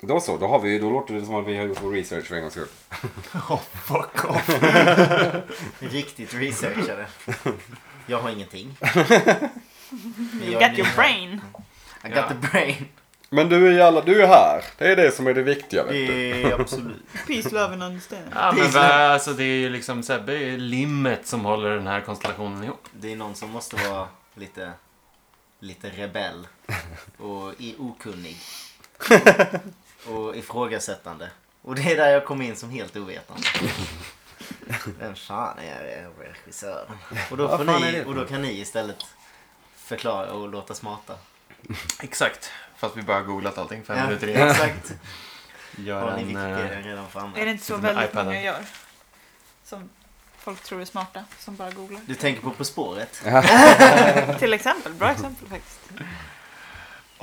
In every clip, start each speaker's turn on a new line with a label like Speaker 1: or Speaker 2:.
Speaker 1: Då så, då, har vi, då låter det som att vi har gjort vår research för en gångs skull.
Speaker 2: Oh, fuck off. Riktigt researchade. Jag har ingenting. Men
Speaker 3: You
Speaker 2: jag är
Speaker 3: got your
Speaker 2: ny.
Speaker 3: brain.
Speaker 2: I got the brain.
Speaker 1: Men du är, ju alla, du är här. Det är det som är det viktiga. Vet du.
Speaker 2: Det är absolut.
Speaker 3: Peace, love and understand.
Speaker 4: Ja, men
Speaker 2: Precis.
Speaker 4: va, alltså det är ju liksom Sebbe är limmet som håller den här konstellationen ihop.
Speaker 2: Det är någon som måste vara lite, lite rebell. Och i okunnig. Och ifrågasättande. Och det är där jag kom in som helt ovetande. Vem fan är jag, regissören? Och då,
Speaker 1: Vad
Speaker 2: får
Speaker 1: fan är
Speaker 2: ni,
Speaker 1: det?
Speaker 2: och då kan ni istället förklara och låta smarta.
Speaker 4: Exakt. Fast vi bara har googlat allting fem
Speaker 2: Ja,
Speaker 4: minuter innan.
Speaker 2: exakt.
Speaker 4: Gör
Speaker 2: Har ni
Speaker 4: en,
Speaker 2: Wikipedia
Speaker 4: eh,
Speaker 2: redan
Speaker 3: Är det
Speaker 2: framme?
Speaker 3: inte så
Speaker 4: Sitter med
Speaker 3: väldigt
Speaker 4: iPaden.
Speaker 3: många gör? Som folk tror är smarta, som bara googlar.
Speaker 2: Du tänker på På spåret?
Speaker 3: Till exempel, bra exempel faktiskt.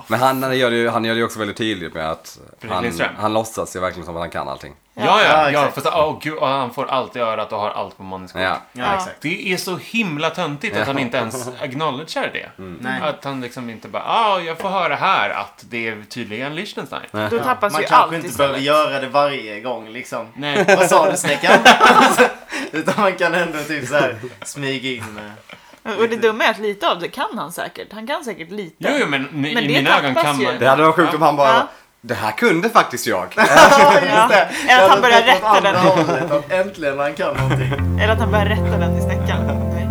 Speaker 1: Men han, han, gör det, ju- han gör det ju också väldigt tydligt med att
Speaker 4: Fredrik
Speaker 1: han,
Speaker 4: Lindström.
Speaker 1: han låtsas ju verkligen som att han kan allting.
Speaker 4: ja,
Speaker 2: Ja,
Speaker 4: ja, ja.
Speaker 2: exakt.
Speaker 4: Fast, åh gud, och han får allt i örat och har allt på manisk
Speaker 1: Ja.
Speaker 3: Ja.
Speaker 2: Ja, exakt.
Speaker 4: Det är så himla töntigt att han inte ens acknowledgar det.
Speaker 2: Nej.
Speaker 4: Att han liksom inte bara, ah, jag får höra här att det är tydligen Liechtenstein. Nej.
Speaker 3: Då tappas
Speaker 2: Man
Speaker 3: ju allt
Speaker 2: kanske inte
Speaker 3: istället.
Speaker 2: behöver göra det varje gång liksom.
Speaker 4: Nej.
Speaker 2: Vad sa du snickaren? Utan man kan ändå typ så här smyga in med.
Speaker 3: Och det dumma är att lite av det kan han säkert. Han kan säkert lite.
Speaker 4: Jo, jo, men,
Speaker 3: Men
Speaker 4: i
Speaker 3: det
Speaker 4: mina ögon
Speaker 3: tappas
Speaker 4: kan
Speaker 3: ju.
Speaker 4: man...
Speaker 1: Det hade varit sjukt om han bara
Speaker 3: Ja.
Speaker 1: Det här kunde faktiskt jag.
Speaker 2: Ja, just det.
Speaker 3: Eller att han börjar
Speaker 2: Jag hade
Speaker 3: rätta
Speaker 2: tänkt åt
Speaker 3: den.
Speaker 2: andra hållet, Att äntligen han kan någonting.
Speaker 3: Eller att han börjar rätta den till snäckan. Nej.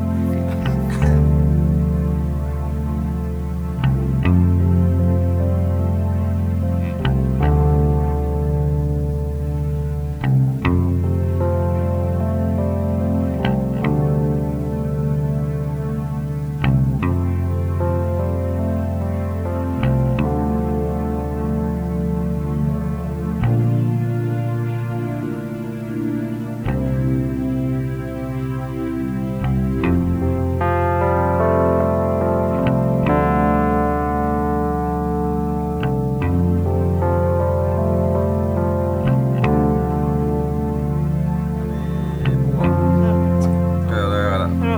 Speaker 1: Ska jag göra det?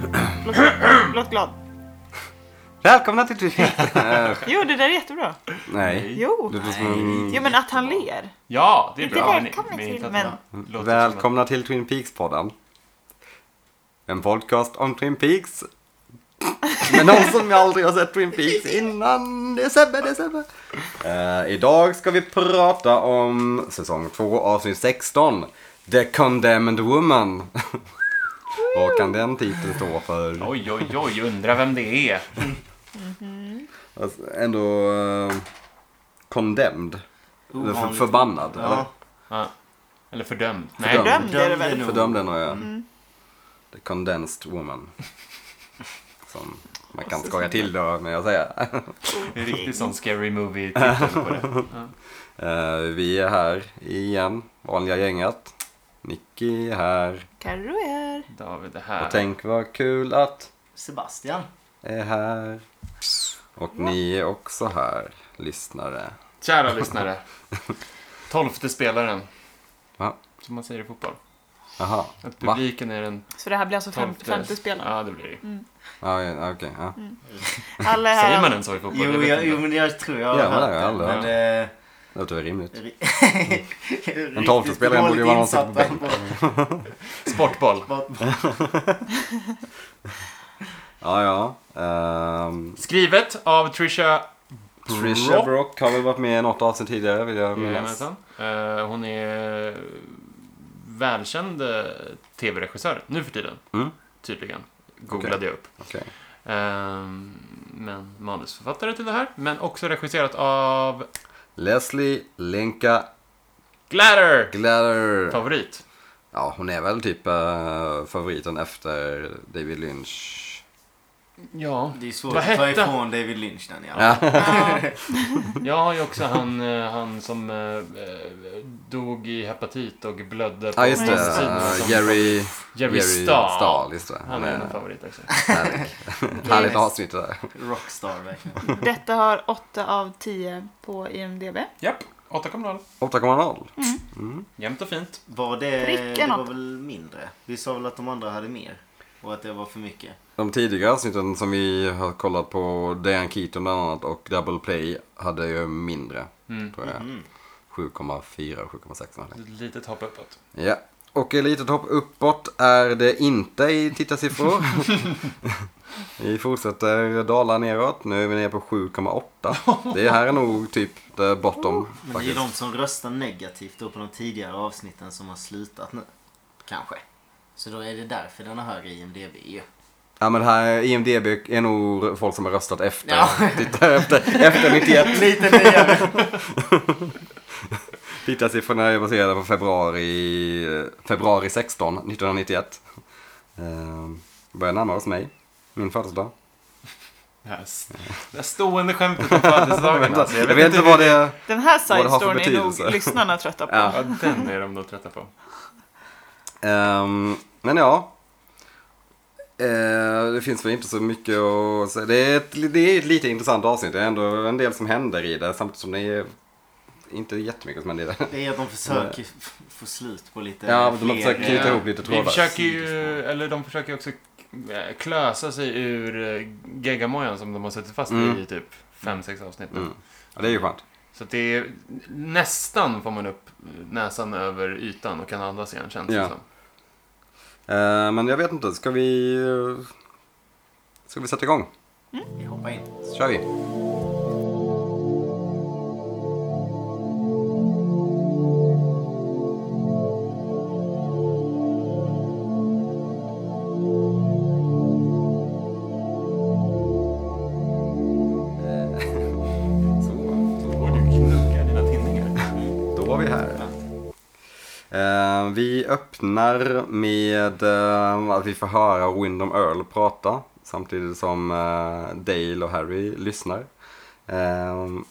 Speaker 3: Vadå? Låt, låt glad.
Speaker 1: Välkomna till Eh,
Speaker 3: Jo, det där är jättebra.
Speaker 1: Nej.
Speaker 3: Jo.
Speaker 1: Det är som en-
Speaker 3: Jo, men att han ler.
Speaker 4: Ja, det är
Speaker 3: Inte
Speaker 4: bra. men-
Speaker 3: välkommen
Speaker 4: men inte
Speaker 3: till,
Speaker 4: att
Speaker 3: men-
Speaker 4: man låter som att-
Speaker 1: Välkomna till Twin Peaks-podden. En podcast om Twin Peaks. Med någon som jag aldrig har sett Twin Peaks innan. Det är Sebbe, det är Sebbe. Eh, idag ska vi prata om säsong 2 avsnitt 16. The Condemned Woman. Vad kan den titeln stå för?
Speaker 4: Oj, oj, oj, undrar vem det är.
Speaker 1: Alltså, ändå... eh, condemned. Eller för,
Speaker 2: Ovanligt.
Speaker 1: förbannad. Eller?
Speaker 2: Ja.
Speaker 4: Ja. Eller fördömd. Nej,
Speaker 1: Fördömd.
Speaker 3: Fördömd är det
Speaker 2: Fördömd är
Speaker 3: väl?
Speaker 2: nog-
Speaker 1: Fördömd den har jag.
Speaker 4: Mm.
Speaker 1: The condensed woman. Som man kan
Speaker 4: Alltså,
Speaker 1: skoja till då när jag säger.
Speaker 4: det är riktigt sån scary movie-titel på det.
Speaker 1: Eh, vi är här igen, vanliga gänget. Nicky är här.
Speaker 3: Carro är...
Speaker 4: David det
Speaker 1: Och
Speaker 4: här.
Speaker 1: tänk vad kul att
Speaker 2: Sebastian.
Speaker 1: är här. Och ni är också här, lyssnare.
Speaker 4: Kära lyssnare. Tolfte spelaren.
Speaker 1: Va?
Speaker 4: Som man säger i fotboll.
Speaker 1: Jaha,
Speaker 4: Att
Speaker 1: va?
Speaker 4: publiken är den
Speaker 3: Så det här blir alltså fem-
Speaker 4: tolfte.
Speaker 3: femte spelaren.
Speaker 4: Ja, det blir det.
Speaker 1: Ja, ja, okej. ja.
Speaker 4: Mm.
Speaker 3: Alla är här.
Speaker 4: Säger man den så i fotboll?
Speaker 2: Jo,
Speaker 4: vet
Speaker 2: jag,
Speaker 4: inte.
Speaker 2: jo men jag tror jag
Speaker 1: Ja, men
Speaker 2: har
Speaker 1: det har jag aldrig
Speaker 2: hört
Speaker 1: hört.
Speaker 2: det.
Speaker 1: Det låter väl
Speaker 4: Mm.
Speaker 1: rimligt.
Speaker 2: Men,
Speaker 1: En tolftespelare borde ju vara någon som sitter på
Speaker 4: Sportboll.
Speaker 1: Ja, ja. Ehm,
Speaker 4: Skrivet av Trisha
Speaker 1: Trisha Brock har väl varit med i något avsnitt tidigare, vill jag minnas.
Speaker 4: Jajamensan. Eh, Hon är eh, välkänd eh, tv-regissör nu för tiden.
Speaker 1: Mm.
Speaker 4: Tydligen. Googlade jag upp.
Speaker 1: Okej.
Speaker 4: Ehm, Men manusförfattare till det här. Men också regisserat av
Speaker 1: Leslie Lenka
Speaker 4: Glatter.
Speaker 1: Glatter.
Speaker 4: Favorit.
Speaker 1: Ja, hon är väl typ eh, favoriten efter David Lynch.
Speaker 4: Ja.
Speaker 2: Det är svårt
Speaker 4: Vad
Speaker 2: att ta
Speaker 4: hette han?
Speaker 2: ifrån David Lynch den ja.
Speaker 1: Ja.
Speaker 4: Jag har ju också han, eh, han som eh, eh, dog i hepatit och blödde på
Speaker 1: Ja, just det.
Speaker 4: sidan
Speaker 1: Eh,
Speaker 4: som-
Speaker 1: Jerry,
Speaker 4: Jerry,
Speaker 1: Jerry
Speaker 4: Stahl.
Speaker 1: Stahl. Just det.
Speaker 4: Han
Speaker 1: Han
Speaker 4: är en
Speaker 1: är
Speaker 4: favorit också.
Speaker 1: härlig. Härligt avsnitt det där.
Speaker 2: Rockstar verkligen.
Speaker 3: Detta har 8 av 10 på IMDB.
Speaker 4: Japp, 8,0.
Speaker 1: 8,0.
Speaker 4: Jämnt och fint.
Speaker 2: Var det,
Speaker 3: Pricken
Speaker 2: det var
Speaker 3: åt-
Speaker 2: väl mindre? Vi sa väl att de andra hade mer? Och att det var för mycket.
Speaker 1: De tidigare avsnitten som vi har kollat på, Diane Keaton bland annat och Double Play hade ju mindre.
Speaker 4: Mm.
Speaker 1: Tror jag.
Speaker 2: Mm.
Speaker 1: 7,4 och 7,6 någonting.
Speaker 4: Ett litet hopp uppåt.
Speaker 1: Ja, och ett litet hopp uppåt är det inte i tittarsiffror. vi fortsätter dala neråt. Nu är vi nere på 7,8. Det här är nog typ the bottom.
Speaker 2: Oh, Men det är ju
Speaker 1: Faktiskt.
Speaker 2: de som röstar negativt då på de tidigare avsnitten som har slutat nu. Kanske. Så då är det därför den har högre IMDB ju.
Speaker 1: Ja men det här IMDB är nog folk som har röstat efter.
Speaker 2: Ja.
Speaker 1: Titta, efter, efter 91.
Speaker 2: Lite nyare.
Speaker 1: Tittarsiffrorna är baserade på februari, februari 16, 1991. Uh, börjar närma oss mig, min födelsedag.
Speaker 4: Det här s- det här stående skämtet om födelsedagen alltså.
Speaker 1: Jag vet inte vad det är.
Speaker 3: Den här
Speaker 1: Vad det har för
Speaker 3: side-storyn är
Speaker 1: betydelse.
Speaker 3: nog lyssnarna trötta på.
Speaker 1: Ja.
Speaker 4: Ja, den är de nog trötta på.
Speaker 1: Ehm, men ja. Eh, det finns väl inte så mycket att säga. Det är, ett, det är ett lite intressant avsnitt. Det är ändå en del som händer i det samtidigt som det är inte jättemycket som händer i det.
Speaker 2: Det är att de försöker f- få slut på lite
Speaker 1: Ja, men de
Speaker 2: fler-
Speaker 1: försöker knyta ihop lite
Speaker 4: Eh, Vi
Speaker 1: trådar.
Speaker 4: försöker ju, eller de försöker ju också eh, klösa sig ur eh, geggamojan som de har suttit fast
Speaker 1: Mm.
Speaker 4: i i typ 5-6 avsnitt. nu.
Speaker 1: Mm. Ja, det är ju skönt.
Speaker 4: Så att det är nästan får man upp näsan över ytan och kan andas igen känns det
Speaker 1: Ja.
Speaker 4: som.
Speaker 1: Eh, men jag vet inte, ska vi... eh, Ska vi sätta igång?
Speaker 2: Vi hoppar in.
Speaker 1: Så kör vi.
Speaker 4: Och du knuggar dina tinningar.
Speaker 1: Då var vi här. Eh, vi öppnar med eh, att vi får höra Windom Earl prata samtidigt som eh, Dale och Harry lyssnar. Ehm,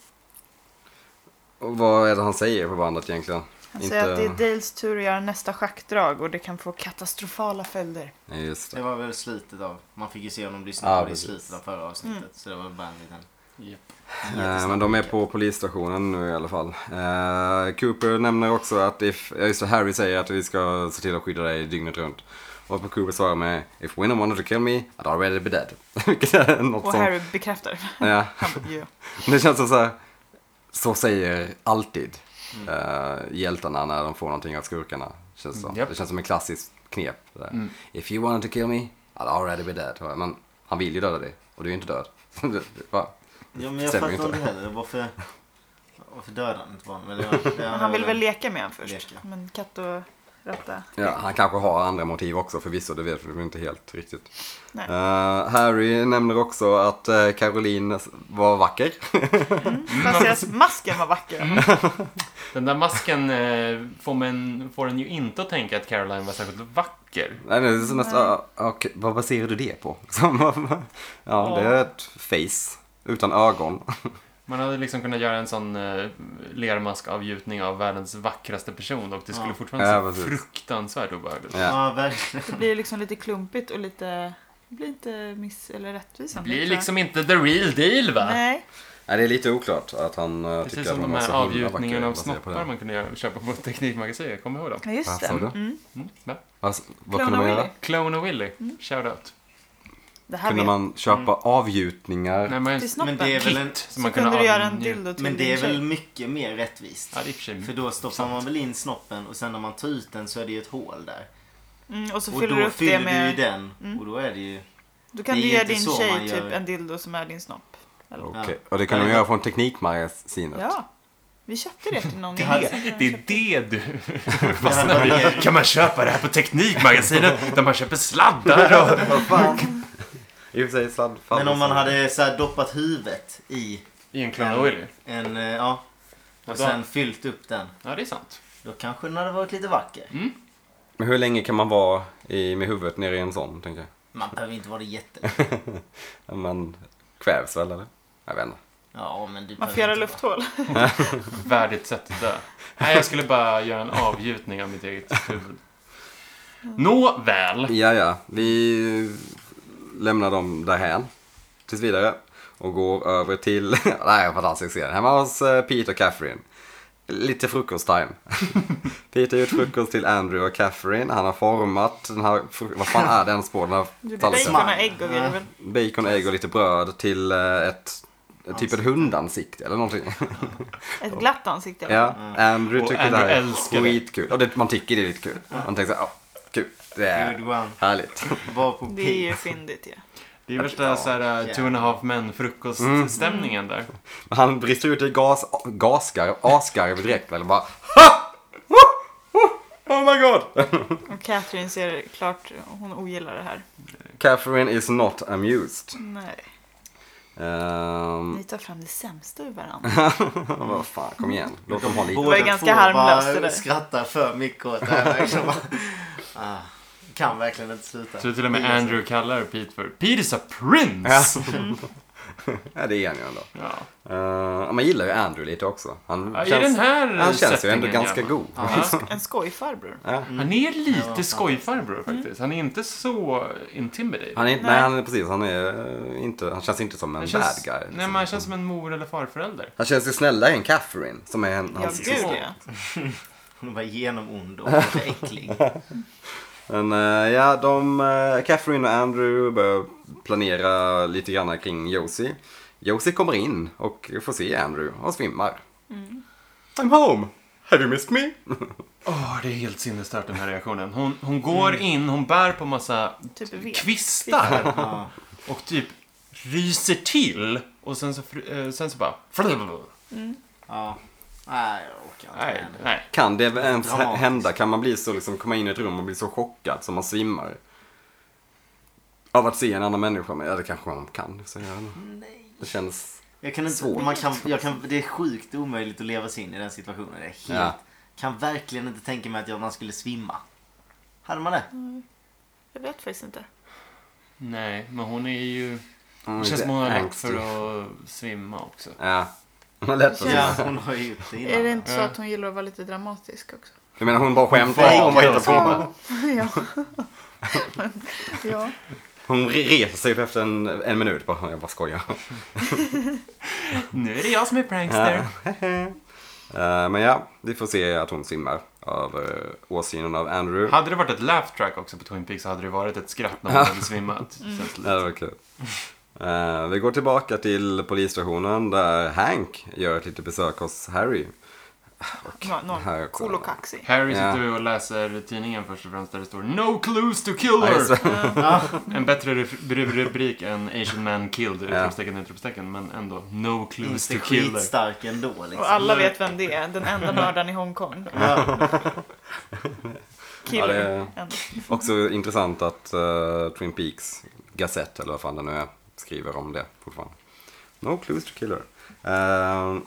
Speaker 1: och vad är det han säger på bandet egentligen?
Speaker 3: Han säger att det är Dales tur att göra nästa schackdrag och det kan få katastrofala följder.
Speaker 1: Nej, Just
Speaker 2: Det
Speaker 1: det.
Speaker 2: var väl slutet av... Man fick ju se honom lyssna
Speaker 1: Ja,
Speaker 2: på det i
Speaker 1: precis.
Speaker 2: slutet av förra avsnittet. Så det var bara en liten...
Speaker 4: Japp.
Speaker 1: Eh, men de är på polisstationen nu i alla fall. Eh, Cooper nämner också att if, ja, just det, Harry säger att vi ska se till att skydda dig dygnet runt. Och på Cooper svarar med If Windom wanted to kill me, I'd already be dead. Vilket är något
Speaker 3: Och
Speaker 1: som...
Speaker 3: Harry bekräftar.
Speaker 1: Ja.
Speaker 3: Han bara, "Ja."
Speaker 1: Men Det känns som så här, så säger alltid eh, hjältarna när de får någonting av skurkarna. Känns som.
Speaker 4: Mm, japp.
Speaker 1: Det känns som en klassisk knep. det där.
Speaker 4: Mm.
Speaker 1: If you wanted to kill me, I'd already be dead. Men han vill ju döda dig och du är inte död. Det- det- va?
Speaker 2: Ja, men jag
Speaker 1: Stämmer ju
Speaker 2: fattar
Speaker 1: inte.
Speaker 2: inte heller. Varför... Varför dödade han inte barnen? Men det var- det
Speaker 3: Men han vill
Speaker 2: var-
Speaker 3: väl leka med honom först.
Speaker 2: Leka.
Speaker 3: Men katt och råtta.
Speaker 1: ja, han kanske har andra motiv också förvisso, det vet vi inte helt riktigt.
Speaker 3: Nej.
Speaker 1: Eh, Harry nämner också att eh, Caroline var vacker.
Speaker 2: Mm.
Speaker 3: Fast deras masken var vacker.
Speaker 4: Den där masken eh, får, man, får en ju inte att tänka att Caroline var särskilt vacker.
Speaker 1: Nej, det är så nästan, ah, okej, vad baserar du det på? ja, det är ett face utan ögon.
Speaker 4: Man hade liksom kunnat göra en sån eh, lermaskavgjutning av världens vackraste person och det skulle
Speaker 2: Ja.
Speaker 4: fortfarande
Speaker 1: Ja,
Speaker 4: se
Speaker 1: precis.
Speaker 4: fruktansvärt obehagligt
Speaker 1: Ja.
Speaker 4: ut.
Speaker 2: Ja, verkligen.
Speaker 3: Det blir liksom lite klumpigt och lite... Det blir inte miss eller
Speaker 4: Det
Speaker 3: rättvisande.
Speaker 4: blir
Speaker 3: tror jag.
Speaker 4: liksom inte the real deal va?
Speaker 3: Nej.
Speaker 1: Nej, det är lite oklart att han eh,
Speaker 4: Precis
Speaker 1: tycker att
Speaker 4: som
Speaker 1: man
Speaker 4: de
Speaker 1: var
Speaker 4: här
Speaker 1: så himla vacker.
Speaker 4: avgjutningarna av
Speaker 1: baserat på det.
Speaker 4: snoppar man kunde göra- köpa på Teknikmagasinet. Kommer ihåg dem?
Speaker 3: Ja, just
Speaker 1: Vad sa
Speaker 3: det.
Speaker 1: du?
Speaker 3: Mm.
Speaker 4: Mm. va?
Speaker 1: Vad, vad
Speaker 3: Clone
Speaker 1: kunde man
Speaker 3: of
Speaker 1: göra?
Speaker 3: Willy.
Speaker 4: Clone och Willy.
Speaker 3: Mm.
Speaker 4: Shout out.
Speaker 3: Det här
Speaker 1: Kunde
Speaker 3: vet
Speaker 1: man köpa avgjutningar?
Speaker 4: Nej, men,
Speaker 3: till
Speaker 2: Men
Speaker 3: snoppen.
Speaker 2: det är väl en...
Speaker 4: kit som
Speaker 3: Så
Speaker 4: man kunde
Speaker 3: kunde du göra en
Speaker 4: avnjuta.
Speaker 3: dildo till
Speaker 2: Men det är
Speaker 3: din tjej.
Speaker 2: väl mycket mer rättvist.
Speaker 4: Ja, det är i och för sig.
Speaker 2: För då stoppar man väl in snoppen och sen när man tar ut den så är det ju ett hål där.
Speaker 3: Mm, och så
Speaker 2: och
Speaker 3: fyller du
Speaker 2: då
Speaker 3: upp det
Speaker 2: fyller du
Speaker 3: med...
Speaker 2: ju den
Speaker 3: Mm.
Speaker 2: och då är det ju...
Speaker 3: Då kan
Speaker 2: Det är
Speaker 3: du
Speaker 2: ju
Speaker 3: ge
Speaker 2: inte
Speaker 3: din
Speaker 2: så man
Speaker 3: tjej
Speaker 2: gör.
Speaker 3: typ en dildo som är din snopp.
Speaker 1: Okej,
Speaker 2: Ja.
Speaker 1: och det kunde man
Speaker 2: Nej.
Speaker 1: göra från Teknikmagasinet.
Speaker 3: Ja. Vi köpte det till någon
Speaker 2: Det hade-
Speaker 3: idé.
Speaker 4: Det är det du
Speaker 2: Det hade
Speaker 4: fastnar
Speaker 2: varit-
Speaker 4: i. Kan man köpa det här på Teknikmagasinet? Där man köper sladdar och...
Speaker 1: Vad fan? I och för sig sladd. fan,
Speaker 2: Men om man
Speaker 1: så-
Speaker 2: hade så här doppat huvudet i
Speaker 4: I en Clone och Willy.
Speaker 2: en... eh, Ja.
Speaker 4: Och
Speaker 2: Och
Speaker 4: då-
Speaker 2: sen fyllt upp den.
Speaker 4: Ja, det är sant.
Speaker 2: Då kanske den hade varit lite vacker.
Speaker 4: Mm.
Speaker 1: Men hur länge kan man vara i, med huvudet nere i en sån, tänker
Speaker 2: Man behöver inte vara jätteliten.
Speaker 1: jag? Man kvävs väl, eller? Jag vet inte.
Speaker 2: Ja, men du
Speaker 3: Man
Speaker 2: behöver
Speaker 3: får göra
Speaker 2: inte vara-
Speaker 3: lufthål.
Speaker 4: Värdigt sätt att dö. Nej, jag skulle bara göra en avgjutning av mitt eget huvud. Nåväl.
Speaker 1: Ja, ja. Vi lämnar dem därhän tills vidare och går över till... det här är en fantastisk scen. Hemma hos eh, Pete och Catherine. Lite frukosttime. Peter har gjort frukost till Andrew och Catherine. Han har format den här, fru- vad fan är det ens på den här
Speaker 3: Du,
Speaker 1: tallriken?
Speaker 3: bacon och ägg och grejer. väl?
Speaker 1: Bacon, ägg och lite bröd till eh, ett Typ ett
Speaker 2: Ansikte.
Speaker 1: hundansikte eller någonting.
Speaker 3: Ett glatt ansikte. i alla
Speaker 1: Ja,
Speaker 3: fall.
Speaker 1: Andrew
Speaker 4: Och
Speaker 1: tycker
Speaker 4: Andrew
Speaker 1: det här
Speaker 4: älskar
Speaker 1: är
Speaker 4: det.
Speaker 1: skitkul. Och det, man tycker det är lite kul. Man tänker såhär, ja, kul. Det
Speaker 2: Good
Speaker 1: är
Speaker 2: one.
Speaker 1: härligt.
Speaker 2: Var på
Speaker 3: Det är
Speaker 2: peak.
Speaker 3: ju fyndigt ju.
Speaker 4: Det är värsta
Speaker 1: Ja, Mm.
Speaker 4: så här, eh, two and a half men frukoststämningen där.
Speaker 1: Men Han brister ut i gas, gasgarv, asgarv direkt. Eller bara, ha! Oh, oh my god!
Speaker 3: Och Catherine ser klart, hon ogillar det här.
Speaker 1: Catherine is not amused.
Speaker 3: Nej,
Speaker 1: Ehm,
Speaker 3: ni tar fram det sämsta ur varandra.
Speaker 1: Vad fan, kom igen. Låt dem ha lite.
Speaker 3: var ganska harmlöst, det där.
Speaker 2: skrattar för mycket åt det här. liksom. ah, kan verkligen inte sluta.
Speaker 4: Jag tror till och med
Speaker 2: Gillar sig.
Speaker 4: Andrew kallar Pete för Pete is a prince!
Speaker 1: Ja, det är han ju ändå.
Speaker 4: Ja.
Speaker 1: Eh, man gillar ju Andrew lite också. Han
Speaker 4: Ja, I
Speaker 1: känns,
Speaker 4: den här
Speaker 1: han känns ju ändå
Speaker 4: sättningen,
Speaker 1: ganska
Speaker 4: ja.
Speaker 1: god. Mm.
Speaker 4: Ja.
Speaker 3: En skojfarbror.
Speaker 4: Han är
Speaker 2: Ja,
Speaker 4: lite
Speaker 2: fan.
Speaker 4: skojfarbror faktiskt. Han är inte så intimidated.
Speaker 1: Han är inte, nej.
Speaker 3: Nej.
Speaker 1: han är precis, han är eh, inte, han känns inte som en
Speaker 4: Han känns,
Speaker 1: bad guy.
Speaker 4: Nej,
Speaker 1: liksom.
Speaker 4: men han känns som en mor eller farförälder.
Speaker 1: Han känns ju snällare än Catherine som är en,
Speaker 3: Ja,
Speaker 1: hans
Speaker 3: gud
Speaker 1: syster.
Speaker 3: ja.
Speaker 2: Hon var genomond och lite äcklig.
Speaker 1: Men eh, ja, de, eh, Catherine och Andrew börjar planera lite grann kring Josie. Josie kommer in och får se Andrew och svimmar. Mm. I'm home! Have you missed me?
Speaker 4: Åh, det är helt sinnesstört den här reaktionen. Hon, hon går in, hon bär på massa
Speaker 3: Typ ved.
Speaker 4: kvistar
Speaker 2: Ja.
Speaker 4: och typ ryser till. Och sen så, fr- eh, sen så bara...
Speaker 2: Ja. Nej, jag orkar inte
Speaker 4: Nej,
Speaker 2: med det.
Speaker 4: nej.
Speaker 1: Kan det ens hä-
Speaker 2: Dramatiskt.
Speaker 1: hända? Kan man bli så, liksom, komma in i ett rum och bli så chockad som man svimmar? Av att se en annan människa? Men, ja, det kanske man kan. Så jag vet inte. Det känns...
Speaker 2: Jag kan inte,
Speaker 1: Svårt.
Speaker 2: man kan, jag kan, det är sjukt omöjligt att leva sig in i den situationen. Det är helt,
Speaker 1: Ja.
Speaker 2: Kan verkligen inte tänka mig att jag, man skulle svimma. Hade man det?
Speaker 3: Jag vet faktiskt inte.
Speaker 4: Nej, men hon är ju...
Speaker 1: Mm,
Speaker 4: Det känns
Speaker 1: lite
Speaker 4: som hon har lätt
Speaker 1: angstig.
Speaker 4: för att svimma också.
Speaker 1: Ja. Hon har lätt för
Speaker 2: Ja,
Speaker 1: ja.
Speaker 2: hon har ju gjort det
Speaker 3: Är det
Speaker 2: innan.
Speaker 3: inte så att hon gillar att vara lite dramatisk också?
Speaker 1: Jag menar hon bara skämtar. Hon bara hittar på.
Speaker 3: Ja. ja.
Speaker 1: Hon re- reser sig efter en, en minut bara. Jag bara skojar.
Speaker 4: Nu är det jag som är prankster.
Speaker 1: Eh, men ja, vi får se att hon simmar av uh, åsynen av Andrew.
Speaker 4: Hade det varit ett laugh track också på Twin Peaks så hade det varit ett skratt när hon hade svimmat. Känns
Speaker 1: Ja, det
Speaker 4: lite.
Speaker 1: var kul. Eh, vi går tillbaka till polisstationen där Hank gör ett litet besök hos Harry.
Speaker 3: Nå-
Speaker 1: Här
Speaker 3: Någon
Speaker 1: också.
Speaker 3: cool och kaxig.
Speaker 4: Harry
Speaker 1: Ja.
Speaker 4: sitter och läser tidningen först och främst där det står No clues to killer!
Speaker 1: Ja, just det.
Speaker 4: En bättre ref- bru- rubrik än Asian man killed, utropstecken, utropstecken, men ändå No clues
Speaker 2: Inte
Speaker 4: to killer.
Speaker 2: skitstark ändå liksom.
Speaker 3: Och alla vet vem det är. Den enda mördaren i Hongkong.
Speaker 2: Ja.
Speaker 1: Ja, det
Speaker 3: Killer.
Speaker 1: är också intressant att eh, Twin Peaks Gazette, eller vad fan det nu är, skriver om det fortfarande. No clues to killer. Eh,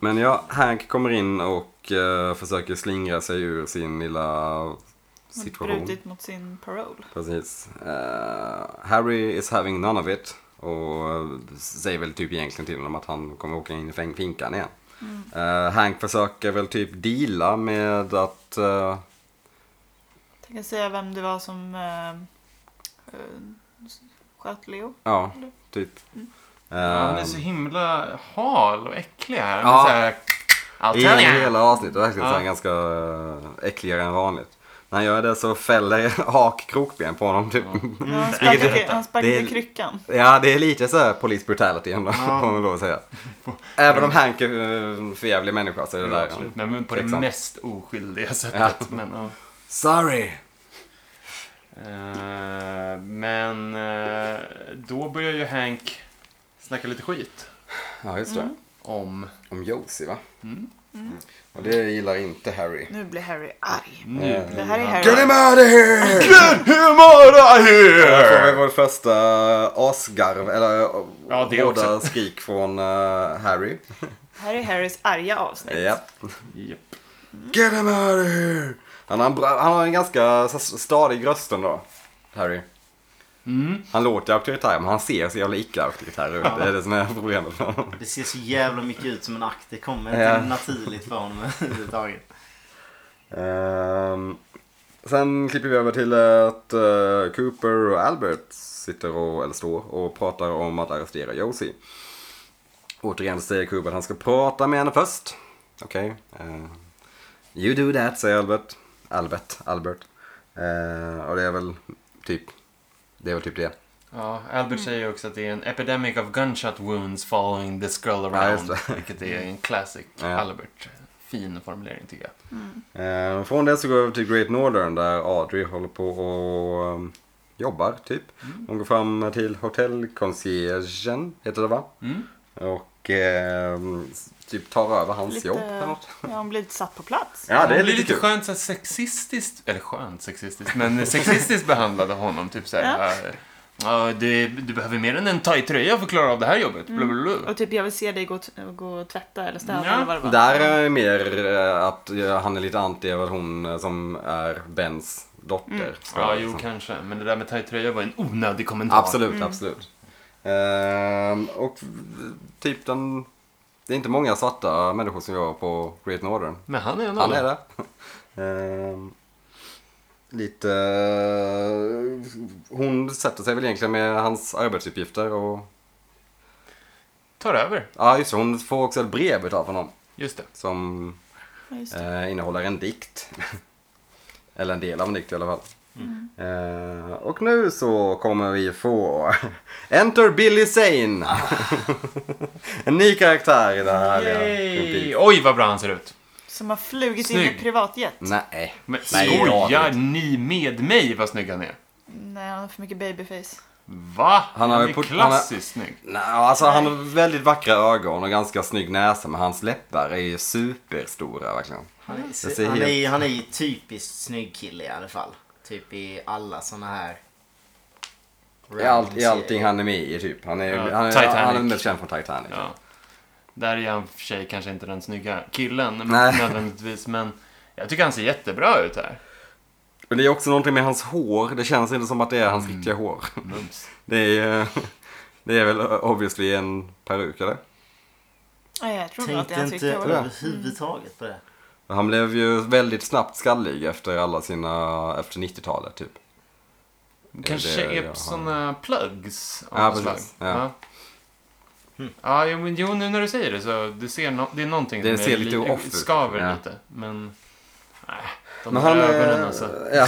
Speaker 1: men ja, Hank kommer in och eh, försöker slingra sig ur sin lilla
Speaker 3: Hon har
Speaker 1: situation.
Speaker 3: brutit mot sin parole.
Speaker 1: Precis. Eh, Harry is having none of it. Och eh, säger väl typ egentligen till honom att han kommer åka in i fäng- finkan igen. Eh, Hank försöker väl typ deala med att... eh,
Speaker 3: Jag kan säga vem det var som eh, eh, sköt Leo.
Speaker 1: ja, typ. eh,
Speaker 4: Ja, han är så himla hal och äcklig här. Han är
Speaker 1: Ja.
Speaker 4: så här I'll
Speaker 1: I
Speaker 4: tell you.
Speaker 1: hela avsnittet, verkligen
Speaker 4: Ja.
Speaker 1: så här ganska eh, äckligare än vanligt. När han gör det så fäller Hak krokben på honom typ.
Speaker 3: Ja, han sparkade, han
Speaker 1: Det
Speaker 3: sparkade
Speaker 1: är-
Speaker 3: kryckan.
Speaker 1: Ja, det är lite så här police brutality ändå, får man lov att säga. Även om Hank är en förjävlig människa så är det där.
Speaker 4: Absolut, Mm. Nej, men på det
Speaker 1: Tveksamt.
Speaker 4: mest oskyldiga sättet. Men, ja.
Speaker 1: Sorry!
Speaker 4: Eh, men eh, då börjar ju Hank snacka lite skit
Speaker 1: Ja, just det.
Speaker 4: om...
Speaker 1: Om Josie, va?
Speaker 4: Mm.
Speaker 1: Mm. Och det gillar inte Harry.
Speaker 3: Nu blir Harry arg.
Speaker 4: Nu.
Speaker 3: Det här är
Speaker 1: Mm. Get him
Speaker 3: Harry.
Speaker 1: out of here!
Speaker 4: Hur mår
Speaker 1: Det var
Speaker 4: here?
Speaker 1: väl vår första asgarv, eller
Speaker 4: Ja, det
Speaker 1: båda
Speaker 4: också.
Speaker 1: skrik från eh, Harry.
Speaker 3: Här är Harrys arga avsnitt.
Speaker 1: Ja.
Speaker 4: Japp.
Speaker 1: Get him out of here! Han har en, bra, han har en ganska så- stadig röst ändå, Harry. Han låter auktoritär, men han ser så jävla icke-auktoritär ut. Det är det som är problemet.
Speaker 2: Det ser så jävla mycket ut som en akt. Det kommer inte
Speaker 1: Ja.
Speaker 2: naturligt för honom överhuvudtaget.
Speaker 1: Ehm, sen klipper vi över till att eh, Cooper och Albert sitter och, eller står och pratar om att arrestera Josie. Återigen säger Cooper att han ska prata med henne först. Okej. eh, you do that, säger Albert. Albert, Albert. Eh, och det är väl typ det. Är väl typ det.
Speaker 4: Ja, Albert säger också att det är en epidemic of gunshot wounds following this girl
Speaker 1: Ja, just
Speaker 4: around.
Speaker 1: det.
Speaker 4: vilket är en classic
Speaker 1: Ja.
Speaker 4: Albert. Fin formulering tycker jag.
Speaker 3: Mm.
Speaker 1: Eh, och från det så går vi över till Great Northern där Audrey håller på och um, jobbar typ. Hon går fram till hotellconciergen, heter det va?
Speaker 4: Mm.
Speaker 1: Och ehm, typ tar över hans
Speaker 3: Lite,
Speaker 1: jobb eller något.
Speaker 3: ja, hon blir lite satt på plats.
Speaker 1: Ja, det är
Speaker 4: Hon blir
Speaker 1: lite
Speaker 4: lite
Speaker 1: kul.
Speaker 4: skönt så här sexistiskt, eller skönt sexistiskt, men sexistiskt behandlade honom. Typ så här, eh, ja. du, du behöver mer än en tight tröja för att klara av det här jobbet. Bla, bla, bla.
Speaker 3: Och typ jag vill se dig gå, t- gå och tvätta eller städa
Speaker 4: Ja.
Speaker 3: eller vad det var.
Speaker 1: Där är det mer eh, att eh, han är lite anti över att hon eh, som är Bens dotter. ska
Speaker 4: Ja,
Speaker 1: vara
Speaker 4: jo,
Speaker 1: liksom.
Speaker 4: kanske. Men det där med tight tröja var en onödig kommentar.
Speaker 1: Absolut, absolut. Ehm, och typ den... Det är inte många svarta människor som jobbar på Great Northern.
Speaker 4: Men han är en av
Speaker 1: Han är det.
Speaker 4: dem.
Speaker 1: Ehm, lite... eh, Hon sätter sig väl egentligen med hans arbetsuppgifter och...
Speaker 4: Tar över.
Speaker 1: Ja, just det. Hon får också ett brev utav honom
Speaker 4: Just det.
Speaker 1: som
Speaker 3: Ja, just det.
Speaker 1: eh, innehåller en dikt. Eller en del av en dikt i alla fall. Eh, och nu så kommer vi få Enter Billy Zane! en ny karaktär i det här härliga Twin
Speaker 4: Yay!
Speaker 1: Peaks.
Speaker 4: Oj, vad bra han ser ut.
Speaker 3: Som har flugit in i
Speaker 4: Snygg.
Speaker 3: privatjet.
Speaker 1: Nej.
Speaker 4: Men
Speaker 1: Nej, det är
Speaker 4: skojar
Speaker 1: artigt.
Speaker 4: ni med mig vad snygg han är?
Speaker 3: Nej, han har för mycket babyface.
Speaker 4: Va?
Speaker 1: Han
Speaker 4: Han,
Speaker 1: har ju
Speaker 4: är
Speaker 1: port-
Speaker 4: klassiskt snygg.
Speaker 1: Nej, alltså han har väldigt vackra ögon och ganska snygg näsa men hans läppar är ju superstora verkligen.
Speaker 2: Han
Speaker 1: Det ser
Speaker 2: är, han är, han är ju typiskt snygg kille i alla fall. Typ i alla såna här...
Speaker 1: I, allt, I allting han är med i typ. Han är,
Speaker 4: Ja,
Speaker 1: han är,
Speaker 4: Titanic.
Speaker 1: han är mest känd från Titanic.
Speaker 4: Ja. Där är han för sig kanske inte den snygga killen
Speaker 1: Nej.
Speaker 4: nödvändigtvis, men jag tycker han ser jättebra ut här.
Speaker 1: Men det är också någonting med hans hår. Det känns inte som att det är hans riktiga hår.
Speaker 4: Mums.
Speaker 1: Det är, eh, det är väl obviously en peruk eller?
Speaker 3: Ja, jag tror nog att det är
Speaker 2: Tänkte
Speaker 3: hans
Speaker 2: inte
Speaker 3: riktiga hår.
Speaker 2: överhuvudtaget på det.
Speaker 1: Han blev ju väldigt snabbt skallig efter alla sina, efter 90-talet typ.
Speaker 4: Kanske
Speaker 1: det jag
Speaker 4: är
Speaker 1: har.
Speaker 4: sådana plugs av
Speaker 1: Ja,
Speaker 4: något slag.
Speaker 1: precis. Ja.
Speaker 4: Ja. Ja, jo, men jo, nu när du säger det så det, ser no- det är någonting
Speaker 1: Det
Speaker 4: som
Speaker 1: ser
Speaker 4: är
Speaker 1: lite
Speaker 4: li-
Speaker 1: off ut.
Speaker 4: skaver
Speaker 1: Ja.
Speaker 4: lite. Men, nej. De
Speaker 1: Men
Speaker 4: där
Speaker 1: han, eh,
Speaker 4: ögonen alltså.
Speaker 1: ja.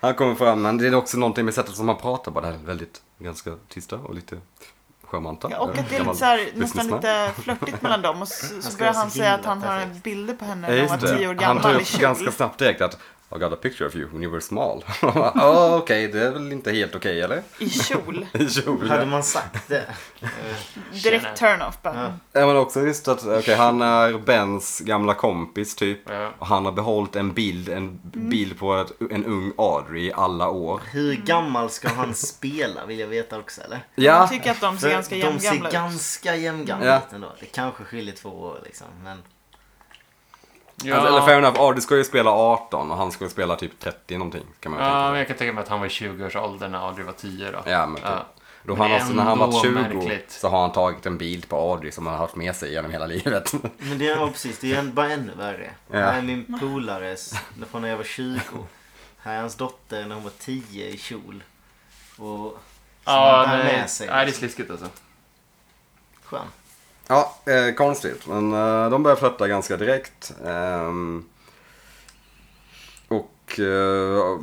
Speaker 1: han kommer fram, men det är också någonting med sättet som han pratar på. Det här är väldigt, ganska tysta och lite charmanta.
Speaker 3: Ja, och att det är lite
Speaker 1: Gammal
Speaker 3: så här, nästan
Speaker 1: businessman.
Speaker 3: lite flörtigt mellan dem. Och så, så
Speaker 2: ska
Speaker 3: börjar
Speaker 2: vara
Speaker 3: han
Speaker 2: så
Speaker 3: säga att
Speaker 2: himla
Speaker 3: han har
Speaker 2: perfekt.
Speaker 3: bilder på henne
Speaker 1: Ja,
Speaker 3: när hon
Speaker 1: just
Speaker 3: var tio
Speaker 1: det.
Speaker 3: år
Speaker 1: Han
Speaker 3: gammal
Speaker 1: tar
Speaker 3: i
Speaker 1: upp
Speaker 3: kjol.
Speaker 1: ganska snabbt direkt att I got a picture of you when you were small. oh, okej, det är väl inte helt okej eller?
Speaker 3: I kjol.
Speaker 1: I kjol.
Speaker 2: Hade man sagt
Speaker 3: Mm.
Speaker 2: det?
Speaker 4: Tjena.
Speaker 3: Direkt turn-off bara.
Speaker 2: Ja.
Speaker 1: Ja, men också just att okej, han är Bens gamla kompis typ.
Speaker 4: Ja.
Speaker 1: Och han har behållit en bild, en bild på ett, en ung Audrey i alla år.
Speaker 2: Hur gammal ska han spela vill jag veta också eller?
Speaker 1: Ja,
Speaker 3: Jag tycker att de ser
Speaker 2: För
Speaker 3: ganska
Speaker 2: de ser
Speaker 3: jämngamla ut.
Speaker 2: ganska jämngamla
Speaker 1: Ja.
Speaker 2: ut ändå. Det kanske skiljer två år liksom. Men
Speaker 4: Ja.
Speaker 1: Alltså, eller fair enough, Audrey ska ju spela 18 och han ska ju spela typ 30 någonting kan man ju
Speaker 4: Ja,
Speaker 1: tänka
Speaker 4: men jag kan tänka mig att han var i 20-årsåldern när Audrey var 10 då.
Speaker 1: Ja, men typ.
Speaker 4: Ja.
Speaker 1: Då
Speaker 4: Men
Speaker 1: han alltså, när han
Speaker 4: ändå
Speaker 1: var 20
Speaker 4: märkligt.
Speaker 1: så har han tagit en bild på Audrey som han har haft med sig genom hela livet.
Speaker 2: Men det är ja, precis, det är en- bara ännu värre.
Speaker 1: Ja.
Speaker 2: Här är min polares från när jag var 20. Här är hans dotter när hon var 10 i kjol. Och som
Speaker 4: Ja,
Speaker 2: han bär
Speaker 4: nej,
Speaker 2: med sig. liksom.
Speaker 4: nej, det är sliskigt alltså.
Speaker 2: Skön.
Speaker 1: Ja, eh, konstigt. Men eh, de börjar flörta ganska direkt. Ehm, och... Eh,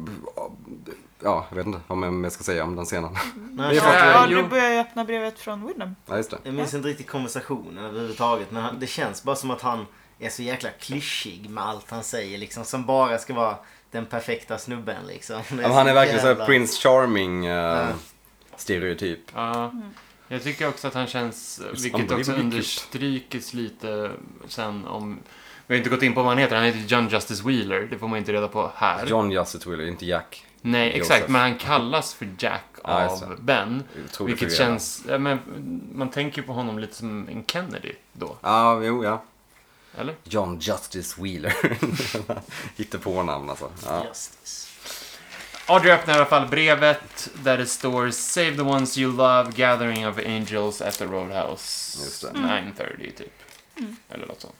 Speaker 1: ja, jag vet inte vad man mer ska säga om den scenen.
Speaker 2: Nej,
Speaker 1: Det är
Speaker 2: jag-
Speaker 4: faktiskt-
Speaker 3: Ja,
Speaker 4: Jo.
Speaker 3: du börjar ju öppna brevet från Woodham.
Speaker 1: Ja, just det.
Speaker 2: Jag minns inte riktigt konversationen överhuvudtaget. Men han, det känns bara som att han är så jäkla klyschig med allt han säger. Liksom, som bara ska vara den perfekta snubben liksom.
Speaker 1: Ja,
Speaker 2: Det
Speaker 1: men han är
Speaker 2: så
Speaker 1: verkligen
Speaker 2: jävla-
Speaker 1: såhär Prince Charming eh,
Speaker 2: Ja.
Speaker 1: stereotyp.
Speaker 4: Ja.
Speaker 1: Mm.
Speaker 4: Jag tycker också att han känns, vilket också
Speaker 1: unbelievably
Speaker 4: understrykes lite sen om... Vi har inte gått in på vad han heter, han heter John Justice Wheeler, det får man inte reda på här.
Speaker 1: John Justice Wheeler, inte Jack.
Speaker 4: Nej,
Speaker 1: Joseph.
Speaker 4: exakt, men han kallas för Jack
Speaker 1: Ja, just
Speaker 4: av Ben.
Speaker 1: Otroligt förvirrad.
Speaker 4: Vilket känns, ja, men, man tänker på honom lite som en Kennedy då,
Speaker 1: Ja, jo ja.
Speaker 4: eller?
Speaker 1: John Justice Wheeler. Hittepånamn alltså. Ja.
Speaker 2: Justice.
Speaker 4: Audrey öppnar i alla fall brevet där det står Save the ones you love, gathering of angels at the roadhouse.
Speaker 1: Just det.
Speaker 4: 9.30 typ. Eller något sånt.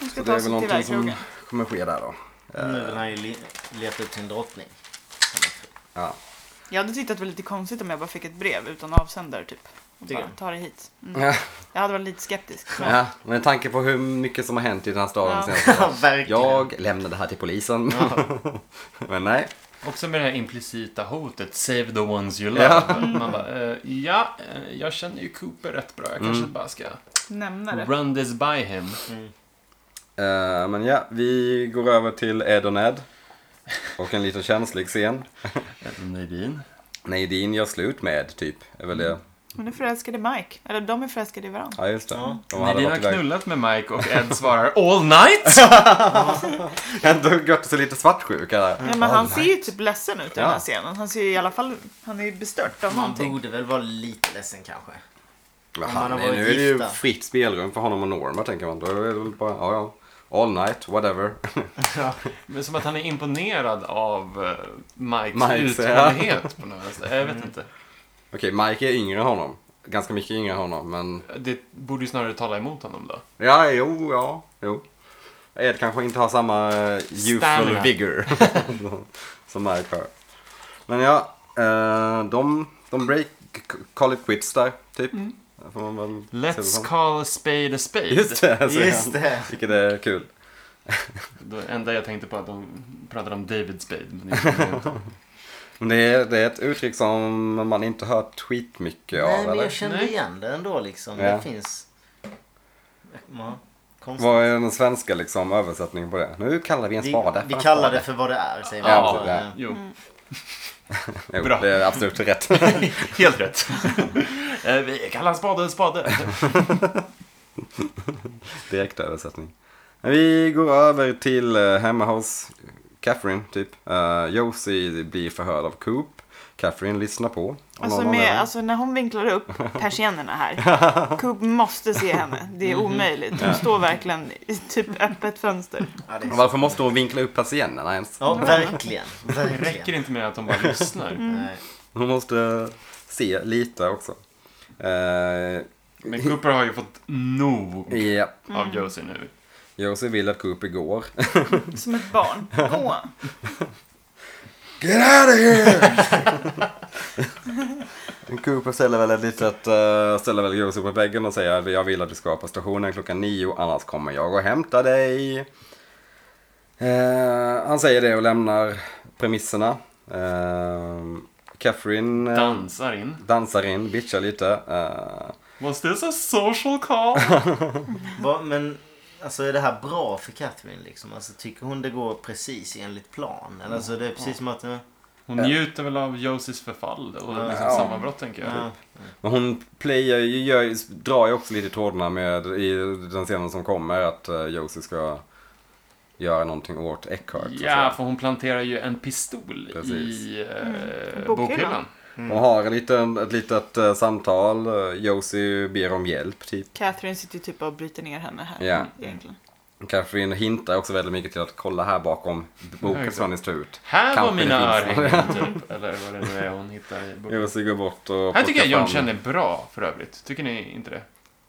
Speaker 3: Hon ska
Speaker 1: Så det är
Speaker 3: ta
Speaker 1: väl
Speaker 3: sig till
Speaker 1: någonting som
Speaker 3: vägkrogen.
Speaker 1: kommer ske där då.
Speaker 2: Nu vill han ju le- leta upp sin drottning.
Speaker 1: Ja.
Speaker 3: Jag hade tyckt att det var lite konstigt om jag bara fick ett brev utan avsändare typ. och
Speaker 2: Tycker
Speaker 3: bara
Speaker 2: du?
Speaker 3: ta det hit. Mm.
Speaker 1: Ja.
Speaker 3: Jag hade varit lite skeptisk. Men
Speaker 1: Ja, med tanke på hur mycket som har hänt i den här staden
Speaker 3: Ja.
Speaker 1: senaste
Speaker 2: Ja, verkligen.
Speaker 1: Jag lämnade här till polisen. Men nej.
Speaker 4: Också med det här implicita hotet, save the ones you love.
Speaker 1: Mm.
Speaker 4: Man bara, eh, ja, eh, jag känner ju Cooper rätt bra. Jag kanske
Speaker 1: Mm.
Speaker 4: bara ska
Speaker 3: nämna det.
Speaker 4: run this by him.
Speaker 1: Eh, men ja, vi går över till Ed och Ned. Och en liten känslig scen.
Speaker 4: Nadine.
Speaker 1: Nadine gör slut med Ed, typ. Är väl det.
Speaker 3: Hon är förälskad i Mike. Eller de är förälskade i varandra.
Speaker 1: Ja, just det.
Speaker 2: Ja.
Speaker 1: De hade
Speaker 4: Nadine
Speaker 1: varit
Speaker 4: har
Speaker 1: iväg.
Speaker 4: knullat med Mike och Ed svarar all night.
Speaker 1: Ändå gött sig lite svartsjuk. Eller?
Speaker 3: Ja, men han ser ju typ ledsen ut i den
Speaker 1: Ja.
Speaker 3: här scenen. Han ser ju i alla fall, han är ju bestört av
Speaker 2: Man
Speaker 3: någonting.
Speaker 2: borde väl vara lite ledsen kanske.
Speaker 1: Men
Speaker 2: Om
Speaker 1: han,
Speaker 2: man
Speaker 1: är-
Speaker 2: har varit
Speaker 1: nu är det ju
Speaker 2: gifta.
Speaker 1: fritt spelrum för honom och Norma, tänker man. Då är det väl bara, ja, ja. All night, whatever.
Speaker 4: Men som att han är imponerad av eh, Mikes
Speaker 1: Mikes, ja.
Speaker 4: uthållighet på något sätt. Jag vet inte.
Speaker 1: Okej, Mike är yngre än honom. Ganska mycket yngre än honom, men...
Speaker 4: Det borde ju snarare tala emot honom då.
Speaker 1: Ja, jo, ja, jo. Ed kanske inte har samma eh, youthful
Speaker 4: Stamina.
Speaker 1: vigor som Mike har. Men ja, eh, de, de break, call it quits där, typ. Får man väl se det
Speaker 4: Let's
Speaker 1: som.
Speaker 4: call a spade a spade.
Speaker 1: Just det,
Speaker 4: alltså,
Speaker 1: säger
Speaker 2: Just
Speaker 1: han.
Speaker 2: det.
Speaker 1: Vilket är kul.
Speaker 4: Det enda jag tänkte på att de pratade om David Spade. Men det är inte det.
Speaker 1: Men det är, det är ett uttryck som man inte hört skitmycket
Speaker 2: Nej,
Speaker 1: av,
Speaker 2: men jag
Speaker 1: eller?
Speaker 2: kände
Speaker 4: Nej.
Speaker 2: igen det ändå liksom.
Speaker 1: Ja.
Speaker 2: Det finns... Ja, konstigt.
Speaker 1: Vad är den svenska liksom, översättningen på det? Nu kallar vi en
Speaker 2: Vi,
Speaker 1: spade
Speaker 2: vi
Speaker 1: en
Speaker 2: kallar
Speaker 1: spade.
Speaker 2: det för vad det är, säger man.
Speaker 1: Ja,
Speaker 2: Så,
Speaker 1: det är.
Speaker 2: eh,
Speaker 4: jo,
Speaker 1: Jo,
Speaker 4: Bra.
Speaker 1: det är absolut rätt.
Speaker 4: helt rätt. Eh, vi kallar en spade en spade.
Speaker 1: Direkt översättning. Men Vi går över till eh, hemma hos Catherine, typ. Uh, Josie blir förhörd av Coop. Catherine lyssnar på. av
Speaker 3: Alltså,
Speaker 1: någon anledning.
Speaker 3: med, alltså när hon vinklar upp persiennerna här. Coop måste se henne. Det är
Speaker 1: Mhm.
Speaker 3: omöjligt. Hon står verkligen i typ öppet fönster.
Speaker 2: ja, det är så.
Speaker 1: Varför måste hon vinkla upp patienterna ens?
Speaker 2: ja verkligen.
Speaker 4: Det räcker
Speaker 2: verkligen.
Speaker 4: inte med att de bara lyssnar.
Speaker 2: Nej.
Speaker 1: Hon måste eh, se lite också. Eh,
Speaker 4: Men Cooper har ju fått nog
Speaker 1: Ja,
Speaker 4: av Josie nu.
Speaker 1: Josie vill att Coop går.
Speaker 3: Som ett barn. Åh.
Speaker 1: Get out of here! Cooper ställer väl ett litet, eh, ställer väl Josie på väggen och säger jag vill att du ska på stationen klockan nio annars kommer jag och hämtar dig. Eh, han säger det och lämnar premisserna. Uh, Catherine eh,
Speaker 4: Dansar in.
Speaker 1: dansar in, bitchar lite. Eh,
Speaker 4: Was this a social call?
Speaker 2: Va, men alltså är det här bra för Catherine liksom? Alltså tycker hon det går precis enligt plan? Eller alltså det är precis som att... eh,
Speaker 4: Hon njuter väl av Josies förfall och liksom
Speaker 1: Ja.
Speaker 4: sammanbrott tänker jag.
Speaker 2: Ja.
Speaker 1: Men hon playar, ju- gör, ju- drar ju också lite i trådarna med i den scenen som kommer att uh, Josie ska göra någonting åt Eckhart. och så.
Speaker 4: Ja, för hon planterar ju en pistol
Speaker 1: Precis.
Speaker 4: i eh,
Speaker 3: Bokhyllan.
Speaker 4: bokhyllan.
Speaker 1: De har en liten, ett litet eh, samtal. Eh, Josie ber om hjälp. Typ.
Speaker 3: Catherine sitter ju typ och bryter ner henne här.
Speaker 1: Ja.
Speaker 3: Egentligen.
Speaker 1: Catherine hintar också väldigt mycket till att kolla här bakom boken som ni står ut.
Speaker 4: Här var
Speaker 1: Kanske
Speaker 4: mina
Speaker 1: det finns.
Speaker 4: örhängen typ, eller vad det nu är hon hittar i boken.
Speaker 1: Josie går bort och
Speaker 4: Här tycker
Speaker 1: plockar
Speaker 4: jag John
Speaker 1: fram-
Speaker 4: känner bra för övrigt. Tycker ni inte det?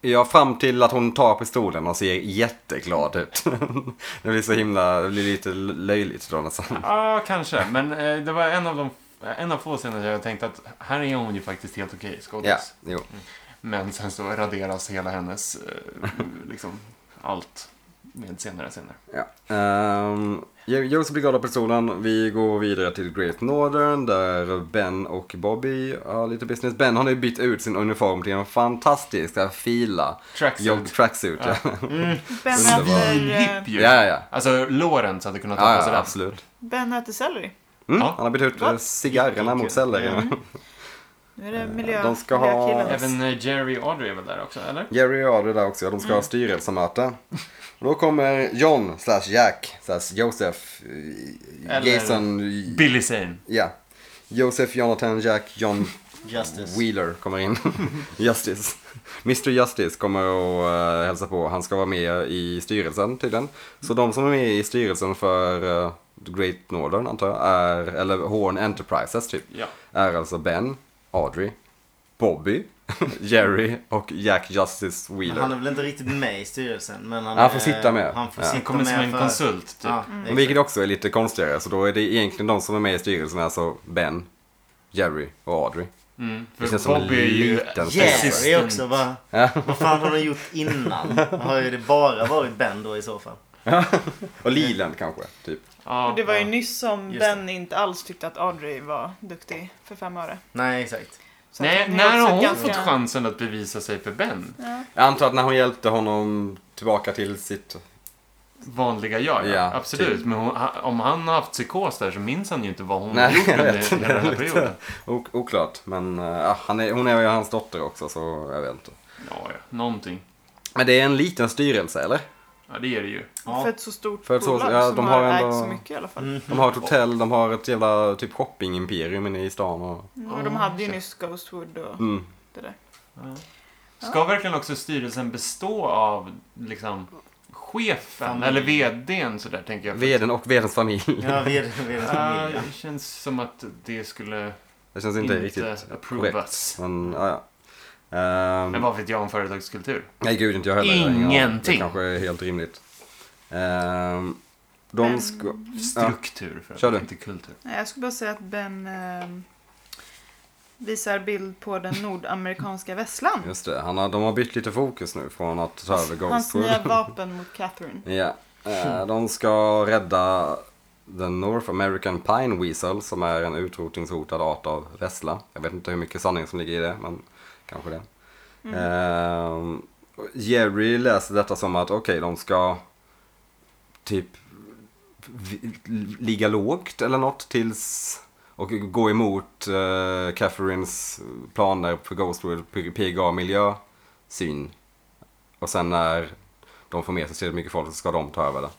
Speaker 1: Ja, fram till att hon tar pistolen och ser jätteglad ut. det blir så himla, det blir lite löjligt då nästan.
Speaker 4: Ja, kanske. Men eh, det var en av de eh, en av få scener där jag tänkte att här är hon ju faktiskt helt okej skådis.
Speaker 1: Ja, jo.
Speaker 4: Men sen så raderas hela hennes, eh, liksom, allt med senare scener.
Speaker 1: Ja. Um, Josef blir glad av personen. Vi går vidare till Great Northern där Ben och Bobby har lite business. Ben har nu bytt ut sin uniform till en fantastisk så här, fila.
Speaker 4: Tracksuit.
Speaker 1: Jog tracksuit. Ja,
Speaker 3: Ben
Speaker 1: Underbar.
Speaker 3: äter, eh,
Speaker 4: Hipp ju!
Speaker 1: ja, ja.
Speaker 4: Alltså, Lawrence hade kunnat ta
Speaker 1: ja,
Speaker 4: på sig
Speaker 1: ja
Speaker 4: den.
Speaker 1: absolut.
Speaker 3: ben äter selleri.
Speaker 1: Mm,
Speaker 4: Ja.
Speaker 1: Han har bytt ut eh,
Speaker 3: Vad?
Speaker 1: cigarrerna mot cellerierna.
Speaker 3: Nu är det miljö,
Speaker 1: Eh, de ska ha-
Speaker 3: miljökillen.
Speaker 4: Även eh, Jerry Audrey är väl där också, eller?
Speaker 1: Jerry och Adel där också, de ska ha styrelsemöte. Och då kommer John slash Jack slash Josef eh,
Speaker 4: Eller-
Speaker 1: Jason...
Speaker 4: Billy Zane.
Speaker 1: Ja. Josef, Jonathan, Jack, John
Speaker 2: Justice.
Speaker 1: Wheeler kommer in. Justice. Mr Justice kommer och uh, hälsa på. Han ska vara med i styrelsen tydligen. Så de som är med i styrelsen för eh, Great Northern antar jag, är, eller Horn Enterprises typ,
Speaker 4: Ja.
Speaker 1: är alltså Ben, Audrey, Bobby, Jerry och Jack Justice
Speaker 2: Men
Speaker 1: Wheeler.
Speaker 2: han är väl inte riktigt med i styrelsen men han,
Speaker 1: Han får
Speaker 2: är-
Speaker 1: sitta med.
Speaker 2: Han får
Speaker 1: Ja.
Speaker 2: sitta
Speaker 4: Han kommer
Speaker 2: med
Speaker 4: som en
Speaker 2: för-
Speaker 4: konsult, typ.
Speaker 2: Ja,
Speaker 1: Men Vilket också är lite konstigare, så då är det egentligen de som är med i styrelsen, alltså Ben, Jerry och Audrey.
Speaker 4: Mm,
Speaker 1: Det känns
Speaker 4: för
Speaker 1: som en
Speaker 4: Bobby är ju...
Speaker 1: liten
Speaker 2: Yes, det är också
Speaker 4: Assistant.
Speaker 2: bara... Vad fan har de gjort innan? Har ju det bara varit Ben då i så fall?
Speaker 1: Och Liland kanske, typ.
Speaker 4: Ja,
Speaker 3: Och det var ju
Speaker 4: ja.
Speaker 3: nyss som
Speaker 2: Just
Speaker 3: Ben inte alls tyckte att Audrey var duktig för fem öre.
Speaker 2: Nej, exakt.
Speaker 3: Så
Speaker 4: Nej,
Speaker 3: att det är
Speaker 4: när har
Speaker 3: också
Speaker 4: hon
Speaker 3: ganska-
Speaker 4: fått chansen att bevisa sig för Ben?
Speaker 1: Jag antar att när hon hjälpte honom tillbaka till sitt...
Speaker 4: Vanliga jag, ja.
Speaker 1: Ja,
Speaker 4: Absolut.
Speaker 1: typ.
Speaker 4: Men hon, ha- om han har haft psykos där så minns han ju inte vad hon har
Speaker 1: Nej,
Speaker 4: gjort
Speaker 1: jag
Speaker 4: under
Speaker 1: vet. Det
Speaker 4: hela den här
Speaker 1: är lite-
Speaker 4: perioden.
Speaker 1: O- oklart, men eh, ah, han är, hon är ju hans dotter också så jag vet inte.
Speaker 4: Ja, ja. Någonting.
Speaker 1: Men det är en liten styrelse eller?
Speaker 4: Ja, det är det ju.
Speaker 2: Ja.
Speaker 3: För ett så stort
Speaker 1: För ett så-
Speaker 3: bolag
Speaker 1: ja,
Speaker 3: som
Speaker 1: de
Speaker 3: har,
Speaker 1: har ändå-
Speaker 3: ägt så mycket i alla fall.
Speaker 1: De har ett hotell, de har ett jävla typ shoppingimperium inne i stan och...
Speaker 3: Mm, Och de hade ju nyss Ghostwood och
Speaker 1: Mm.
Speaker 3: det där.
Speaker 4: Ska verkligen också styrelsen bestå av liksom chefen
Speaker 2: Familj.
Speaker 4: eller vdn sådär tänker jag.
Speaker 1: Veden och vedens familj.
Speaker 2: Ja, vi är, vi är en
Speaker 4: Ah,
Speaker 2: familj. ja.
Speaker 4: det känns som att det skulle
Speaker 1: Det känns inte,
Speaker 4: inte,
Speaker 1: riktigt korrekt.
Speaker 4: approvas.
Speaker 1: Men ja, ja. Ehm,
Speaker 4: Men vad vet jag om företagskultur?
Speaker 1: Nej gud, inte jag heller. Jag har ingen aning.
Speaker 4: Ingenting.
Speaker 1: Det kanske är helt rimligt. Ehm, de
Speaker 3: Men-
Speaker 1: ska... Ja.
Speaker 4: Struktur för
Speaker 1: Kör du.
Speaker 4: inte kultur.
Speaker 3: Nej, Jag skulle bara säga att Ben ehm, visar bild på den nordamerikanska vässlan.
Speaker 1: Just det, han har, de har bytt lite fokus nu från att ta över
Speaker 3: Hans
Speaker 1: Ghostwood.
Speaker 3: nya vapen mot Catherine.
Speaker 1: Ja, eh, de ska rädda The North American Pine Weasel som är en utrotningshotad art av vessla. Jag vet inte hur mycket sanning som ligger i det, men kanske det. Ehm, och Jerry läser detta som att okej, de ska typ vi- ligga lågt eller något tills och gå emot eh, Catherines planer på Ghostwood PGA-miljösyn. Och sen när de får med sig tillräckligt mycket folk så ska de ta över det.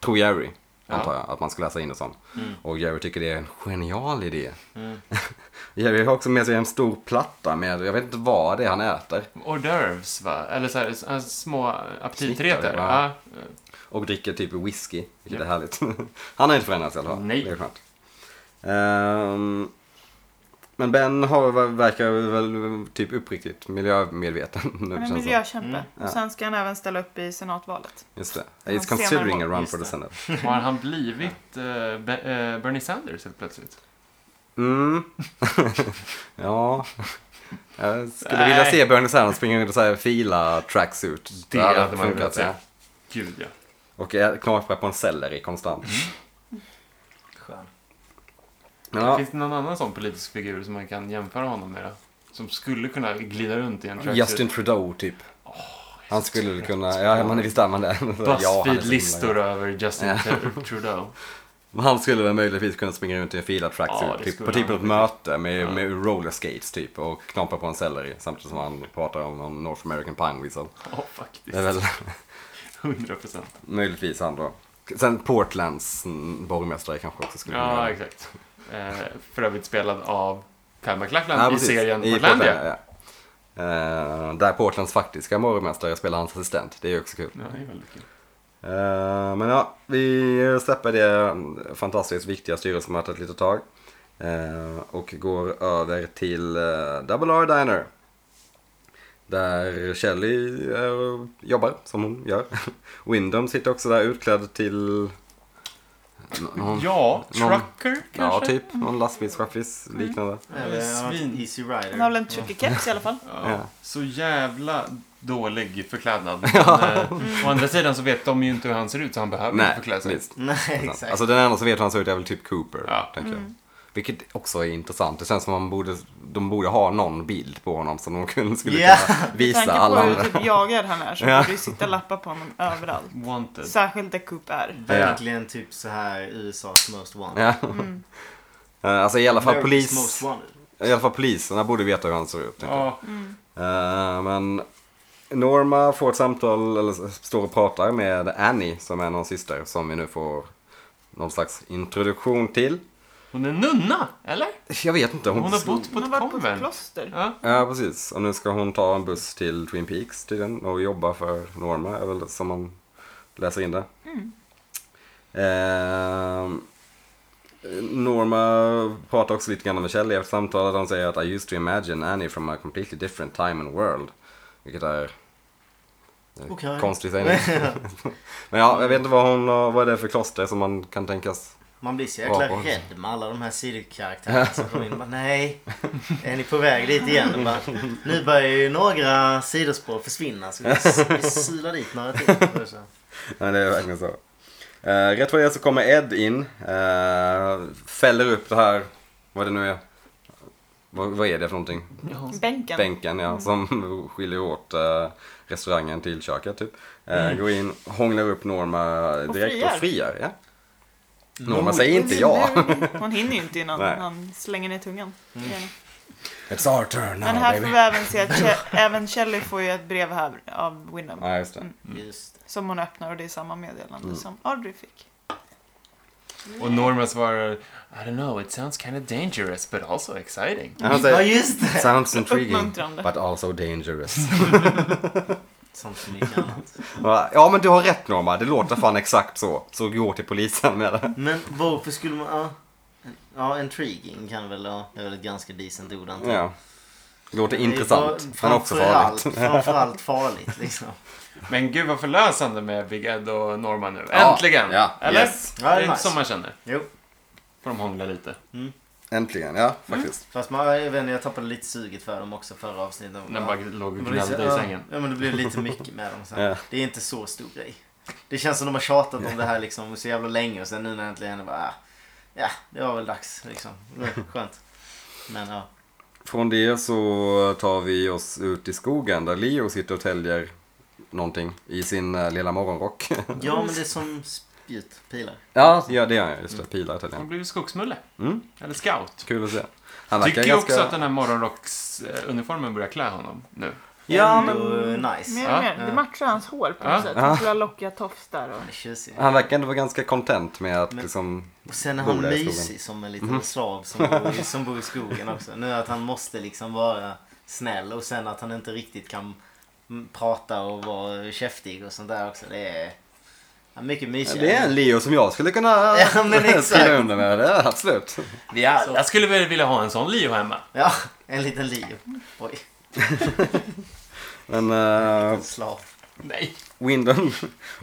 Speaker 1: Tror Jerry,
Speaker 4: Ja.
Speaker 1: antar jag, att man ska läsa in och sånt. Och Jerry tycker det är en genial idé. Jerry har också med sig en stor platta med, jag vet inte vad det är han äter.
Speaker 4: Hors d'oeuvres va? Eller så här, s- äh, små aptiträtter.
Speaker 1: Snickare,
Speaker 4: Ja.
Speaker 1: va? Och dricker typ whisky, vilket
Speaker 4: Ja.
Speaker 1: är härligt. Han har inte förändrats i alla fall.
Speaker 4: Nej.
Speaker 1: Det är skönt. Ehm, men Ben har, verkar väl typ uppriktigt miljömedveten nu
Speaker 3: Han är
Speaker 1: känns det som.
Speaker 3: miljökämpe.
Speaker 1: Ja.
Speaker 4: Mm.
Speaker 3: Och sen ska han även ställa upp i senatvalet.
Speaker 1: Just det.
Speaker 3: Hans
Speaker 1: It's considering a
Speaker 3: senare
Speaker 1: run
Speaker 2: Just
Speaker 1: for the
Speaker 2: det.
Speaker 1: Senate.
Speaker 4: Har han blivit eh, Be- eh, Bernie Sanders helt plötsligt?
Speaker 1: Mm. ja. Jag skulle vilja se Bernie Sanders springa runt och så här fila tracksuit.
Speaker 4: Det
Speaker 1: hade
Speaker 4: hade man
Speaker 1: funkat,
Speaker 4: velat se.
Speaker 1: ja.
Speaker 4: Gud ja.
Speaker 1: Och ä- knapra på en selleri konstant.
Speaker 4: Mm.
Speaker 2: Skön.
Speaker 1: Ja,
Speaker 4: Finns det någon annan sån politisk figur som man kan jämföra honom med? då? Som skulle kunna glida runt i en tracksuit?
Speaker 1: Justin Trudeau typ. Han skulle väl kunna, ja men visst är man det. Ja, han är så himla
Speaker 4: Buzzfeed-listor
Speaker 1: glad.
Speaker 4: över Justin Tr- Trudeau.
Speaker 1: Men Han skulle väl möjligtvis kunna springa runt i en filad tracksuit.
Speaker 4: Ja, det
Speaker 1: typ,
Speaker 4: skulle
Speaker 1: på typ
Speaker 4: han.
Speaker 1: ett möte med,
Speaker 4: Ja.
Speaker 1: med rollerskates typ. Och knapra på en selleri samtidigt som han pratar om någon North American Pine Whistle.
Speaker 4: Ja, faktiskt.
Speaker 1: Det är väl
Speaker 4: 100 procent.
Speaker 1: Möjligtvis han då. Sen Portlands mm, borgmästare kanske också skulle kunna
Speaker 4: Ja,
Speaker 1: göra det.
Speaker 4: exakt. Eh, för övrigt spelad av Kyle MacLachlan
Speaker 1: Ja,
Speaker 4: i
Speaker 1: precis.
Speaker 4: serien
Speaker 1: I
Speaker 4: Portlandia.
Speaker 1: Portland, ja. Eh, där Portlands faktiska borgmästare spelar hans assistent. Det är ju också kul.
Speaker 4: Ja, det är väldigt kul.
Speaker 1: Eh, men ja, vi släpper det fantastiskt viktiga styrelsemötet ett litet tag. Eh, och går över till eh, Double R Diner. Där Shelley eh, jobbar, som hon gör. Windham sitter också där utklädd till... eh, Någon-
Speaker 4: Ja,
Speaker 1: någon-
Speaker 4: Trucker
Speaker 1: Ja,
Speaker 4: kanske? Mm.
Speaker 1: typ. Någon lastbilschaffis liknande.
Speaker 2: Eller ja,
Speaker 4: Svin.
Speaker 2: Easy Rider.
Speaker 3: Han har väl en truckerkeps i alla fall.
Speaker 4: Ja,
Speaker 1: Ja.
Speaker 4: Så jävla dålig förklädnad. Men, eh, å andra sidan så vet de ju inte hur han ser ut så han behöver inte
Speaker 1: Nej,
Speaker 4: förklä sig.
Speaker 1: visst.
Speaker 2: Nej, exakt.
Speaker 1: Alltså den enda som vet hur han ser ut är väl typ Cooper,
Speaker 4: Ja.
Speaker 1: tänker
Speaker 3: Mm.
Speaker 1: jag. Vilket också är intressant. Det känns som man borde, de borde ha någon bild på honom som de kunde, skulle
Speaker 2: Ja.
Speaker 1: kunna
Speaker 3: Med
Speaker 1: visa
Speaker 3: tanke på
Speaker 1: alla
Speaker 3: hur
Speaker 1: andra.
Speaker 3: typ jagad han är så
Speaker 1: Ja.
Speaker 3: borde det sitta lappar på honom överallt.
Speaker 4: Wanted.
Speaker 3: Särskilt där Coop är.
Speaker 2: Verkligen typ så här USAs most wanted.
Speaker 1: Ja.
Speaker 3: Mm.
Speaker 1: Eh, Alltså i alla fall
Speaker 2: America's
Speaker 1: polis,
Speaker 2: Most wanted.
Speaker 1: i alla fall poliserna borde veta hur han ser ut. tänker jag.
Speaker 4: Ja,
Speaker 1: Eh, men Norma får ett samtal, eller står och pratar med Annie som är någon syster som vi nu får någon slags introduktion till.
Speaker 4: hon är nunna, eller?
Speaker 1: Jag vet inte.
Speaker 4: Hon har bott på
Speaker 3: Hon har
Speaker 4: ett
Speaker 3: varit på ett
Speaker 4: konvent.
Speaker 3: kloster.
Speaker 4: Ja.
Speaker 1: Ja, precis. Och nu ska hon ta en buss till Twin Peaks tydligen och jobba för Norma, är väl som man läser in det. Ehm, Norma pratar också lite grann med Kjell efter samtalet. Hon säger att I used to imagine Annie from a completely different time and world. Vilket är eh,
Speaker 2: Okej.
Speaker 1: konstigt sägning. Men ja, jag vet inte vad, hon, har- vad det är för kloster som man kan tänkas
Speaker 2: Man blir så jäkla
Speaker 1: Ja, och-
Speaker 2: rädd med alla de här sidokaraktärerna som kommer in och bara nej. Är ni på väg dit igen? Och Bara, nu börjar ju några sidospår försvinna så vi, s- vi sylar dit några till. Och så-
Speaker 1: Ja, det är verkligen så. Eh, rätt vad det är så kommer Ed in. eh, fäller upp det här, vad det nu är. Vad, vad är det för någonting?
Speaker 3: Bänken.
Speaker 1: Bänken ja, som skiljer åt eh, restaurangen till köket typ. Eh, Går in, hånglar upp Norma direkt och friar.
Speaker 3: friar. Mm.
Speaker 1: ja. Norma säger inte ja.
Speaker 3: Hon hinner ju inte innan
Speaker 1: Nej.
Speaker 3: han slänger ner tungan.
Speaker 4: Mm.
Speaker 3: Gärna.
Speaker 1: It's our turn
Speaker 3: Men här får vi även se att Ke- även Kelly får ju ett brev här av Wyndham.
Speaker 1: Ja, just det.
Speaker 3: Mm.
Speaker 2: Just det.
Speaker 3: Som hon öppnar och det är samma meddelande
Speaker 1: Mm.
Speaker 3: som Audrey fick.
Speaker 4: Och Norma svarar I don't know, it sounds kind of dangerous but also exciting.
Speaker 1: Han
Speaker 2: Ja
Speaker 1: säger,
Speaker 2: just det!
Speaker 1: sounds intriguing
Speaker 3: Uppmuntrande.
Speaker 1: but also dangerous.
Speaker 2: Sånt som mycket annat.
Speaker 1: Va? Ja men du har rätt Norma, det låter fan exakt så. Så gå till polisen med det.
Speaker 2: Men varför skulle man... Ja, ja intriguing kan väl... Ja, det är väl ett ganska decent ord antar jag.
Speaker 1: Ja. Det låter
Speaker 2: Det är
Speaker 1: intressant,
Speaker 2: bara-
Speaker 1: men också
Speaker 2: framförallt-
Speaker 1: farligt.
Speaker 2: Framförallt farligt liksom.
Speaker 4: Men gud vad förlösande med Big Ed och Norma nu.
Speaker 1: Ja,
Speaker 4: Äntligen!
Speaker 1: ja,
Speaker 4: Eller?
Speaker 1: yes.
Speaker 2: Ja, det är
Speaker 4: det är inte
Speaker 2: nice.
Speaker 4: som man känner.
Speaker 2: Jo.
Speaker 4: Får de hångla lite.
Speaker 1: Äntligen, ja
Speaker 4: Mm.
Speaker 1: faktiskt.
Speaker 2: Fast man, jag, vet, inte, jag tappade lite suget för dem också förra avsnittet.
Speaker 4: När man bara låg
Speaker 2: Men
Speaker 4: och
Speaker 2: det är så-
Speaker 4: gnällde i
Speaker 2: ja,
Speaker 4: sängen.
Speaker 2: Ja, men det blev lite mycket med dem sen.
Speaker 1: Ja.
Speaker 2: Det är inte så stor grej. Det känns som de har tjatat om det här liksom så jävla länge och sen nu när äntligen är det bara... ah, Ja, det var väl dags liksom. Mm, Skönt. Men ja.
Speaker 1: Från det så tar vi oss ut i skogen där Leo sitter och täljer någonting i sin eh, lilla morgonrock.
Speaker 2: Ja, men det är som spjut, pilar.
Speaker 1: ja, ja, det gör jag. Just det,
Speaker 4: Mm.
Speaker 1: pilar täljer
Speaker 4: Han
Speaker 1: han.
Speaker 4: blev skogsmulle.
Speaker 1: Mm.
Speaker 4: Eller scout.
Speaker 1: Kul att se. Han
Speaker 4: Tycker ju också att den här morgonrocksuniformen börjar klä honom nu.
Speaker 1: Ja,
Speaker 4: Mm.
Speaker 1: men...
Speaker 2: Ändå nice.
Speaker 3: Mer
Speaker 4: Ja.
Speaker 3: och mer. Det matchar hans hår på något
Speaker 4: Ja.
Speaker 3: sätt. Han skulle ha lockiga tofs där. Och...
Speaker 2: Han är tjusig.
Speaker 1: Han verkar ändå vara ganska content med att
Speaker 2: Men-
Speaker 1: liksom...
Speaker 2: Och sen är
Speaker 1: Bor
Speaker 2: han
Speaker 1: där i skogen. Mhm.
Speaker 2: mysig som en liten slav som bor, i, som bor i skogen också. Nu att han måste liksom vara snäll och sen att han inte riktigt kan mm, prata och vara käftig och sånt där också. Det är ja, mycket mysigare.
Speaker 1: Det är en Leo som jag skulle kunna
Speaker 2: Ja, men exakt.
Speaker 1: skriva under med. Det är absolut.
Speaker 4: Vi alla
Speaker 1: Alltså.
Speaker 4: skulle väl vilja ha en sån Leo hemma.
Speaker 2: Ja, en liten Leo. Oj,
Speaker 1: Men eh,
Speaker 2: en slav.
Speaker 4: Nej.
Speaker 1: Windon,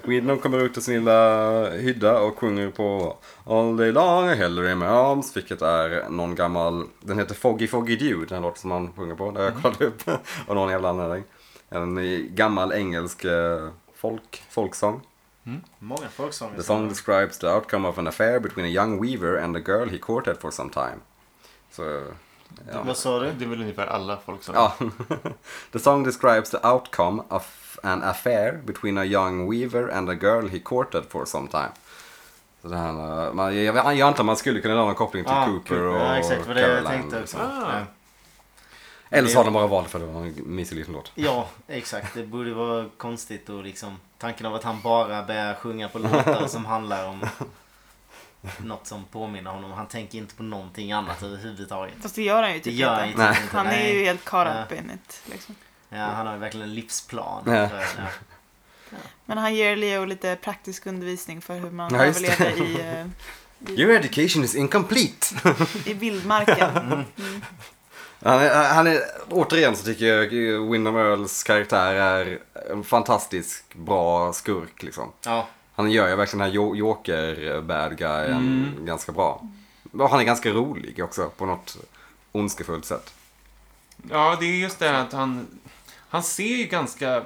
Speaker 1: Windon kommer ut ur sin lilla hydda och sjunger på All day long I held her in my arms, vilket är någon gammal, den heter Foggy Foggy Dew, den här låten som han sjunger på, där jag kollade upp av någon jävla anledning. En gammal engelsk eh, folk, folksång.
Speaker 2: Många folksånger.
Speaker 1: The song describes the outcome of an affair between a young weaver and a girl he courted for some time. Så, ja.
Speaker 2: Vad sa du?
Speaker 4: Det är väl ungefär alla folk som...
Speaker 1: Ja. the song describes the outcome of an affair between a young weaver and a girl he courted for some time. Så det här, eh, man, jag, jag antar att man skulle kunna dra någon koppling till
Speaker 2: Ah,
Speaker 1: Cooper och
Speaker 2: Ja, exakt. Vad det jag tänkte också.
Speaker 1: liksom.
Speaker 4: Ah.
Speaker 2: Ja.
Speaker 1: Eller så har de bara valt för att det var en mysig liten låt.
Speaker 2: Ja, exakt. Det borde vara konstigt och liksom tanken av att han bara börjar sjunga på låtar som handlar om något som påminner honom. Han tänker inte på någonting annat överhuvudtaget.
Speaker 3: Fast det gör han ju
Speaker 2: Det
Speaker 3: typ
Speaker 2: gör han ju
Speaker 3: inte.
Speaker 2: typ
Speaker 1: Nej.
Speaker 2: inte.
Speaker 3: Han är ju
Speaker 2: nej.
Speaker 3: helt caught up
Speaker 2: Ja.
Speaker 3: in it. Liksom.
Speaker 2: Ja, han har ju verkligen en livsplan.
Speaker 1: Ja.
Speaker 2: För, ja.
Speaker 3: Men han ger Leo lite praktisk undervisning för hur man
Speaker 1: Ja, just det.
Speaker 3: överlever i, eh,
Speaker 1: Your education is incomplete.
Speaker 3: i
Speaker 1: Mm,
Speaker 3: vildmarken.
Speaker 1: Han är, eh, han är, återigen så tycker jag Windham Earls karaktär är en fantastisk bra skurk liksom.
Speaker 2: ja.
Speaker 1: Han gör ju verkligen den här jo- joker eh, bad guyen ganska bra. Och han är ganska rolig också på något ondskefullt sätt.
Speaker 4: Ja, det är just det att han... Han ser ju ganska...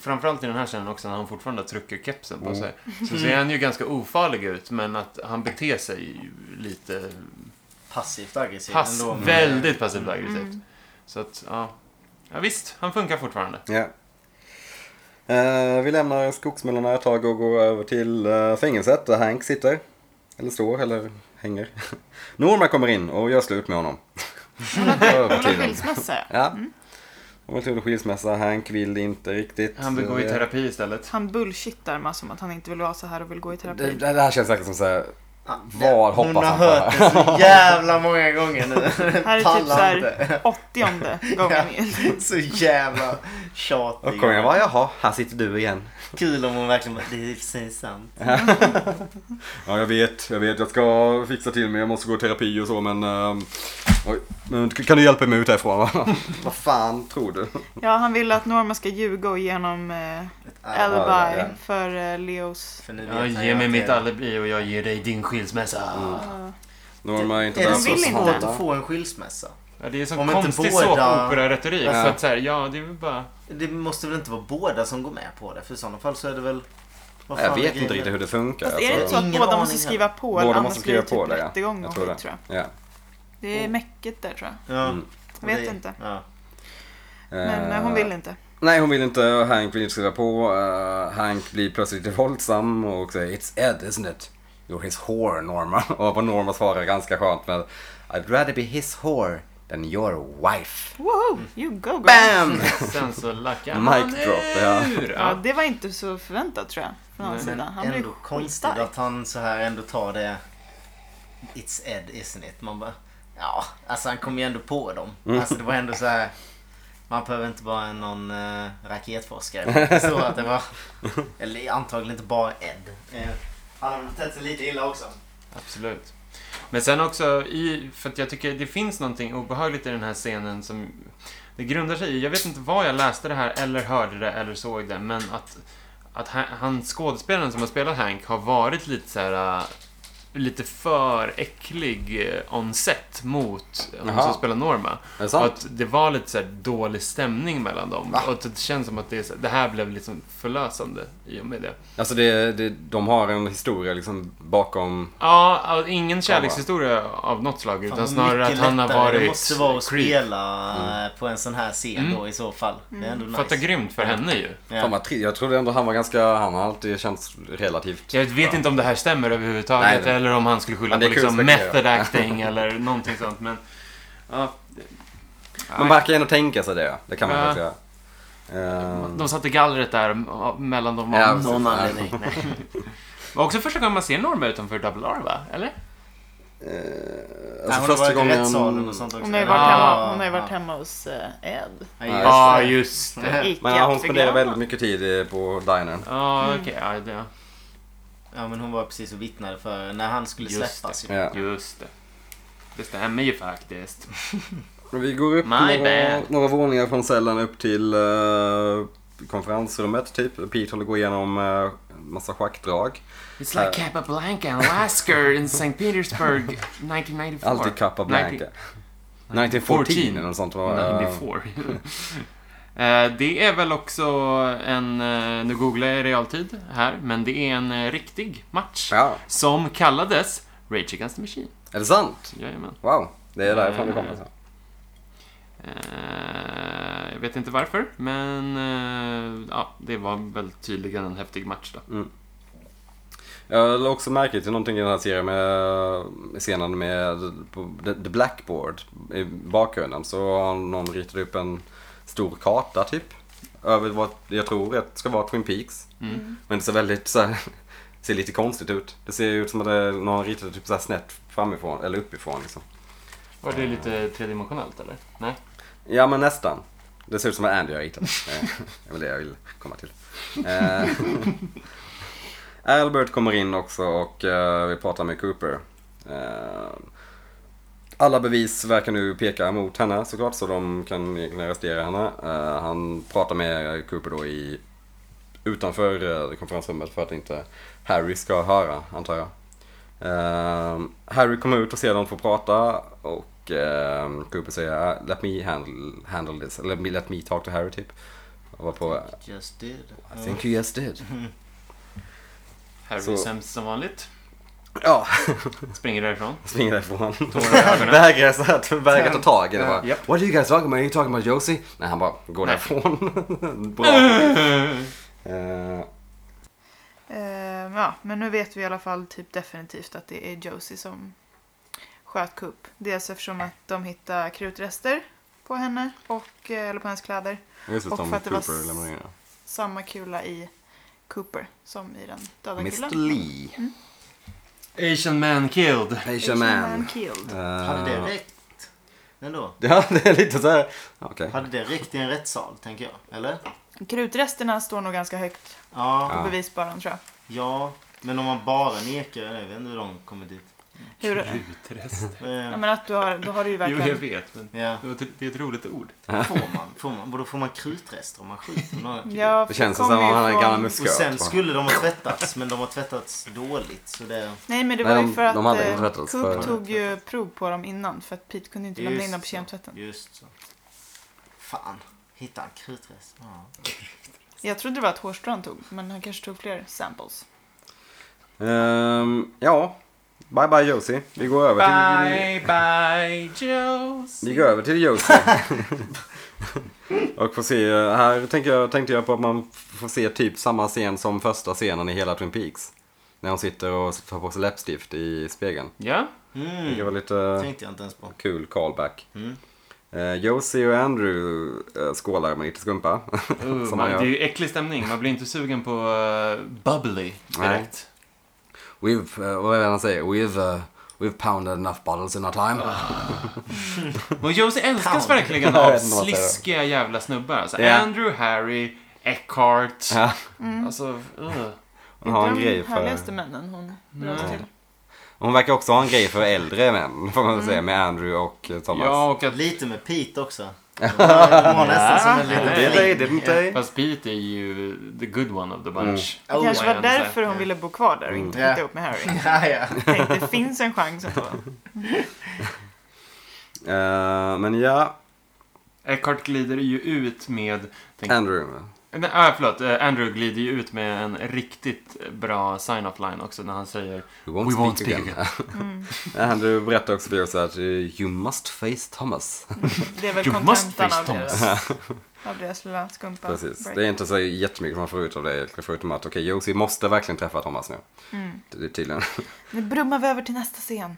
Speaker 4: Framförallt i den här scenen också när han fortfarande trycker kepsen på sig. Så ser han ju ganska ofarlig ut men att han beter sig ju lite
Speaker 2: Passivt aggressiv
Speaker 4: pass,
Speaker 2: ändå. men-
Speaker 4: väldigt passivt aggressivt. Så att, ja. ja. visst, han funkar fortfarande.
Speaker 1: Ja. Eh, vi lämnar skogsmullorna ett tag och går över till eh, fängelset där Hank sitter. Eller står, eller hänger. Norma kommer in och gör slut med honom. Över
Speaker 3: Hon har
Speaker 1: tiden.
Speaker 3: skilsmässa. Mm.
Speaker 1: ja. Hon vill till skilsmässa, Hank vill inte riktigt.
Speaker 4: Han vill gå i
Speaker 1: eh,
Speaker 4: terapi istället.
Speaker 3: Han bullshittar massor om att han inte vill vara så här och vill gå i
Speaker 1: Det,
Speaker 3: terapi.
Speaker 1: det här känns säkert som såhär,
Speaker 2: Ja,
Speaker 1: var
Speaker 2: Hon
Speaker 1: hoppas
Speaker 2: har
Speaker 1: han på det
Speaker 2: hört
Speaker 1: här?
Speaker 2: det så jävla många gånger nu.
Speaker 3: Här är typ
Speaker 2: Pallar
Speaker 3: så här
Speaker 2: inte.
Speaker 3: åttionde gången. in.
Speaker 2: Så jävla
Speaker 1: Och
Speaker 2: tjatig.
Speaker 1: kommer jag bara, jaha, här sitter du igen.
Speaker 2: Kul om hon verkligen bara, det är precis sant.
Speaker 1: Ja, jag vet, jag vet, jag ska fixa till mig, jag måste gå i terapi och så, men ehm, Oj, men kan du hjälpa mig ut härifrån? va? Vad fan tror du?
Speaker 3: Ja, han vill att Norma ska ljuga och ge honom eh, alibi
Speaker 1: ja, ja.
Speaker 3: för eh, Leos...
Speaker 2: För nu vet
Speaker 4: Jag
Speaker 2: han
Speaker 4: ger
Speaker 2: ju
Speaker 4: mig
Speaker 2: att
Speaker 4: mitt
Speaker 2: det-
Speaker 4: alibi och jag ger dig din skilsmässa.
Speaker 3: Ja.
Speaker 1: Norma är inte
Speaker 2: Är det
Speaker 1: där
Speaker 2: så
Speaker 3: vill
Speaker 1: för
Speaker 3: inte.
Speaker 2: svårt
Speaker 1: båda.
Speaker 2: att få en skilsmässa?
Speaker 4: Ja, det är
Speaker 2: Om
Speaker 4: sån
Speaker 2: inte
Speaker 4: konstig
Speaker 2: båda-
Speaker 4: såpoperaretorik.
Speaker 1: Ja.
Speaker 4: Så att så här, ja, det är väl bara...
Speaker 2: Det måste väl inte vara båda som går med på det? För i sådana fall så är det väl... Vad
Speaker 1: Jag
Speaker 2: fan är
Speaker 1: vet
Speaker 2: grejen?
Speaker 1: inte riktigt hur det funkar.
Speaker 3: Fast är det inte så
Speaker 1: alltså.
Speaker 3: att
Speaker 2: Ingen
Speaker 3: båda måste
Speaker 2: aning
Speaker 3: skriva på?
Speaker 1: Båda
Speaker 3: annars
Speaker 1: måste
Speaker 3: blir det
Speaker 1: skriva på
Speaker 3: typ
Speaker 1: det, ja.
Speaker 3: Rättegång och
Speaker 1: Jag tror
Speaker 3: skit,
Speaker 1: det. Mm.
Speaker 3: tror jag.
Speaker 1: Ja.
Speaker 3: Det är mäckigt där tror jag.
Speaker 2: Ja.
Speaker 1: Mm.
Speaker 3: Jag vet
Speaker 2: Det-
Speaker 3: inte.
Speaker 2: Ja.
Speaker 3: Men eh, hon
Speaker 1: Eh,
Speaker 3: vill inte.
Speaker 1: Nej, hon vill inte. Hank vill inte skriva på. Eh, Hank blir plötsligt lite våldsam och säger It's Ed, isn't it? You're his whore, Norma. Och på Norma svarar ganska skönt med I'd rather be his whore than your wife.
Speaker 3: Woho! You go girl!
Speaker 1: Bam!
Speaker 4: Sen så lackar
Speaker 1: Mic
Speaker 4: man
Speaker 1: drop, ja.
Speaker 4: ur.
Speaker 3: Ja, det var inte så förväntat tror jag. Från hans
Speaker 4: Nej,
Speaker 3: sida.
Speaker 2: Men
Speaker 3: Han blev
Speaker 2: ändå konstigt
Speaker 3: skitstark.
Speaker 2: att han så här ändå tar det... It's Ed, isn't it? Man bara... Ja, alltså han kom ju ändå på dem.
Speaker 4: Mm.
Speaker 2: Alltså det var ändå så här... Man behöver inte vara någon eh, raketforskare. för att förstå att det var... Eller antagligen inte bara Ed. Eh, han har betett sig lite illa också.
Speaker 4: Absolut. Men sen också i, för att jag tycker det finns någonting obehagligt i den här scenen som det grundar sig i, jag vet inte var jag läste det här eller hörde det eller såg det, men att, att han, han skådespelaren som har spelat Hank har varit lite så här äh, lite för äcklig eh, on set mot hon
Speaker 1: Jaha.
Speaker 4: som spelar Norma.
Speaker 1: Är det
Speaker 4: Och
Speaker 1: sant?
Speaker 4: att det var lite så här dålig stämning mellan dem.
Speaker 1: Va?
Speaker 4: Och att det känns som att det, är så, det här blev liksom förlösande i och med det.
Speaker 1: Alltså, det, det, de har en historia liksom bakom...
Speaker 4: Ja, all- ingen kärlekshistoria av något slag utan
Speaker 2: Fan,
Speaker 4: snarare att
Speaker 2: mycket
Speaker 4: han har
Speaker 2: lättare
Speaker 4: varit
Speaker 2: Det måste vara att
Speaker 4: creep.
Speaker 2: spela eh, på en sån här scen
Speaker 4: Mm.
Speaker 2: då i så fall. Det är ändå
Speaker 3: Mm.
Speaker 2: nice.
Speaker 4: Fatta grymt för henne ju.
Speaker 2: Ja.
Speaker 1: Fan, vad tri- jag trodde ändå han var ganska... Han har alltid känts relativt...
Speaker 4: Jag vet inte om det här stämmer överhuvudtaget
Speaker 1: Nej, det-
Speaker 4: eller om han skulle skylla
Speaker 1: Men det
Speaker 4: på
Speaker 1: är kul
Speaker 4: liksom
Speaker 1: att spekulera.
Speaker 4: method acting eller någonting sånt men... Ja,
Speaker 1: Man verkar ändå tänka sig det. Det kan man
Speaker 4: Ja.
Speaker 1: faktiskt göra. Ehm,
Speaker 4: de satte gallret där ja, mellan dem
Speaker 1: Ja,
Speaker 4: av
Speaker 1: precis.
Speaker 4: någon
Speaker 1: Ja.
Speaker 4: anledning. Nej. Var också första gången man ser Norma utanför Double R va? Eller?
Speaker 1: eh,
Speaker 2: Nej,
Speaker 1: alltså
Speaker 2: hon har
Speaker 1: första
Speaker 2: varit i
Speaker 1: gången...
Speaker 2: rättssalen och sånt också.
Speaker 3: Hon har ju
Speaker 4: Ah,
Speaker 3: varit hemma, hon har ju varit hemma hos eh, Ed.
Speaker 2: Ja,
Speaker 1: Ja,
Speaker 2: just
Speaker 1: det.
Speaker 4: Ja,
Speaker 2: det.
Speaker 4: just det.
Speaker 2: Mm.
Speaker 3: Icke
Speaker 1: Men ja, hon
Speaker 3: att
Speaker 1: spenderar
Speaker 3: förglömma.
Speaker 1: väldigt mycket tid eh, på dinern.
Speaker 4: Ja, okej. Ja, det-
Speaker 2: Ja men hon var precis och vittnade för när han skulle
Speaker 4: Just
Speaker 2: släppas. ju.
Speaker 1: Ja.
Speaker 4: ja. Just det. Det stämmer ju faktiskt.
Speaker 1: Men Vi går upp
Speaker 4: My
Speaker 1: några,
Speaker 4: bad.
Speaker 1: några våningar från cellen upp till eh, konferensrummet typ. Pete håller gå igenom eh, massa schackdrag.
Speaker 4: It's like Capablanca, Alaska in St. Petersburg 1994.
Speaker 1: Alltid Capablanca. 1914 eller något sånt var det.
Speaker 4: 94. Eh, Det är väl också en, eh, nu googlar jag i realtid här, men det är en eh, riktig match.
Speaker 1: Ja,
Speaker 4: Som kallades Rage Against the Machine.
Speaker 1: är det sant?
Speaker 4: Jajamän.
Speaker 1: Wow, det är därifrån det kommer. alltså.
Speaker 4: Eh, Jag vet inte varför, men eh, ja, det var väl tydligen en häftig match då.
Speaker 1: Jag lade också märke till någonting i den här serien med med scenen med på the the blackboard i bakgrunden. Så har någon ritat upp en stor karta typ. Över vad jag tror att ska vara Twin Peaks. Men det ser väldigt så här, ser lite konstigt ut. Det ser ut som att det, någon har ritat typ så här snett framifrån eller uppifrån liksom.
Speaker 4: Var det lite tredimensionellt eller? Nej?
Speaker 1: Ja men nästan. Det ser ut som att Andy har ritat. Eh, Det är väl det jag vill komma till. Eh, Albert kommer in också och eh, vi pratar med Cooper. Eh, Alla bevis verkar nu peka mot henne såklart så de kan egentligen arrestera henne. Eh, Han pratar med Cooper då i utanför eh, konferensrummet för att inte Harry ska höra antar jag. Eh, Harry kommer ut och ser dem få prata och eh, Cooper säger "Ah, let me handle, handle this, let me, let me talk to Harry typ. Och var på
Speaker 2: Just did.
Speaker 1: I think you just did.
Speaker 4: Harry
Speaker 1: Så-
Speaker 4: är sämst som vanligt.
Speaker 1: Ja,
Speaker 4: Springer därifrån.
Speaker 1: springer därifrån.
Speaker 4: Tårar i ögonen.
Speaker 1: Vägrar så att vägrar ta tag i det bara.
Speaker 4: Japp.
Speaker 1: What are you guys talking about? Are you talking about Josie? Nej, han bara går
Speaker 4: Nej.
Speaker 1: därifrån. Bra. Eh,
Speaker 3: Eh, ja, men nu vet vi i alla fall typ definitivt att det är Josie som sköt Coop. Dels eftersom att de hittar krutrester på henne, och, eh, eller på hennes kläder.
Speaker 1: Just det,
Speaker 3: Och
Speaker 1: som
Speaker 3: för att det var
Speaker 1: Cooper lämnar in.
Speaker 3: Samma kula i Cooper som i den döda
Speaker 1: Mr
Speaker 3: killen.
Speaker 1: Lee.
Speaker 3: Mm.
Speaker 4: Asian man killed.
Speaker 1: Asian man.
Speaker 3: killed.
Speaker 2: Hade det
Speaker 1: Eh,
Speaker 2: räckt ändå?
Speaker 1: Ja, det är lite så här. Okej.
Speaker 2: Hade det räckt i en rättssal tänker jag? Eller?
Speaker 3: Krutresterna står nog ganska högt på
Speaker 2: Ja.
Speaker 1: Ja.
Speaker 3: bevisbördan tror jag.
Speaker 2: Ja. Men om man bara nekar, jag vet inte hur de kommer dit.
Speaker 3: Hur,
Speaker 4: Krutrest.
Speaker 3: ja,
Speaker 2: Eh,
Speaker 3: men att du har, då har du ju
Speaker 4: Jo, jag
Speaker 3: verkligen...
Speaker 4: vet. Men
Speaker 2: Ja.
Speaker 4: det var ett- det är ett roligt ord.
Speaker 2: Får man? Får man, vadå, får man krutrester om man skjuter några?
Speaker 3: Ja,
Speaker 1: Det känns
Speaker 3: för
Speaker 1: som
Speaker 3: kommer
Speaker 1: att
Speaker 3: ju
Speaker 1: han hade en
Speaker 3: från-
Speaker 1: gammal
Speaker 2: Och sen
Speaker 1: musköt. va?
Speaker 2: skulle de ha tvättats, men de har tvättats dåligt. Så det...
Speaker 3: Nej men det
Speaker 1: Nej,
Speaker 3: var
Speaker 1: de-
Speaker 3: ju för att
Speaker 1: de hade
Speaker 3: eh,
Speaker 1: inte tvättats
Speaker 3: Coop
Speaker 1: för-
Speaker 3: tog ju prov på dem innan för att Pete kunde inte lämna in dem på
Speaker 2: så,
Speaker 3: kemtvätten.
Speaker 2: Just så. Fan, hittade han krutrest? Ja.
Speaker 3: Jag trodde det var ett hårstrå han tog men han kanske tog fler samples.
Speaker 1: Ehm, ja, bye bye Josie. Vi går över till...
Speaker 4: Bye, bye, Joes.
Speaker 1: Vi går över till Josie. Och får se, här tänkte jag, tänkte jag på att man får se typ samma scen som första scenen i hela Twin Peaks. När hon sitter och tar på sig läppstift i spegeln.
Speaker 4: Ja,
Speaker 1: Det
Speaker 2: Mm,
Speaker 1: var lite
Speaker 2: tänkte jag inte ens på.
Speaker 1: kul callback.
Speaker 2: Mm.
Speaker 1: Eh, Josie och Andrew eh, skålar med lite skumpa.
Speaker 4: uh,
Speaker 1: Som
Speaker 4: man,
Speaker 1: man
Speaker 4: det
Speaker 1: gör.
Speaker 4: är ju äcklig stämning. Man blir inte sugen på eh, bubbly direkt.
Speaker 1: We've, eh, vad är det han säger? We've, eh, we've pounded enough bottles in our time.
Speaker 2: Ah.
Speaker 4: Men Josie älskas
Speaker 2: Fan.
Speaker 4: verkligen
Speaker 1: Jag
Speaker 4: av
Speaker 1: vet inte vad det är.
Speaker 4: sliskiga jävla snubbar. Alltså,
Speaker 1: Ja.
Speaker 4: Andrew, Harry, Eckhart.
Speaker 1: Ja,
Speaker 4: Alltså, uh.
Speaker 1: hon har en
Speaker 3: Inte
Speaker 1: grej
Speaker 3: Mm. de härligaste
Speaker 1: för...
Speaker 3: männen hon rörde
Speaker 4: Nej.
Speaker 3: till.
Speaker 1: Hon verkar också ha en grej för äldre män, får man väl säga, med Andrew och eh, Thomas.
Speaker 4: Ja, och att...
Speaker 2: Lite med Pete också. De var, de var nästan som en liten
Speaker 1: Did they,
Speaker 2: fling.
Speaker 1: didn't they?
Speaker 4: Fast Pete är ju the good one of the
Speaker 1: Mm.
Speaker 4: bunch.
Speaker 3: Det kanske
Speaker 4: ja,
Speaker 3: var
Speaker 4: det är
Speaker 3: därför hon
Speaker 2: säkert.
Speaker 3: ville bo kvar där och inte
Speaker 2: Mm.
Speaker 3: flytta ihop med Harry.
Speaker 2: Ja, ja.
Speaker 3: Tänkte det finns en chans ändå.
Speaker 1: Eh, men ja,
Speaker 4: Eckhart glider ju ut med... Tänk,
Speaker 1: Andrew.
Speaker 4: nej, ah, förlåt, eh, Andrew glider ju ut med en riktigt bra sign-off line också när han säger
Speaker 1: We
Speaker 4: We won't speak
Speaker 3: Mm.
Speaker 1: Andrew berättar också för oss att eh, you must face Thomas.
Speaker 3: Det är väl
Speaker 4: You must
Speaker 3: kontentan
Speaker 4: face
Speaker 3: av
Speaker 4: Thomas.
Speaker 3: deras, av deras lilla skumpa.
Speaker 1: Precis.
Speaker 3: break.
Speaker 1: Det är inte så jättemycket man får ut av det egentligen, förutom att okej, Josie måste verkligen träffa Thomas nu.
Speaker 3: Mm.
Speaker 1: Det är tydligen.
Speaker 3: Nu brummar vi över till nästa scen.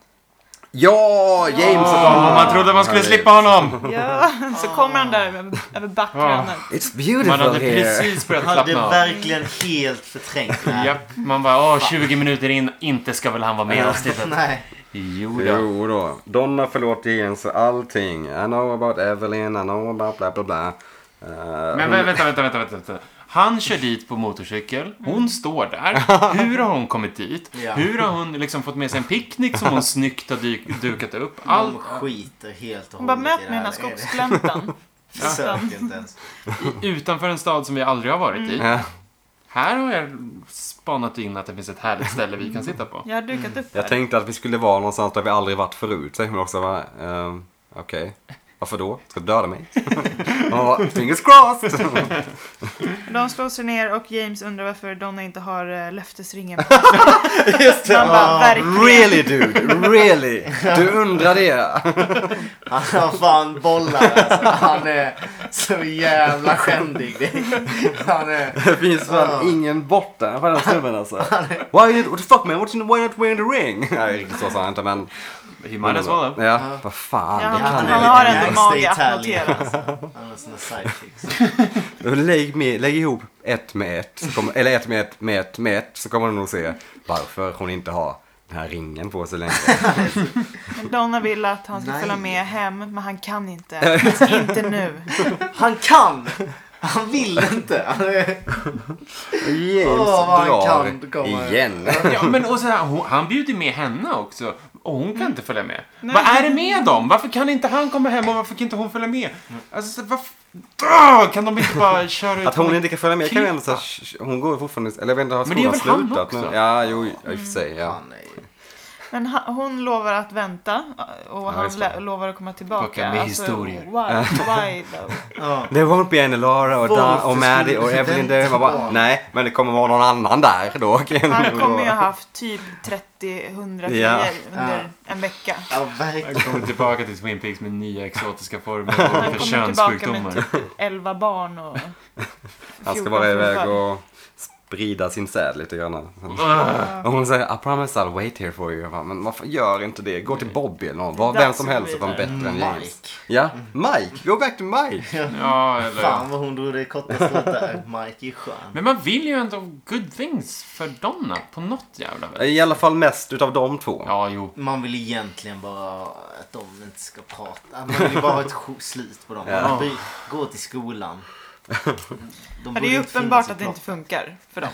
Speaker 1: Ja, James och
Speaker 4: Åh,
Speaker 1: Thomas!
Speaker 4: man trodde man skulle
Speaker 1: Harry.
Speaker 4: slippa honom!
Speaker 3: Ja, så kommer han där över, över backrönet.
Speaker 1: It's
Speaker 4: Man hade
Speaker 1: beautiful here!
Speaker 4: precis börjat
Speaker 2: Hade
Speaker 4: slappna av.
Speaker 2: verkligen helt förträngt det här.
Speaker 4: Japp, man bara åh, 20 minuter in, inte ska väl han vara med i avsnittet?
Speaker 2: Nej.
Speaker 4: Jo då.
Speaker 1: Jo då. Donna förlåter James för allting. I know about Evelyn, I know about bla bla bla. Eh,
Speaker 4: Men
Speaker 1: hon-
Speaker 4: vä- vänta, vänta, vänta, vänta, vänta. Han kör dit på motorcykel, hon står där. Hur har hon kommit dit?
Speaker 2: Mm. Ja.
Speaker 4: Hur har hon liksom fått med sig en picknick som hon snyggt har dyk- dukat upp? Allt
Speaker 2: De skiter helt och
Speaker 3: Hon bara,
Speaker 2: hållet
Speaker 3: möt
Speaker 2: i
Speaker 3: mig
Speaker 2: det
Speaker 3: i den här
Speaker 2: här. Är det-
Speaker 3: skogsgläntan.
Speaker 2: Försök inte ens. Mm.
Speaker 4: utanför en stad som vi aldrig har varit i.
Speaker 1: Ja.
Speaker 4: Här har jag spanat in att det finns ett härligt ställe vi kan sitta på.
Speaker 3: Jag har dukat upp
Speaker 1: Jag
Speaker 3: här.
Speaker 1: tänkte att vi skulle vara någonstans där vi aldrig varit förut. Säger hon också va? Ehm, Okej. Varför då? Ska du döda mig? Hon bara, Fingers crossed!
Speaker 3: De slår sig ner och James undrar varför Donna inte har eh, löftesringen på.
Speaker 1: Just Ah,
Speaker 3: Han bara, verkligen.
Speaker 1: Really dude, really! Du undrar det?
Speaker 2: Han har fan bollar alltså. Han är så jävla skändig. Det är- Han är...
Speaker 1: Det finns fan ingen borta på den snubben alltså. Why you, what the fuck man, What's in, why not wearing the ring? Nej, riktigt så sa han inte men...
Speaker 4: He might as well. though.
Speaker 1: Ja, vad fan.
Speaker 3: Ja,
Speaker 1: det
Speaker 3: han,
Speaker 1: kan
Speaker 2: är
Speaker 3: han
Speaker 1: jag.
Speaker 3: har
Speaker 2: lite
Speaker 3: ändå mage
Speaker 2: gangster
Speaker 3: att
Speaker 2: Italian. alltså.
Speaker 3: notera. alltså.
Speaker 2: Han är såna sidekicks.
Speaker 1: Lägg, med, lägg ihop ett med ett, så kommer, eller ett med ett med ett med ett, så kommer du nog se varför hon inte har den här ringen på sig längre.
Speaker 3: Men Donna vill att han ska
Speaker 2: Nej.
Speaker 3: följa med hem, men han kan inte. Han ska inte nu.
Speaker 2: Han kan! Han vill inte. Han är...
Speaker 1: James
Speaker 2: Åh, vad han
Speaker 1: drar
Speaker 2: kan komma.
Speaker 1: igen.
Speaker 4: Ja, men och så här, hon, han bjuder med henne också. Och hon
Speaker 3: Mm.
Speaker 4: kan inte följa med. Vad är det med dem? Varför kan inte han komma hem och varför kan inte hon följa med? Alltså, så, varför... Ah, Kan de inte bara köra ut
Speaker 1: Att hon
Speaker 4: honom?
Speaker 1: inte kan följa med kan ju ändå så här, sh- sh- hon går ju fortfarande, eller jag vet inte, har
Speaker 4: Men det gör
Speaker 1: skolan
Speaker 4: väl han
Speaker 1: slutat nu?
Speaker 4: också?
Speaker 1: Ja, jo, i och för sig, ja.
Speaker 2: Han är ju...
Speaker 3: Men ha, hon lovar att vänta och han
Speaker 1: just det.
Speaker 3: lä- lovar att komma tillbaka. Alltså,
Speaker 4: Bocka med historier.
Speaker 3: Why, why though?
Speaker 2: Ja.
Speaker 1: Det won't be any Laura och, Dan
Speaker 2: Varför
Speaker 1: och Maddie och
Speaker 2: skulle du
Speaker 1: Evelyn
Speaker 2: vänta
Speaker 1: där. Man bara,
Speaker 2: på?
Speaker 1: nej, men det kommer vara någon annan där då.
Speaker 3: Han kommer ju ha haft typ 30-100 tjejer
Speaker 1: Ja.
Speaker 3: under en vecka.
Speaker 2: Ja,
Speaker 4: Han
Speaker 2: verkligen.
Speaker 4: kommer tillbaka till Twin Peaks med nya exotiska former och
Speaker 3: Han
Speaker 4: olika
Speaker 3: kommer tillbaka med
Speaker 4: könssjukdomar.
Speaker 3: typ 11 barn och 14
Speaker 1: Han ska vara iväg
Speaker 3: fruar.
Speaker 1: och sprida sin säd lite grann.
Speaker 4: Ah,
Speaker 1: Och hon säger I promise I'll wait here for you. Jag bara, Men varför gör inte det? Gå till Bobby eller någon. Var
Speaker 3: Det är
Speaker 1: vem
Speaker 3: dags
Speaker 1: som
Speaker 3: att
Speaker 1: helst
Speaker 3: gå
Speaker 1: som är
Speaker 3: vidare.
Speaker 1: bättre än James.
Speaker 2: Mike.
Speaker 1: Ja, Mike. Go back to Mike.
Speaker 4: Ja, eller...
Speaker 2: Fan vad hon drog det korta strået där. Mike är skön.
Speaker 4: Men man vill ju ändå good things för Donna på något jävla sätt.
Speaker 1: I alla fall mest utav de två.
Speaker 4: Ja, jo.
Speaker 2: Man vill egentligen bara att de inte ska prata. Man vill bara ha ett sj- slut på dem. Man vill Gå till skolan. De
Speaker 3: Ja,
Speaker 2: borde
Speaker 3: det är ju
Speaker 2: inte
Speaker 3: uppenbart
Speaker 2: finnas i
Speaker 3: att det inte funkar för dem.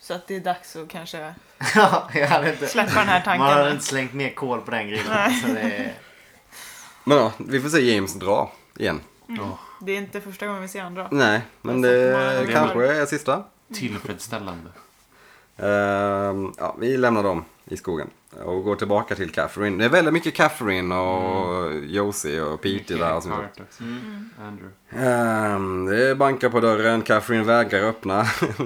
Speaker 3: Så att det är dags att kanske
Speaker 2: Ja, jag hade inte...
Speaker 3: släppa den här
Speaker 2: Man hade
Speaker 3: tanken.
Speaker 2: inte slängt mer kol på den grillen.
Speaker 3: Nej.
Speaker 2: Så det är...
Speaker 1: Men ja, vi får se James dra igen.
Speaker 4: Ja,
Speaker 3: Det är inte första gången vi ser han dra.
Speaker 1: Nej, men det kanske är sista.
Speaker 4: tillfredsställande.
Speaker 1: Ehm, ja, vi lämnar dem i skogen och går tillbaka till Catherine. Det är väldigt mycket Catherine och Josie och Petey där och sånt.
Speaker 4: Mycket Carter också.
Speaker 3: Mm.
Speaker 4: Andrew.
Speaker 1: Ehm, det bankar på dörren, Catherine vägrar öppna.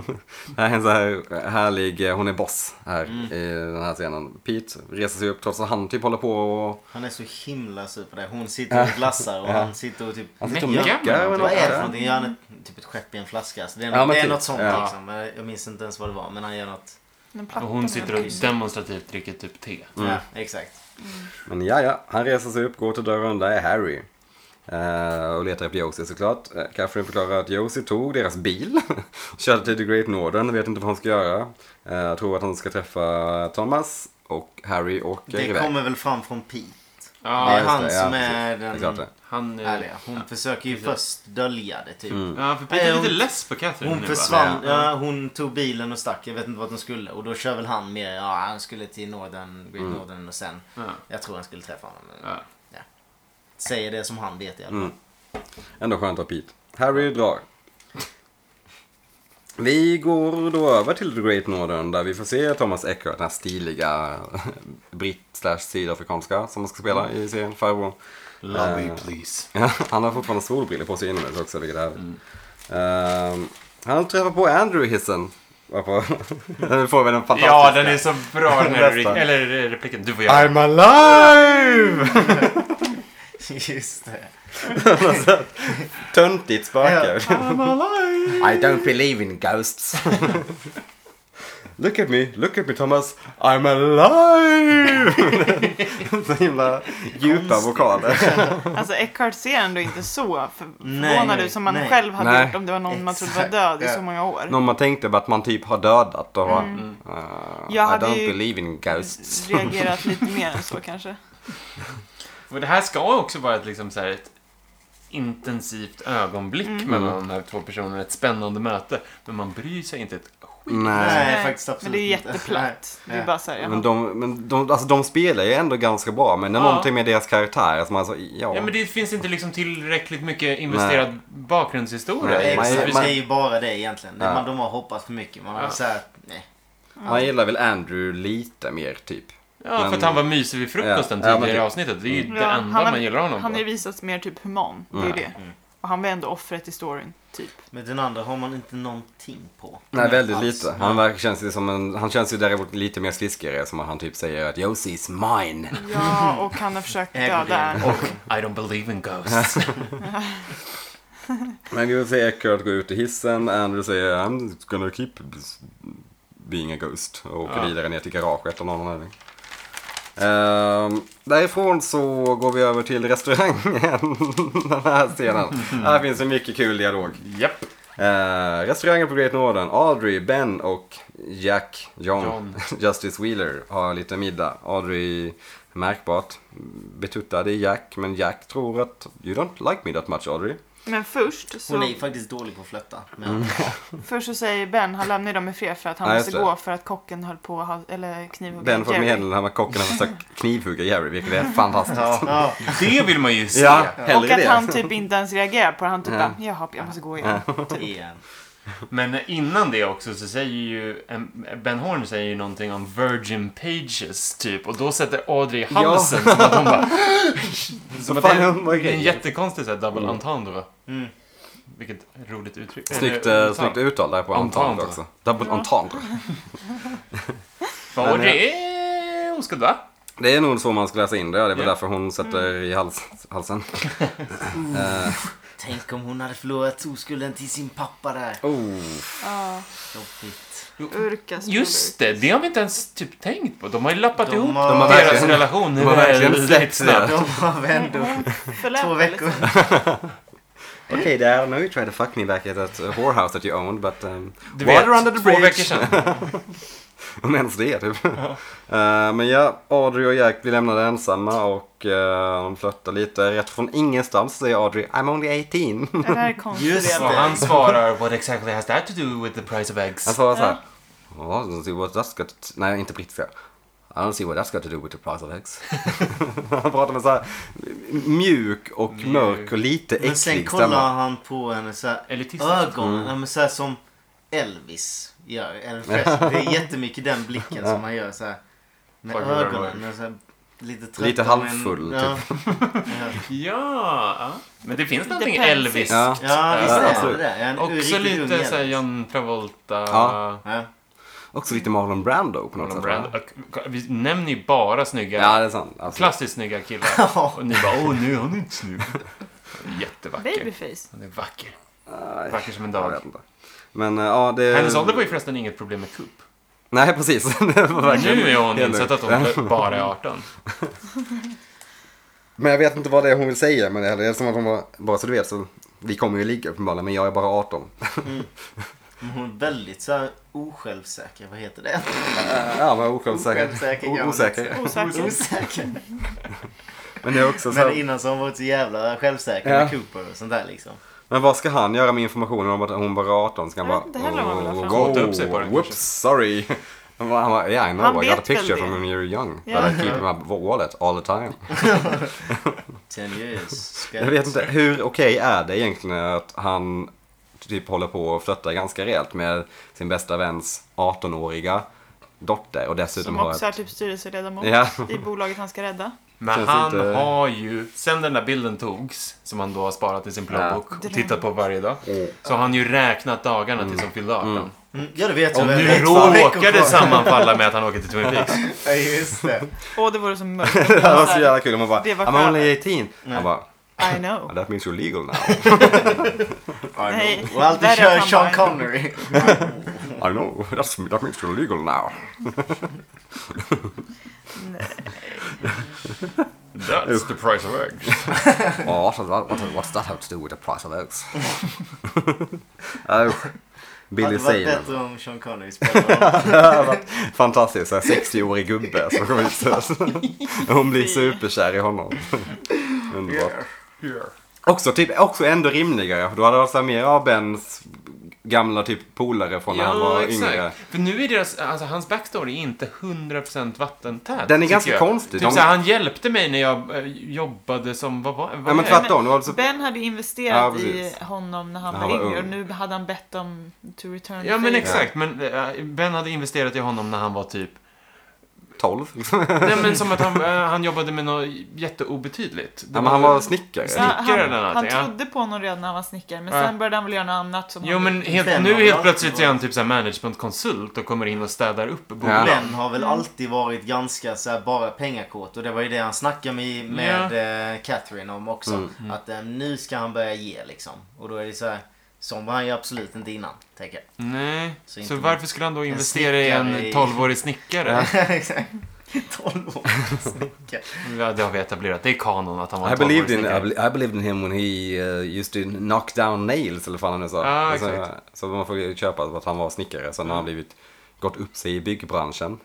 Speaker 1: det här är en så här härlig, eh, hon är boss här i den här scenen. Pete reser sig upp trots att han typ håller på och...
Speaker 2: Han är så himla sur på det. Hon sitter och glassar och han sitter och typ...
Speaker 1: Han sitter och
Speaker 4: Mecka med
Speaker 1: meckar.
Speaker 4: någonting.
Speaker 1: eller
Speaker 2: Vad är det för
Speaker 1: något.
Speaker 2: någonting? Gör han ett, typ ett skepp i en flaska? Alltså, det är,
Speaker 1: Ja,
Speaker 2: något,
Speaker 1: men
Speaker 2: det är
Speaker 1: typ.
Speaker 2: något sånt
Speaker 1: Ja.
Speaker 2: liksom. Men Jag minns inte ens vad det var. Men han gör något.
Speaker 3: Den
Speaker 4: Och
Speaker 3: plattan
Speaker 4: hon sitter och
Speaker 3: är-
Speaker 4: demonstrativt dricker typ te.
Speaker 1: Mm.
Speaker 2: Ja, exakt.
Speaker 1: Men ja, ja, han reser sig upp, går till dörren, där är Harry. Eh, och letar efter Josie såklart. Eh, Catherine förklarar att Josie tog deras bil och körde till The Great Northern, vet inte vad han ska göra. Eh, tror att han ska träffa Thomas och Harry och eh,
Speaker 2: Det
Speaker 1: iväg.
Speaker 2: kommer väl fram från Pete.
Speaker 4: Ja,
Speaker 2: det är
Speaker 1: just
Speaker 2: han
Speaker 1: det,
Speaker 2: som
Speaker 1: precis.
Speaker 2: är
Speaker 1: Det
Speaker 2: den
Speaker 1: klart det. Mm.
Speaker 4: han... eh,
Speaker 2: ärliga. Hon försöker ju först dölja det typ.
Speaker 4: Ja, för Peter
Speaker 2: Nej,
Speaker 4: är lite
Speaker 2: hon-
Speaker 4: less på Catherine
Speaker 2: Hon
Speaker 4: nu
Speaker 2: försvann,
Speaker 4: va?
Speaker 2: ja, hon tog bilen och stack. Jag vet inte vart hon skulle. Och då kör väl han mer, ja han skulle till Northern, Great
Speaker 1: Mm.
Speaker 2: Northern och sen.
Speaker 4: Ja.
Speaker 2: Jag tror han skulle träffa honom. men-
Speaker 4: Ja.
Speaker 2: Ja. Säger det som han vet i alla fall.
Speaker 1: Mm. Ändå skönt att ha Pete. Harry drar. Vi går då över till The Great Northern där vi får se Thomas Eckert, den här stiliga eh, britt slash sydafrikanska som ska spela i serien, farbrorn.
Speaker 4: Love me please.
Speaker 1: Ja, han har fortfarande solbrillor på sig inomhus också, vilket är härligt.
Speaker 4: Mm.
Speaker 1: Ehm, han träffar på Andrew i hissen. Varpå? nu får vi den fantastiska.
Speaker 4: Ja, den är så bra den här
Speaker 1: Bästa.
Speaker 4: re- eller eh, repliken. Du får göra den.
Speaker 1: I'm alive!
Speaker 2: Just det.
Speaker 1: Töntigt spöke.
Speaker 4: I'm alive!
Speaker 1: I don't believe in ghosts. look at me, look at me Thomas. I'm alive! så himla djupa vokaler.
Speaker 3: Alltså Eckhart ser ändå inte så för-
Speaker 2: Nej,
Speaker 3: förvånad ut som man
Speaker 2: nej.
Speaker 3: själv hade
Speaker 1: Nej.
Speaker 3: gjort om det var någon man trodde var
Speaker 2: Exakt,
Speaker 3: död i
Speaker 2: ja.
Speaker 3: så många år.
Speaker 1: Någon man tänkte på att man typ har dödat och eh,
Speaker 3: Mm. Jag
Speaker 1: I
Speaker 3: hade
Speaker 1: don't
Speaker 3: ju-
Speaker 1: believe in ghosts.
Speaker 3: Reagerat lite mer än så kanske.
Speaker 4: Och det här ska också vara ett, liksom, så här, ett intensivt ögonblick mellan de här två personerna. Ett spännande möte. Men man bryr sig inte ett skit.
Speaker 3: Mm.
Speaker 1: Nej.
Speaker 2: Nej, faktiskt absolut
Speaker 3: Men det är ju
Speaker 2: inte.
Speaker 3: jätteplatt. Det
Speaker 2: Nej.
Speaker 3: är bara så här, jaha.
Speaker 1: Men, de, men de, alltså de spelar ju ändå ganska bra, men det är
Speaker 4: Ja.
Speaker 1: någonting med deras karaktär som alltså, ja.
Speaker 4: Ja, men det finns inte liksom tillräckligt mycket investerad bakgrundshistoria.
Speaker 1: Nej,
Speaker 4: i det.
Speaker 1: man-
Speaker 2: Exakt,
Speaker 4: Så
Speaker 2: det
Speaker 4: vi-
Speaker 1: man-
Speaker 2: är ju bara det egentligen. Det
Speaker 1: Ja.
Speaker 2: Man, de har hoppats för mycket. Man har
Speaker 4: Ja.
Speaker 2: så här, nej.
Speaker 1: Man gillar väl Andrew lite mer typ.
Speaker 4: Ja,
Speaker 1: Men-
Speaker 4: för att han var mysig vid frukosten
Speaker 1: Ja, ja, men
Speaker 4: tidigare i
Speaker 1: typ.
Speaker 4: avsnittet. Det är ju det
Speaker 3: Mm. Ja,
Speaker 4: enda
Speaker 3: han har-
Speaker 4: man gillar honom
Speaker 3: Han har ju
Speaker 4: på. Mm.
Speaker 3: visats mer typ human. Det är ju
Speaker 1: Mm.
Speaker 3: det. Och han var ändå offret i storyn, typ.
Speaker 2: Men den andra har man inte någonting på.
Speaker 1: Nej, väldigt
Speaker 2: Alls.
Speaker 1: lite. Han verkar, känns ju som en, han känns ju däremot lite mer sliskigare som att han typ säger att Josie is mine.
Speaker 3: Ja, och han har försökt
Speaker 2: Äger
Speaker 3: döda
Speaker 2: det.
Speaker 3: Anne.
Speaker 4: Och I don't believe in ghosts.
Speaker 1: Men vi får se Eckert gå ut i hissen, Andrew säger I'm gonna keep being a ghost och åker
Speaker 4: Ja.
Speaker 1: vidare ner till garaget av någon anledning. Ehm, därifrån så går vi över till restaurangen den här scenen. Här finns en mycket kul dialog.
Speaker 4: Japp.
Speaker 1: Eh, restaurangen på Great Northern, Audrey, Ben och Jack, John,
Speaker 4: John.
Speaker 1: Justice Wheeler har lite middag. Audrey märkbart betuttad i Jack, men Jack tror att you don't like me that much Audrey.
Speaker 3: Men först
Speaker 2: Hon är
Speaker 3: så,
Speaker 2: ju faktiskt dålig på att flötta. Men
Speaker 1: Mm.
Speaker 3: först så säger Ben, han lämnar ju dem i fred för att han
Speaker 1: Ja,
Speaker 3: måste
Speaker 1: just det.
Speaker 3: gå för att kocken höll på att ha- eller knivhugga
Speaker 1: Ben får
Speaker 3: Mm. Jerry.
Speaker 1: meddelande när man kocken har försökt knivhugga Jerry, vilket är fantastiskt. Ja,
Speaker 2: ja,
Speaker 4: Det vill man ju se.
Speaker 3: Och
Speaker 1: hellre
Speaker 3: att han
Speaker 1: det.
Speaker 3: typ inte ens reagerar på det. Han typ bara, jaha, jag måste gå igen.
Speaker 2: igen.
Speaker 4: Men innan det också så säger ju em, Ben Horn säger ju någonting om Virgin Pages typ och då sätter Audrey i halsen som att hon bara... som att
Speaker 1: fan
Speaker 4: det
Speaker 1: är hon- vad är
Speaker 4: är, det är en
Speaker 1: grejen?
Speaker 4: jättekonstig så här, double
Speaker 1: Mm.
Speaker 4: entendre.
Speaker 2: Mm.
Speaker 4: Vilket roligt uttryck.
Speaker 1: Snyggt,
Speaker 4: Eller,
Speaker 1: eh, snyggt uttal där på
Speaker 4: Entendre.
Speaker 1: entendre också. Double entendre.
Speaker 4: För Audrey är oskuld va?
Speaker 1: Det är nog så man ska läsa in det, ja. det är väl
Speaker 4: Ja.
Speaker 1: därför hon sätter
Speaker 3: Mm.
Speaker 1: i hals, halsen.
Speaker 2: Tänk om hon hade förlorat oskulden till sin pappa där.
Speaker 1: Oh.
Speaker 3: Ja,
Speaker 2: Jobbigt.
Speaker 3: Urkas
Speaker 4: Just det, det har vi inte ens typ tänkt på. De har ju lappat
Speaker 2: De
Speaker 4: ihop
Speaker 2: har-
Speaker 1: De har
Speaker 4: deras
Speaker 1: verkligen,
Speaker 4: relation.
Speaker 1: de har verkligen släppt det.
Speaker 2: De har ändå två veckor.
Speaker 1: Okay, Dad, I know you tried to fuck me back at that uh, whorehouse that you owned, but um,
Speaker 4: Du
Speaker 1: water
Speaker 4: vet,
Speaker 1: under the
Speaker 4: två
Speaker 1: bridge.
Speaker 4: veckor sedan.
Speaker 1: Om ens det, typ. Eh, men ja, Audrey och Jack blir lämnade ensamma och eh, de flörtar lite. Rätt från ingenstans säger Audrey I'm only 18.
Speaker 3: Det här är konstigt.
Speaker 2: Just
Speaker 3: Just
Speaker 2: det.
Speaker 1: Alltså-
Speaker 4: Och han svarar What exactly has that to do with the price of eggs?
Speaker 1: Han svarar så här. Oh, I don't see what that's got to... Nej, inte brittiska. I don't see what that's got to do with the price of X. han pratar med så här mjuk och
Speaker 4: Mjuk.
Speaker 1: mörk och lite
Speaker 2: Men sen
Speaker 1: äcklig
Speaker 2: kollar
Speaker 1: stämma. Mm.
Speaker 2: han på henne så här,
Speaker 4: Elitistiskt.
Speaker 2: ögonen, ja, men så här som Elvis gör. Elvis Presley. Det är jättemycket den blicken som han gör så här. Med
Speaker 4: Fucking
Speaker 2: ögonen.
Speaker 4: right.
Speaker 2: och Så här, lite trött.
Speaker 1: Lite
Speaker 2: men-
Speaker 1: halvfull, typ.
Speaker 2: Ja,
Speaker 4: Ja, ja. Men det finns
Speaker 3: Lite
Speaker 4: någonting
Speaker 3: pälsigt.
Speaker 4: Elvis.
Speaker 1: Ja.
Speaker 2: ja visst
Speaker 1: Ja, alltså-
Speaker 2: är det
Speaker 1: absolut.
Speaker 2: det. En
Speaker 4: Också
Speaker 2: riktigt ung
Speaker 4: lite
Speaker 2: Elvis.
Speaker 4: såhär John Travolta.
Speaker 1: Ja.
Speaker 2: Ja.
Speaker 1: Också lite Marlon Brando på något
Speaker 4: Marlon
Speaker 1: sätt.
Speaker 4: Brando. Och- Vi nämner ju bara snygga.
Speaker 1: Ja, det är sant. Alltså, Absolut.
Speaker 4: Klassiskt snygga killar. Och ni bara, åh nej, han är inte snygg. Jättevacker.
Speaker 3: Babyface.
Speaker 4: Han är vacker.
Speaker 1: Nej,
Speaker 4: Vacker som en
Speaker 1: jag
Speaker 4: dag.
Speaker 1: vet inte. Men eh, ja, det...
Speaker 4: Hennes ålder var ju förresten inget problem med kupp.
Speaker 1: Nej, precis. det var verkligen...
Speaker 4: Nu är hon
Speaker 1: helt
Speaker 4: insett att
Speaker 1: lugnt.
Speaker 4: hon bara är 18.
Speaker 1: Men jag vet inte vad det är hon vill säga med det heller. Det är som att hon var, bara så du vet, så vi kommer ju ligga uppenbarligen, men jag är bara 18.
Speaker 2: Men hon är väldigt så här osjälvsäker. Vad heter det?
Speaker 1: Eh, ja, men osjälvsäker.
Speaker 2: Osjälvsäker,
Speaker 1: O-
Speaker 2: ja,
Speaker 1: Osäker.
Speaker 3: Osäker.
Speaker 2: Osäker.
Speaker 1: Men det är också så
Speaker 2: Men
Speaker 1: här,
Speaker 2: innan så har hon varit så jävla självsäker
Speaker 1: Ja.
Speaker 2: med Cooper och sånt där liksom.
Speaker 1: Men vad ska han göra med informationen om att hon bara är 18? Ska han
Speaker 3: Jag
Speaker 1: bara...
Speaker 3: vet inte heller vad han vill ha fram.
Speaker 1: "Wow,
Speaker 4: Kåta upp sig på den,
Speaker 1: Whoops,
Speaker 4: kanske."
Speaker 1: sorry. Han bara, han bara, yeah I know,
Speaker 3: Han
Speaker 1: I got a
Speaker 3: vet väl
Speaker 1: picture
Speaker 3: det.
Speaker 1: from when you were young.
Speaker 3: Ja.
Speaker 1: But I keep in my wallet all the time.
Speaker 2: Ten years.
Speaker 1: Jag vet inte, hur okej är det egentligen att han typ håller på och flörtar ganska rejält med sin bästa väns 18-åriga dotter och dessutom
Speaker 3: Som
Speaker 1: har
Speaker 3: också
Speaker 1: ett...
Speaker 3: är typ styrelseledamot
Speaker 1: Ja,
Speaker 3: i bolaget han ska rädda.
Speaker 4: Men
Speaker 1: Känns
Speaker 4: han
Speaker 1: inte-
Speaker 4: har ju, sen den där bilden togs, som han då har sparat i sin plånbok
Speaker 3: Ja.
Speaker 4: och tittat på varje dag, så har han ju räknat dagarna tills han fyllde 18.
Speaker 2: Mm, ja, det vet
Speaker 4: Och
Speaker 2: jag väl.
Speaker 4: nu
Speaker 2: Ett par veckor
Speaker 4: råkar det
Speaker 2: kvar.
Speaker 4: sammanfalla med att han åker till Twin Peaks.
Speaker 2: Ja, just det.
Speaker 3: Åh, det vore så mörkt.
Speaker 1: det här var så jävla kul. Man bara,
Speaker 3: Alltså, Det var
Speaker 1: I'm
Speaker 3: skönt.
Speaker 1: only 18. Han bara,
Speaker 3: I know.
Speaker 1: that means you're legal now.
Speaker 3: Nej,
Speaker 2: Och alltid
Speaker 3: där är
Speaker 2: kör
Speaker 3: han
Speaker 2: Sean
Speaker 3: bara-
Speaker 2: Connery.
Speaker 1: I know, that's, that means you're legal now.
Speaker 4: That's the price of eggs.
Speaker 1: Oh, what, what, what, what's that have to do with the price of eggs? oh, Billy
Speaker 2: Hade varit
Speaker 1: Zane.
Speaker 2: bättre om Sean Connery spelade
Speaker 1: Det hade varit Fantastiskt, så här 60-årig gubbe som kommer ut. Hon blir superkär i honom. Underbart.
Speaker 4: Yeah.
Speaker 1: Också, typ, också ändå rimligare, för då hade det varit så här mer av Bens gamla typ polare från när han var yngre.
Speaker 4: För nu är deras, alltså hans backstory är inte 100% vattentät.
Speaker 1: Den är
Speaker 4: tycker
Speaker 1: ganska
Speaker 4: jag.
Speaker 1: konstig.
Speaker 4: Typ
Speaker 1: De-
Speaker 4: såhär, han hjälpte mig när jag eh, jobbade som, vad var vad
Speaker 1: Ja men
Speaker 4: är det?
Speaker 1: tvärtom, det var så...
Speaker 3: Ben hade ju
Speaker 1: Ja,
Speaker 3: investerat
Speaker 1: precis.
Speaker 3: i honom när han
Speaker 1: När
Speaker 3: var
Speaker 1: han var
Speaker 3: yngre och
Speaker 1: ung.
Speaker 3: nu hade han bett om to return the
Speaker 4: Ja men
Speaker 3: favor.
Speaker 4: exakt, men eh, Ben hade investerat i honom när han var typ
Speaker 1: 12.
Speaker 4: Nej men som att han, eh, han jobbade med något jätteobetydligt. Det
Speaker 1: Ja, men han var snickare.
Speaker 3: Så han,
Speaker 4: Snickare
Speaker 3: han,
Speaker 4: eller
Speaker 3: han
Speaker 4: någonting, ja.
Speaker 3: trodde på honom redan när han var snickare men
Speaker 4: Ja.
Speaker 3: sen började han väl göra något annat som
Speaker 4: Jo
Speaker 3: han-
Speaker 4: men helt,
Speaker 2: Ben
Speaker 4: nu
Speaker 2: har väl
Speaker 4: helt
Speaker 2: alltid
Speaker 4: plötsligt är han
Speaker 2: varit-
Speaker 4: typ såhär managementkonsult och kommer in och städar upp
Speaker 1: Ja.
Speaker 4: bolag.
Speaker 2: Ben har
Speaker 4: Mm.
Speaker 2: väl alltid varit ganska så här, bara pengakåt och det var ju det han snackade med, med eh, Catherine om också.
Speaker 1: Mm.
Speaker 4: Mm.
Speaker 2: Att eh, nu ska han börja ge liksom. Och då är det så här, som var han ju absolut inte innan, tänker jag.
Speaker 4: Nej,
Speaker 2: Så
Speaker 4: så,
Speaker 2: inte-
Speaker 4: varför skulle han då investera i
Speaker 2: snickare
Speaker 4: en
Speaker 2: i-
Speaker 4: 12-årig snickare?
Speaker 2: Exakt. 12 år snickare.
Speaker 4: Ja, det har vi etablerat. Det är kanon att han var
Speaker 1: I
Speaker 4: en 12-årig
Speaker 1: believed in, I,
Speaker 4: snickare.
Speaker 1: be- I believed in him when he uh, used to knock down nails eller vad fan han nu sa.
Speaker 4: Ja,
Speaker 1: så,
Speaker 4: Ah, exakt. Mm.
Speaker 1: så man får ju köpa att han var snickare. Sen har han blivit, gått upp sig i byggbranschen.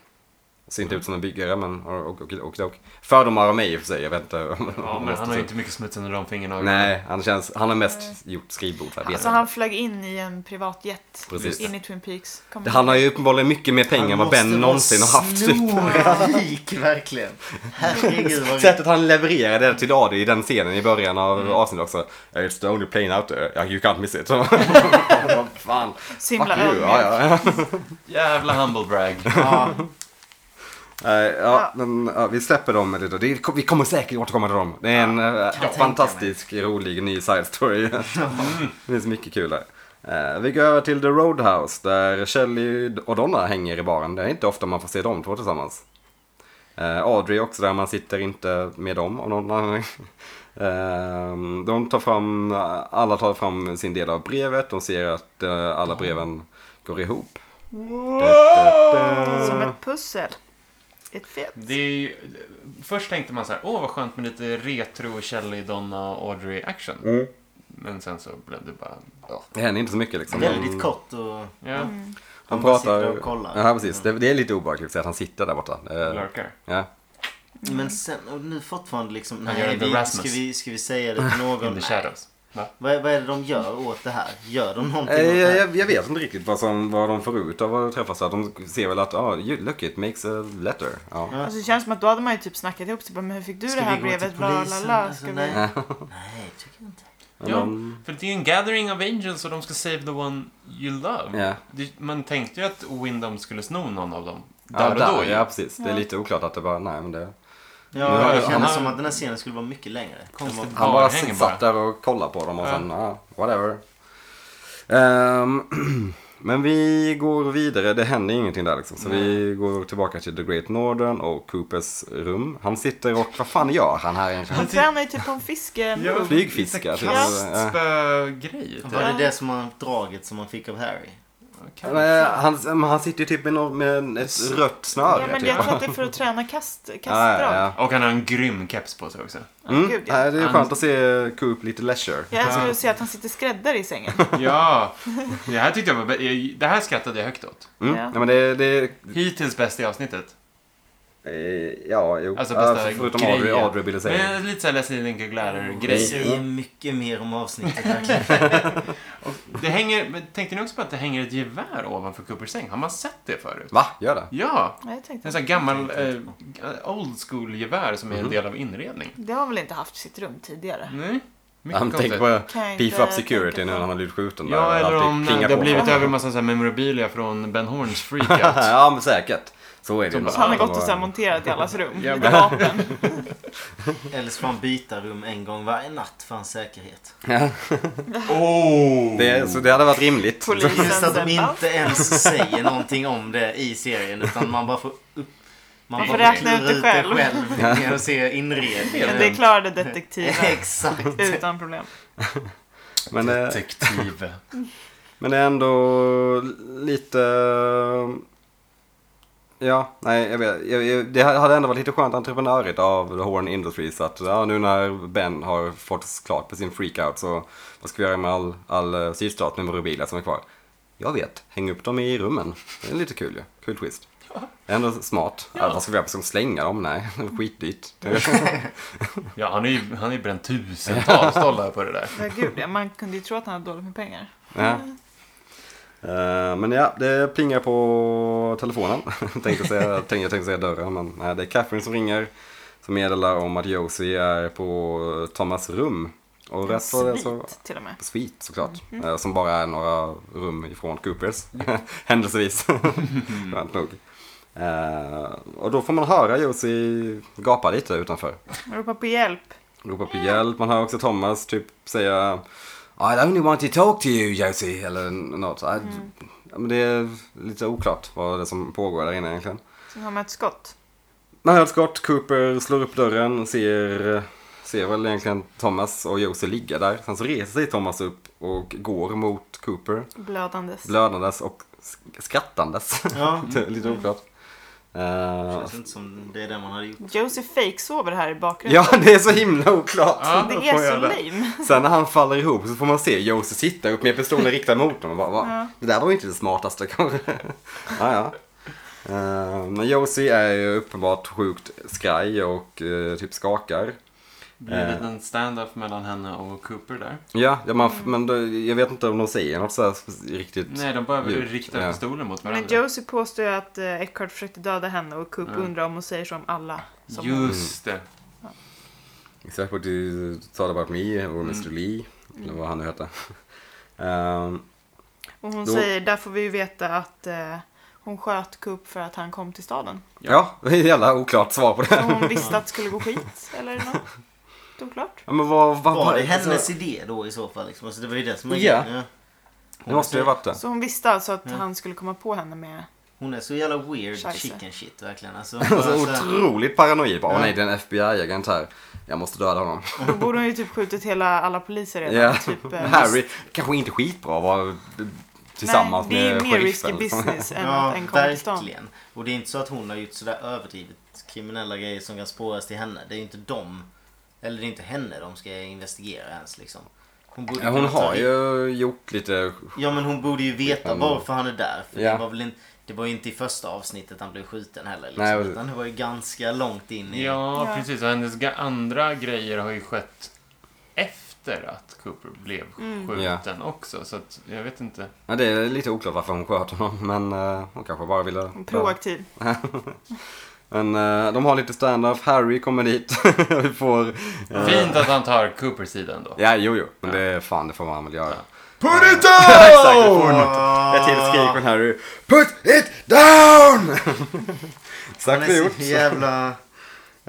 Speaker 1: Ser
Speaker 4: Mm.
Speaker 1: inte ut som en byggare men och, och, och, och. Fördomar om mig i och för sig, jag vet inte.
Speaker 4: Ja, men han har ju inte mycket smuts under de fingrarna.
Speaker 1: Nej, han, känns, han har mest gjort skrivbord. Jag vet
Speaker 3: Alltså
Speaker 1: inte.
Speaker 3: han flög in i en privatjet
Speaker 1: Precis.
Speaker 3: in i Twin Peaks. Kom
Speaker 1: Det- Han har ju uppenbarligen mycket mer pengar än vad Ben någonsin har haft. Typ.
Speaker 2: lik verkligen. Herregud vad rik.
Speaker 1: Sättet han levererade det till Adi i den scenen i början av
Speaker 3: Mm.
Speaker 1: avsnittet också. It's the only plane out there, Yeah, you can't miss it. Vad fan.
Speaker 3: Så himla
Speaker 1: Fuck you.
Speaker 3: ödmjuk.
Speaker 1: Ja, ja.
Speaker 4: Jävla humble brag.
Speaker 2: Ja,
Speaker 1: Nej, Eh, ja,
Speaker 3: Ja.
Speaker 1: men ja, vi släpper dem med det då. Det, kom- vi kommer säkert återkomma till dem. Det är en eh,
Speaker 2: tänka mig.
Speaker 1: fantastisk, rolig ny side story. Mm. det finns mycket kul där. Eh, vi går över till The Roadhouse där Shelley och Donna hänger i baren. Det är inte ofta man får se dem två tillsammans. Eh, Audrey är också där, man sitter inte med dem av någon anledning. Eh, de tar fram, alla tar fram sin del av brevet. De ser att eh, alla breven går ihop.
Speaker 3: Som ett pussel. Ett fet.
Speaker 4: Det är ju, först tänkte man så här, åh vad skönt med lite retro Shelley, Donna, Audrey action.
Speaker 1: Mm.
Speaker 4: Men sen så blev det bara...
Speaker 1: Det händer inte så mycket liksom.
Speaker 2: väldigt kort och
Speaker 4: Ja,
Speaker 1: Han
Speaker 2: Han bara
Speaker 1: pratar...
Speaker 2: sitter och kollar.
Speaker 1: Ja, precis. Det, det är lite obehagligt att han sitter där borta. Eh,
Speaker 4: lurkar.
Speaker 1: Ja.
Speaker 2: Men sen, och nu fortfarande liksom,
Speaker 4: Han gör
Speaker 2: nej,
Speaker 4: en
Speaker 2: vi,
Speaker 4: Erasmus.
Speaker 2: ska, vi, ska vi säga det till
Speaker 4: In
Speaker 2: någon?
Speaker 4: the shadows. Va?
Speaker 2: Vad, är- vad är det de gör åt det här? Gör de någonting
Speaker 1: Eh,
Speaker 2: åt det
Speaker 1: Jag,
Speaker 2: här?
Speaker 1: jag, jag vet inte riktigt vad, som, vad de får ut av att träffas. här. De ser väl att ah, you, look it makes a letter. Ja.
Speaker 2: Ja.
Speaker 3: Alltså det känns som att då hade man ju typ snackat ihop sig. bara, Men hur fick du
Speaker 2: Ska
Speaker 3: det
Speaker 2: vi
Speaker 3: här
Speaker 2: gå till
Speaker 3: brevet? Bla, bla,
Speaker 2: polisen?
Speaker 3: bla.
Speaker 2: Alltså,
Speaker 3: Ska
Speaker 2: nej.
Speaker 3: vi...
Speaker 1: Ja.
Speaker 2: Nej, tycker jag inte.
Speaker 1: Men
Speaker 4: Ja,
Speaker 1: de-
Speaker 4: för det är ju en gathering of angels och de ska save the one you love.
Speaker 1: Ja.
Speaker 4: Det, man tänkte ju att Windom skulle sno någon av dem.
Speaker 1: Ja,
Speaker 4: Där och
Speaker 1: där,
Speaker 4: då ju.
Speaker 1: ja, precis. Det är
Speaker 3: Ja.
Speaker 1: lite oklart att det bara, nej men det...
Speaker 2: Ja,
Speaker 1: Ja,
Speaker 2: det
Speaker 1: ja,
Speaker 2: kändes
Speaker 4: han-
Speaker 2: som att den här scenen skulle vara mycket längre.
Speaker 4: Konstigt.
Speaker 2: Den var-
Speaker 1: Han
Speaker 4: Bara
Speaker 1: bara
Speaker 4: hänger
Speaker 1: satt
Speaker 4: bara.
Speaker 1: där och kollade på dem och
Speaker 4: Ja.
Speaker 1: sen, ah, whatever. Ehm, men vi går vidare, det händer ingenting där liksom. Så vi går tillbaka till The Great Northern och Coopers rum. Han sitter och, vad fan gör han här egentligen?
Speaker 3: Han tränar ju typ på en fiske.
Speaker 4: Ja.
Speaker 1: Flygfiskar.
Speaker 4: Lite typ.
Speaker 1: typ. Ja.
Speaker 4: Kastspögrej.
Speaker 2: Var det det som man, draget som man fick av Harry?
Speaker 1: Men, eh, han, men han sitter ju typ med, någon, med en- ett rött snöre.
Speaker 3: Ja, men
Speaker 1: typ.
Speaker 3: jag tror att det är för att träna kast,
Speaker 1: Ja, ja,
Speaker 3: kastdrag.
Speaker 1: ja.
Speaker 4: Och han har en grym keps på sig också.
Speaker 1: Mm.
Speaker 3: Gud, ja.
Speaker 1: Nej, det är
Speaker 4: Han-
Speaker 1: skönt att se eh, Coop lite leisure.
Speaker 3: Jag älskar att se att han sitter skräddare i sängen.
Speaker 4: Ja, det här tyckte jag var bä- Det här skrattade jag högt åt.
Speaker 1: Mm.
Speaker 3: Ja.
Speaker 1: Ja. men det, det,
Speaker 4: Hittills bäst i avsnittet.
Speaker 1: eh, ja, jo.
Speaker 4: Alltså bästa
Speaker 1: Ja, förutom
Speaker 4: grejen.
Speaker 1: Audrey, Audrey ville säga.
Speaker 4: Men lite såhär Leslie
Speaker 2: Det
Speaker 4: Linker-gläder-grej.
Speaker 2: säger mycket mer om avsnittet verkligen.
Speaker 4: Det hänger, men tänkte ni också på att det hänger ett gevär ovanför Coopers säng? Har man sett det förut?
Speaker 1: Va? Gör det?
Speaker 4: Ja,
Speaker 3: Nej, jag tänkte
Speaker 4: en sån här gammal eh, old school-gevär som är
Speaker 1: Mhm.
Speaker 4: en del av inredning.
Speaker 3: Det har väl inte haft sitt rum tidigare?
Speaker 4: Nej, mycket
Speaker 1: Han tänker
Speaker 4: konstigt.
Speaker 1: på
Speaker 3: Kan jag
Speaker 1: beef
Speaker 3: inte
Speaker 1: up security nu
Speaker 3: tänka på.
Speaker 1: när han har blivit skjuten där.
Speaker 4: Ja,
Speaker 1: och
Speaker 4: eller
Speaker 1: alltid
Speaker 4: om det
Speaker 1: plingar
Speaker 4: har
Speaker 1: på
Speaker 4: blivit
Speaker 1: honom.
Speaker 4: över en massa så här memorabilia från Ben Horns freakout.
Speaker 1: Ja, men säkert. Så är det
Speaker 4: Som
Speaker 1: ju.
Speaker 4: bara-
Speaker 3: Så han har
Speaker 1: Ja,
Speaker 3: gått och så här monterat i allas rum.
Speaker 4: Ja,
Speaker 3: Lite vapen.
Speaker 2: Eller så får han byta rum en gång varje natt för hans säkerhet.
Speaker 4: oh!
Speaker 1: det, så det hade varit rimligt.
Speaker 3: Polis.
Speaker 2: Just att de
Speaker 3: Sen-
Speaker 2: inte ens säger någonting om det i serien utan man bara får upp...
Speaker 3: Man
Speaker 2: bara
Speaker 3: får räkna ut
Speaker 2: klura
Speaker 3: det själv.
Speaker 2: genom att se inredningen.
Speaker 3: Men det klarade detektiven
Speaker 2: Exakt.
Speaker 3: utan problem.
Speaker 1: Men, eh,
Speaker 4: Detektiv.
Speaker 1: men det är ändå lite... Ja, nej, jag vet. Jag, jag, det hade ändå varit lite skönt entreprenörigt av The Horn Industries att ja, nu när Ben har fått klart på sin freakout så vad ska vi göra med all, all eh, sydstatsmemorabilia som är kvar? Jag vet, häng upp dem i rummen. Det är lite kul ju. Kul twist. Ändå smart. Ja. Vad ska vi göra? Ska vi slänga dem? Nej, det var skitdyrt.
Speaker 4: Ja, han har ju, han har ju bränt tusentals dollar på det där.
Speaker 3: Ja, gud, ja, man kunde ju tro att han hade dåligt med pengar.
Speaker 1: Ja. Eh, men ja, det plingar på telefonen. tänkte säga, tänkte, jag tänkte säga dörren, men nej, det är Catherine som ringer. Som meddelar om att Josie är på Thomas rum. Och rätt vad det är så...
Speaker 3: Svit till och med.
Speaker 1: Sweet såklart. Eh, Som bara är några rum ifrån Coopers. Händelsevis. Skönt nog. Eh, och då får man höra Josie gapa lite utanför.
Speaker 3: Ropa på hjälp.
Speaker 1: Ropa på hjälp. Man hör också Thomas typ säga I only want to talk to you Josie. Eller n- något. I, ja, men det är lite oklart vad det är som pågår där inne egentligen.
Speaker 3: Sen har man ett skott.
Speaker 1: Man hör ett skott. Cooper slår upp dörren. Ser, ser väl egentligen Thomas och Josie ligga där. Sen så reser sig Thomas upp och går mot Cooper.
Speaker 3: Blödandes.
Speaker 1: Blödandes och sk- skrattandes.
Speaker 2: Ja.
Speaker 1: Det är lite oklart.
Speaker 2: Det
Speaker 1: Eh,
Speaker 2: känns inte som det är det man hade gjort.
Speaker 3: Josie fake-sover här i bakgrunden.
Speaker 1: ja, det är så himla oklart.
Speaker 4: Ja,
Speaker 3: det
Speaker 4: får
Speaker 3: är så
Speaker 4: jag det.
Speaker 3: lame.
Speaker 1: Sen när han faller ihop så får man se Jose sitta upp med pistolen riktad mot honom. Och bara, va?
Speaker 3: Ja.
Speaker 1: Det där var ju inte det smartaste kanske. ja, ja. Eh, Men Josie är ju uppenbart sjukt skraj och eh, typ skakar.
Speaker 4: Det blir
Speaker 1: Eh.
Speaker 4: en liten stand-up mellan henne och Cooper där.
Speaker 1: Ja, ja man,
Speaker 2: Mm.
Speaker 1: men då, jag vet inte om de säger något så här spe- riktigt.
Speaker 4: Nej, de börjar väl
Speaker 1: Djup,
Speaker 4: rikta
Speaker 1: ja.
Speaker 4: pistolen mot
Speaker 3: Men
Speaker 4: varandra.
Speaker 3: Josie påstår ju att eh, Eckhart försökte döda henne och Coop
Speaker 4: Mm.
Speaker 3: undrar om hon säger som alla. Som hon.
Speaker 4: Just det.
Speaker 1: Exakt what you thought about me
Speaker 2: Mm.
Speaker 1: or Mr. Lee. Eller vad han nu hette. Ehm,
Speaker 3: Och hon
Speaker 1: Då-
Speaker 3: säger, där får vi ju veta att eh, hon sköt Coop för att han kom till staden.
Speaker 1: ja, det är ett jävla oklart svar på det.
Speaker 3: Så hon visste att det skulle gå skit eller något. Det är Oklart.
Speaker 1: Ja, men vad, vad,
Speaker 2: Var det
Speaker 1: alltså,
Speaker 2: hennes idé då i så fall? Liksom? Alltså, det var ju det som var
Speaker 1: Ja.
Speaker 2: grejen,
Speaker 1: Det måste ju ha varit det.
Speaker 3: Så hon visste alltså att han skulle komma på henne med...
Speaker 2: Hon är så jävla weird
Speaker 3: Scheisse.
Speaker 2: chicken shit verkligen. Alltså,
Speaker 1: Alltså,
Speaker 2: bara så här-
Speaker 1: otroligt paranoid. Bara, Åh nej, det är en FBI-agent här. Jag måste döda honom.
Speaker 3: Då borde hon ju typ skjutit hela, alla poliser redan.
Speaker 1: Ja.
Speaker 3: Typ, eh,
Speaker 1: Harry kanske inte skitbra att vara tillsammans
Speaker 3: Nej, det är
Speaker 1: med
Speaker 3: mer risky
Speaker 1: sheriffen.
Speaker 3: business än
Speaker 2: Ja,
Speaker 3: att en kommer till stan.
Speaker 2: verkligen. Och det är inte så att hon har gjort sådär överdrivet kriminella grejer som kan spåras till henne. Det är ju inte dem, eller det är inte henne de ska investigera ens liksom. Hon, borde
Speaker 1: Ja, hon
Speaker 2: kunna ta
Speaker 1: har
Speaker 2: reda-
Speaker 1: ju gjort lite...
Speaker 2: Ja men hon borde ju veta
Speaker 1: Mm.
Speaker 2: varför han är där. För
Speaker 1: Ja.
Speaker 2: det, var väl inte, det var ju inte i första avsnittet han blev skjuten heller. Liksom,
Speaker 1: Nej, precis.
Speaker 2: utan det var ju ganska långt in i...
Speaker 4: Ja,
Speaker 3: Ja.
Speaker 4: precis. Och hennes ga- andra grejer har ju skett efter efter att Cooper blev
Speaker 5: Mm.
Speaker 4: skjuten också. Så att, jag vet inte.
Speaker 1: Ja, det är lite oklart varför hon sköt honom, men eh, hon kanske bara ville...
Speaker 3: Proaktiv.
Speaker 1: Men eh, de har lite stand-up, Harry kommer dit. Vi får... eh,
Speaker 4: Fint att han tar Coopers sida ändå.
Speaker 1: Ja, jo, jo. Men det är fan, det får man väl göra.
Speaker 4: Put it
Speaker 1: Exakt, vi får
Speaker 4: down!
Speaker 1: något. Ett
Speaker 2: Ah.
Speaker 1: till skrik från Harry. Put it down!
Speaker 2: Han
Speaker 1: Sagt och
Speaker 2: är
Speaker 1: gjort.
Speaker 2: så jävla inte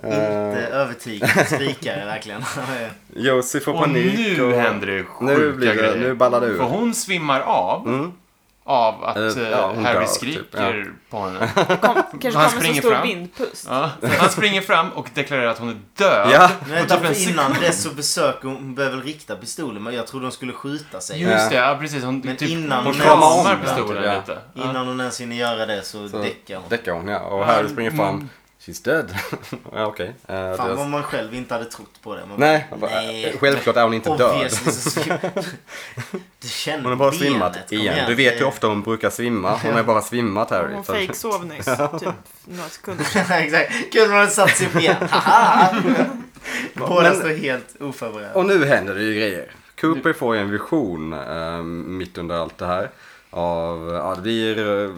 Speaker 1: Eh,
Speaker 2: övertygande skrikare verkligen. Han är-
Speaker 1: Josie får
Speaker 4: och
Speaker 1: panik.
Speaker 4: nu
Speaker 1: och-
Speaker 4: händer det sjuka
Speaker 1: Nu blir det,
Speaker 4: grejer.
Speaker 1: nu ballar det ur.
Speaker 4: För hon svimmar av
Speaker 1: Mm.
Speaker 4: av att
Speaker 1: Eh,
Speaker 4: eh,
Speaker 1: ja, hon
Speaker 4: Harry
Speaker 1: dör, typ.
Speaker 4: skriker på henne.
Speaker 5: Det kom, kanske
Speaker 4: Han
Speaker 5: kommer
Speaker 4: springer
Speaker 5: så stor
Speaker 4: fram.
Speaker 5: vindpust.
Speaker 4: Ja. Han springer fram och deklarerar att hon är död.
Speaker 1: Ja,
Speaker 2: Men
Speaker 4: typ en
Speaker 2: typ innan dess så besöker hon, hon behöver väl rikta pistolen men jag trodde hon skulle skjuta sig.
Speaker 4: Just det, ja, precis. Hon,
Speaker 2: Men
Speaker 4: typ,
Speaker 2: innan hon
Speaker 4: hon kramar
Speaker 1: ens-
Speaker 4: pistolen
Speaker 1: Ja.
Speaker 4: lite. Ja.
Speaker 2: Innan hon ens hinner göra det så,
Speaker 1: Så
Speaker 2: däckar hon.
Speaker 1: däckar hon, ja. Och
Speaker 4: Ja,
Speaker 1: Harry springer
Speaker 4: mm.
Speaker 1: fram. She's dead. ja, okej. Eh,
Speaker 2: Fan vad
Speaker 1: deras-
Speaker 2: man själv inte hade trott på det. Man,
Speaker 1: Nej, jag bara, eh, självklart är hon inte död.
Speaker 2: Obviously så skulle- Du känner
Speaker 1: Hon har bara
Speaker 2: benet,
Speaker 1: svimmat
Speaker 2: kom
Speaker 1: igen. Du vet
Speaker 2: Det-
Speaker 1: ju ofta hon brukar svimma. Hon har bara svimmat Harry.
Speaker 3: Hon
Speaker 1: så-
Speaker 3: fejksov nyss, typ några sekunder sedan.
Speaker 2: Exakt. Kul om hon satt sig upp igen. Haha! Båda
Speaker 1: Men-
Speaker 2: står helt oförberedda.
Speaker 1: Och nu händer det ju grejer. Cooper får ju en vision eh, mitt under allt det här. Av, ja det blir eh,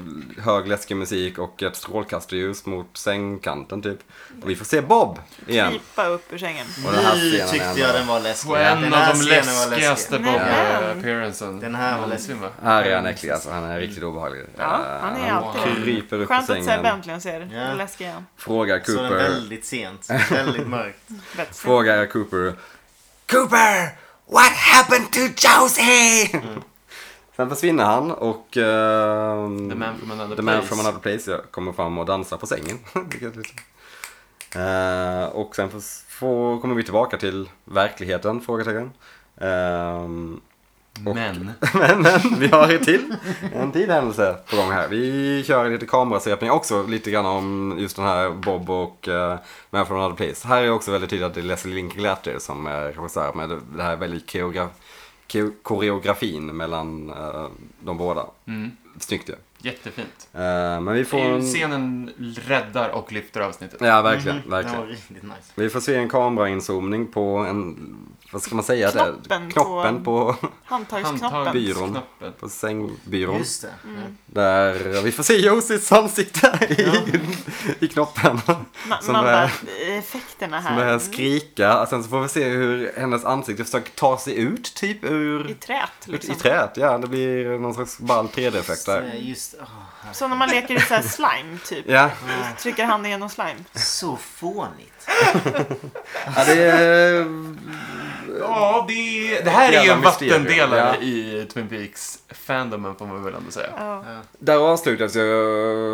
Speaker 1: hög läskig musik och ett strålkastarljus mot sängkanten typ. Och vi får se Bob igen.
Speaker 3: Krypa upp ur sängen.
Speaker 1: Och den här
Speaker 2: Typ. Nu
Speaker 1: scenen
Speaker 2: tyckte
Speaker 1: är
Speaker 2: jag den var läskig.
Speaker 4: På en
Speaker 2: den
Speaker 4: av de
Speaker 2: scenen var
Speaker 4: läskigaste Mm.
Speaker 3: läskig. Nämen.
Speaker 4: Bob-appearancen.
Speaker 2: Den här var läskig.
Speaker 1: Här är han äcklig alltså, han är riktigt obehaglig.
Speaker 3: Ja, han är
Speaker 1: Eh,
Speaker 3: alltid det.
Speaker 1: kryper upp ur
Speaker 3: Skönt att Sebbe
Speaker 1: sängen.
Speaker 3: äntligen ser
Speaker 2: Ja.
Speaker 3: yeah. läskiga igen.
Speaker 1: Frågar
Speaker 2: Jag såg den
Speaker 1: Cooper,
Speaker 2: väldigt sent. Väldigt mörkt.
Speaker 3: Bättre.
Speaker 1: frågar Cooper. Cooper! What happened to Josie?
Speaker 4: Mm.
Speaker 1: Sen försvinner han och... ehm,
Speaker 4: The man from another
Speaker 1: The
Speaker 4: place.
Speaker 1: man from another place ja, kommer fram och dansar på sängen. Vilket är lite- Eh, och sen får, får, kommer vi tillbaka till verkligheten? Frågetecken. Ehm,
Speaker 4: Men.
Speaker 1: men, men, vi har ett till. En till händelse på gång här. Vi kör lite kamerasvepning också lite grann om just den här Bob och uh, Man from another place. Här är också väldigt tydligt att det är Leslie Linklater som är regissör med det här väldigt koreograf ko- koreografin mellan eh, de båda.
Speaker 4: Mm.
Speaker 1: Snyggt ju.
Speaker 4: Jättefint.
Speaker 1: Eh, men vi får... en-
Speaker 4: Scenen räddar och lyfter avsnittet.
Speaker 1: Ja, verkligen.
Speaker 2: Mhm.
Speaker 1: verkligen.
Speaker 2: Den var riktigt nice.
Speaker 1: Vi får se en kamerainzoomning på en, vad ska man säga? det är?
Speaker 3: Knoppen på-
Speaker 1: Knoppen på,
Speaker 3: Handtagsknoppen.
Speaker 1: Handtag. byrån.
Speaker 4: Handtagsknappen.
Speaker 1: på sängbyrån.
Speaker 2: Just det.
Speaker 3: Mm.
Speaker 1: Där vi får se Josies ansikte i, i knoppen.
Speaker 3: Man,
Speaker 1: Som
Speaker 3: man
Speaker 1: det
Speaker 3: bara, "Eh,
Speaker 1: här-
Speaker 3: effekterna
Speaker 1: Som börjar
Speaker 3: här.
Speaker 1: skrika. Och sen så får vi se hur hennes ansikte försöker ta sig ut typ ur...
Speaker 3: I trät liksom.
Speaker 1: I träet, ja. Det blir någon slags ball 3D-effekt
Speaker 2: Så,
Speaker 1: där.
Speaker 2: Eh, Just, Ah. åh, herregud.
Speaker 3: Som när man leker i så här slime typ.
Speaker 1: Ja,
Speaker 3: Trycker handen genom slime.
Speaker 2: så fånigt.
Speaker 1: ja det är...
Speaker 4: Ja, det, det här är ju
Speaker 1: Jävla
Speaker 4: en
Speaker 1: mysterium,
Speaker 4: vattendelare
Speaker 1: ja.
Speaker 4: i Twin Peaks fandomen får man väl ändå säga.
Speaker 3: Ja.
Speaker 2: Ja.
Speaker 1: Där avslutas ju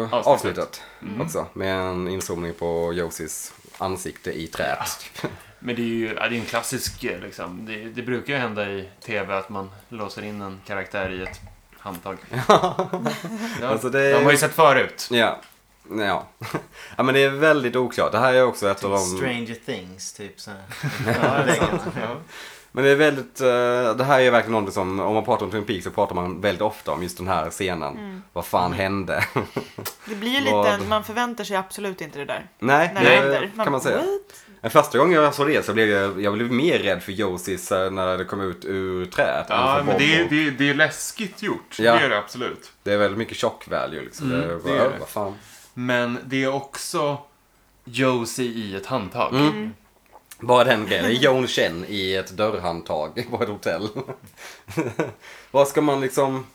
Speaker 4: Avsnittet.
Speaker 1: avsnittet också. Med en inzoomning på Josies ansikte i träet.
Speaker 4: Men det är ju ja, det är en klassisk eh, liksom. Det, det brukar ju hända i tv att man låser in en karaktär i ett handtag. ja,
Speaker 1: Alltså, det är-
Speaker 4: De har ju sett förut.
Speaker 1: Ja. Ja. ja, men det är väldigt oklart. Det här är också ett av de...
Speaker 2: Stranger things, typ så här.
Speaker 4: Ja, det är sant. Ja.
Speaker 1: Men det är väldigt... eh, det här är verkligen någonting som, om man pratar om Twin Peaks så pratar man väldigt ofta om just den här scenen.
Speaker 3: Mm.
Speaker 1: Vad fan hände?
Speaker 3: Det blir ju
Speaker 1: Vad-
Speaker 3: lite, en- man förväntar sig absolut inte det där.
Speaker 1: Nej,
Speaker 3: När
Speaker 1: det
Speaker 3: det händer.
Speaker 1: kan man säga.
Speaker 3: "What?"
Speaker 1: Men första gången jag såg det så blev jag, jag blev mer rädd för Josies eh, när det kom ut ur träet. än
Speaker 4: Ja,
Speaker 1: för
Speaker 4: men
Speaker 1: Bob
Speaker 4: det är,
Speaker 1: och-
Speaker 4: det, är, det är läskigt gjort.
Speaker 1: Ja.
Speaker 4: Det är det absolut.
Speaker 1: det är väldigt mycket shock value liksom.
Speaker 4: Mm,
Speaker 1: det är
Speaker 4: det
Speaker 1: bara,
Speaker 4: är det.
Speaker 1: vad fan.
Speaker 4: Men det är också Josie i ett handtag.
Speaker 1: Mm. Bara den grejen. Det är Joan Chen i ett dörrhandtag på ett hotell. vad ska man liksom...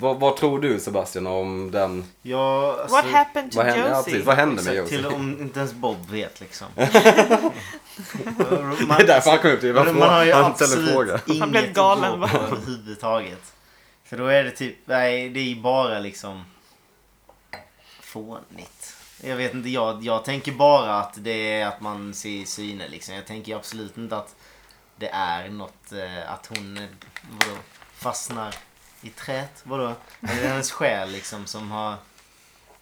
Speaker 1: Vad, vad tror du Sebastian om den
Speaker 2: Ja, alltså-
Speaker 3: What happened
Speaker 1: Alltså,
Speaker 3: to
Speaker 1: Vad hände, ja,
Speaker 3: Josie?
Speaker 1: precis, vad hände med
Speaker 2: exakt,
Speaker 1: Josie?
Speaker 2: Till om inte ens Bob vet liksom.
Speaker 1: Det är därför han kom upp till
Speaker 2: Men man har ju
Speaker 1: han ställer
Speaker 2: absolut
Speaker 1: fråga.
Speaker 2: inget
Speaker 3: Han blev galen,
Speaker 2: att gå på överhuvudtaget. För då är det typ, nej det är ju bara liksom fånigt. Jag vet inte, jag, jag tänker bara att det är att man ser syner liksom. Jag tänker absolut inte att det är något, eh, att hon eh, vadå, fastnar i träet. Vadå? Det är hennes själ liksom som har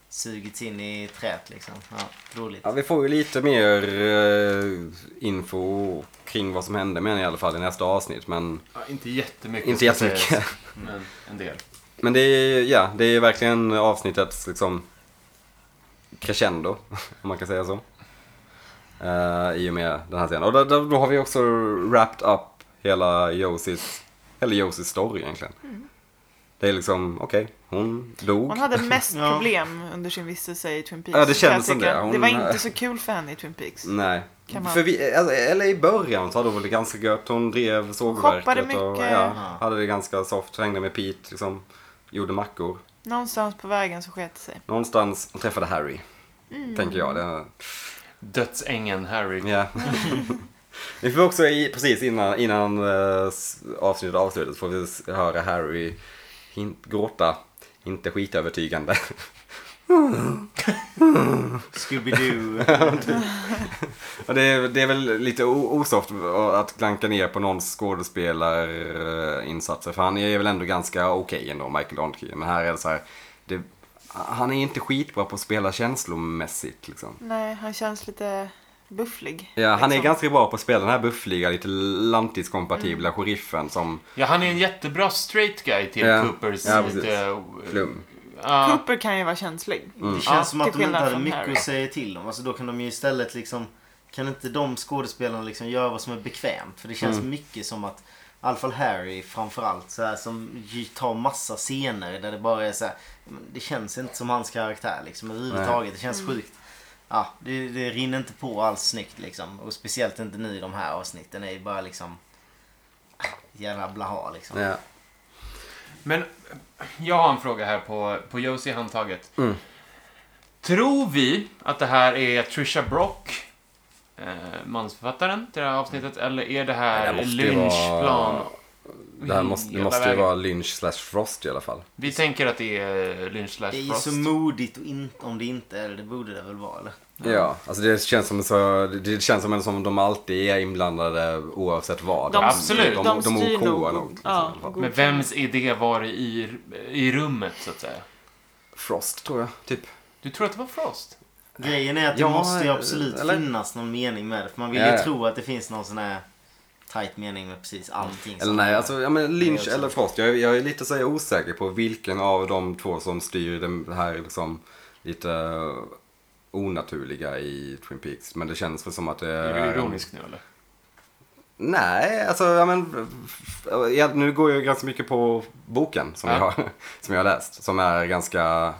Speaker 2: sugits in i träet liksom. Ja, roligt.
Speaker 1: Ja, vi får ju lite mer eh, info kring vad som hände med henne i alla fall i nästa avsnitt. Men,
Speaker 4: Ja, inte jättemycket.
Speaker 1: Inte
Speaker 4: ska
Speaker 1: jättemycket.
Speaker 4: sägas, Men en del.
Speaker 1: men det, är, ja, det är verkligen avsnittets liksom, crescendo, om man kan säga så. Eh, I och med den här scenen. Och då, då, då har vi också wrapped up hela Josies, hela Josies story egentligen. Det är liksom, okej, hon dog.
Speaker 3: Mm. Hon hade mest
Speaker 2: Ja.
Speaker 3: problem under sin vistelse i Twin Peaks.
Speaker 1: Ja, det
Speaker 3: kan jag
Speaker 1: kändes som
Speaker 3: tycka.
Speaker 1: det. Hon- Mm.
Speaker 3: Det var inte så kul för henne i Twin Peaks.
Speaker 1: Nej.
Speaker 3: Kan man-
Speaker 1: För vi, alltså, eller i början så hade hon det ganska gött. Hon drev sågverket
Speaker 3: shoppade
Speaker 1: och
Speaker 3: mycket.
Speaker 1: ja, hade det ganska soft. Hängde med Pete, liksom, gjorde mackor.
Speaker 3: Någonstans på vägen så sket det sig.
Speaker 1: Någonstans hon träffade Harry.
Speaker 3: Mm.
Speaker 1: Tänker jag. Det,
Speaker 4: Dödsängen Harry.
Speaker 1: ja. vi får också i, precis innan, innan eh, s- avsnittet avslutas får vi s- höra Harry hin- gråta. Inte skitövertygande.
Speaker 2: Scooby-Doo.
Speaker 1: Och det, är, det är väl lite o- osoft att klanka ner på någons skådespelarinsatser. För han är väl ändå ganska okej ändå, Michael Donkey. Men här är det så här. Det, han är inte skitbra på att spela känslomässigt liksom.
Speaker 3: Nej, han känns lite bufflig.
Speaker 1: Ja, han är
Speaker 3: liksom.
Speaker 1: ganska bra på att spela den här buffliga, lite lantiskompatibla
Speaker 3: Mm.
Speaker 1: sheriffen som
Speaker 4: Ja, han är en jättebra straight guy till
Speaker 1: Ja.
Speaker 4: Coopers
Speaker 1: Ja, precis.
Speaker 4: lite...
Speaker 1: flum.
Speaker 4: Ja,
Speaker 3: Cooper kan ju vara känslig.
Speaker 1: Mm.
Speaker 2: Det känns
Speaker 4: Ja,
Speaker 2: som att
Speaker 3: till
Speaker 2: de inte
Speaker 3: skillnad
Speaker 2: hade
Speaker 3: från
Speaker 2: mycket
Speaker 3: Harry.
Speaker 2: att säga till om. Alltså då kan de ju istället liksom... Kan inte de skådespelarna liksom göra vad som är bekvämt? För det känns mycket som att... I alla fall Harry framförallt så här, som ju tar massa scener där det bara är så här, men Det känns inte som hans karaktär liksom överhuvudtaget. Det känns sjukt. Ja, det, det rinner inte på alls snyggt liksom. Och speciellt inte nu i de här avsnitten. Det är ju bara liksom... Jävla blaha liksom.
Speaker 1: Ja.
Speaker 4: men jag har en fråga här på, på Josie handtaget.
Speaker 1: Mm.
Speaker 4: Tror vi att det här är Trisha Brock, eh, mansförfattaren till det här avsnittet, eller är det här
Speaker 1: Det här måste ju
Speaker 4: lynchplan?
Speaker 1: vara- Det här måste, det
Speaker 4: hela
Speaker 1: måste ju
Speaker 4: vägen?
Speaker 1: vara Lynch slash Frost i alla fall.
Speaker 4: Vi tänker att det är lynch slash
Speaker 2: Det är ju så
Speaker 4: Frost.
Speaker 2: modigt och in, om det inte är det. Det borde det väl vara eller?
Speaker 1: Ja, alltså det känns som, så, det känns som, en som de alltid är inblandade oavsett vad.
Speaker 3: De-
Speaker 4: Absolut.
Speaker 1: De, de,
Speaker 3: de
Speaker 1: de
Speaker 3: styr
Speaker 1: OK-ar
Speaker 3: nog.
Speaker 1: nog. liksom,
Speaker 3: Ja.
Speaker 1: i alla fall.
Speaker 4: Men vems idé var det i, i rummet, så att säga?
Speaker 1: Frost tror jag, typ.
Speaker 4: Du tror att det var Frost?
Speaker 2: Grejen är att
Speaker 1: Ja,
Speaker 2: det måste ju absolut
Speaker 1: eller-
Speaker 2: finnas någon mening med det. För man vill ju
Speaker 1: Ja, ja.
Speaker 2: tro att det finns någon sån här tight mening med precis allting.
Speaker 1: Eller
Speaker 2: som-
Speaker 1: nej, alltså ja, men
Speaker 2: Nej,
Speaker 1: Lynch
Speaker 2: alltså.
Speaker 1: eller Frost. Jag, jag är lite så här osäker på vilken av de två som styr den här liksom lite eh, onaturliga i Twin Peaks. Men det känns väl som att det
Speaker 4: Är
Speaker 1: är...
Speaker 4: du ironisk nu, eller?
Speaker 1: Nej, alltså ja, men, ja, nu går jag ganska mycket på boken som,
Speaker 4: Ja.
Speaker 1: jag, har- som jag har läst. Som är ganska,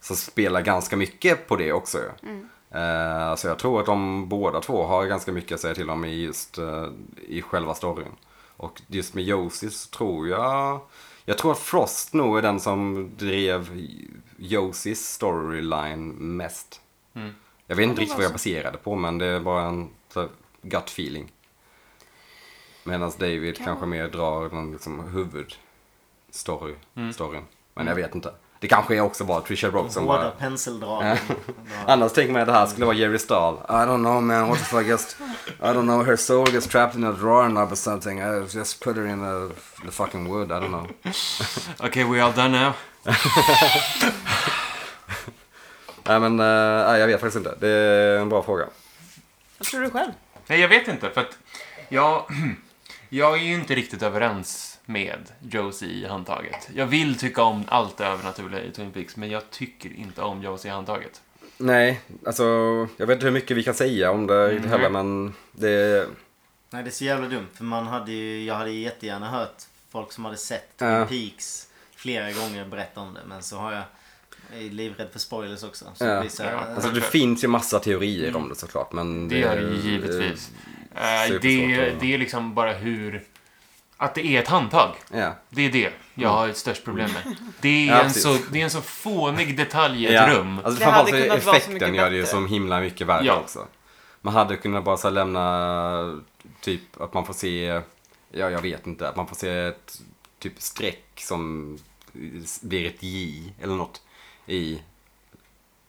Speaker 1: som spelar ganska mycket på det också. ju.
Speaker 3: Mm.
Speaker 1: Eh, så jag tror att de båda två har ganska mycket att säga till om i just eh, i själva storyn. Och just med Josie så tror jag, jag tror att Frost nog är den som drev Josies storyline mest.
Speaker 4: Mm.
Speaker 1: Jag vet inte
Speaker 3: det
Speaker 1: riktigt
Speaker 3: var
Speaker 1: vad jag
Speaker 3: så.
Speaker 1: baserade på men det är bara en så här, gut feeling. Medan David
Speaker 3: Kan
Speaker 1: kanske
Speaker 3: vara.
Speaker 1: mer drar den liksom huvudstory,
Speaker 4: Mm.
Speaker 1: storyn. Men jag vet inte. Det kanske också var Trisha Brock som
Speaker 2: Hårda
Speaker 1: bara...
Speaker 2: penseldrag. Bara-
Speaker 1: Annars tänker man att det här skulle vara Jerry Stahl. I don't know man, what if I just... I don't know, her soul gets trapped in a drawer knob or something. I just put her in the, the fucking wood, I don't know.
Speaker 4: Okej, we all done now.
Speaker 1: Nej men, eh, nej, jag vet faktiskt inte. Det är en bra fråga.
Speaker 3: Vad tror du själv?
Speaker 4: Nej, jag vet inte, för att jag, jag är ju inte riktigt överens med Josie i handtaget. Jag vill tycka om allt det övernaturliga i Twin Peaks, men jag tycker inte om Josie i handtaget.
Speaker 1: Nej, alltså jag vet inte hur mycket vi kan säga om det
Speaker 4: Mm.
Speaker 1: riktigt heller men det...
Speaker 2: Nej det är så jävla dumt. För man hade ju, jag hade ju jättegärna hört folk som hade sett Twin
Speaker 1: Ja.
Speaker 2: Peaks flera gånger berätta om det. Men så har jag, jag är livrädd för spoilers också. Så
Speaker 1: Ja.
Speaker 2: det blir så här,
Speaker 4: Ja.
Speaker 2: eh,
Speaker 1: Alltså det finns ju massa teorier om det såklart men...
Speaker 4: Det gör det ju givetvis. Eh,
Speaker 1: supersvårt
Speaker 4: Det,
Speaker 1: att-
Speaker 4: det är liksom bara hur... Att det är ett handtag.
Speaker 1: Ja.
Speaker 4: Det är det jag har ett störst problem med. Det
Speaker 1: Mm. Ja,
Speaker 4: är, en
Speaker 1: precis.
Speaker 4: så, det är en så fånig detalj i ett rum.
Speaker 1: Alltså
Speaker 3: Det
Speaker 1: framförallt
Speaker 3: hade kunnat vara så
Speaker 1: effekten
Speaker 3: mycket
Speaker 1: gör det ju
Speaker 3: bättre.
Speaker 1: som himla mycket värre
Speaker 4: Ja.
Speaker 1: också. Man hade kunnat bara så här lämna typ att man får se, ja jag vet inte, att man får se ett typ streck som blir ett J eller något i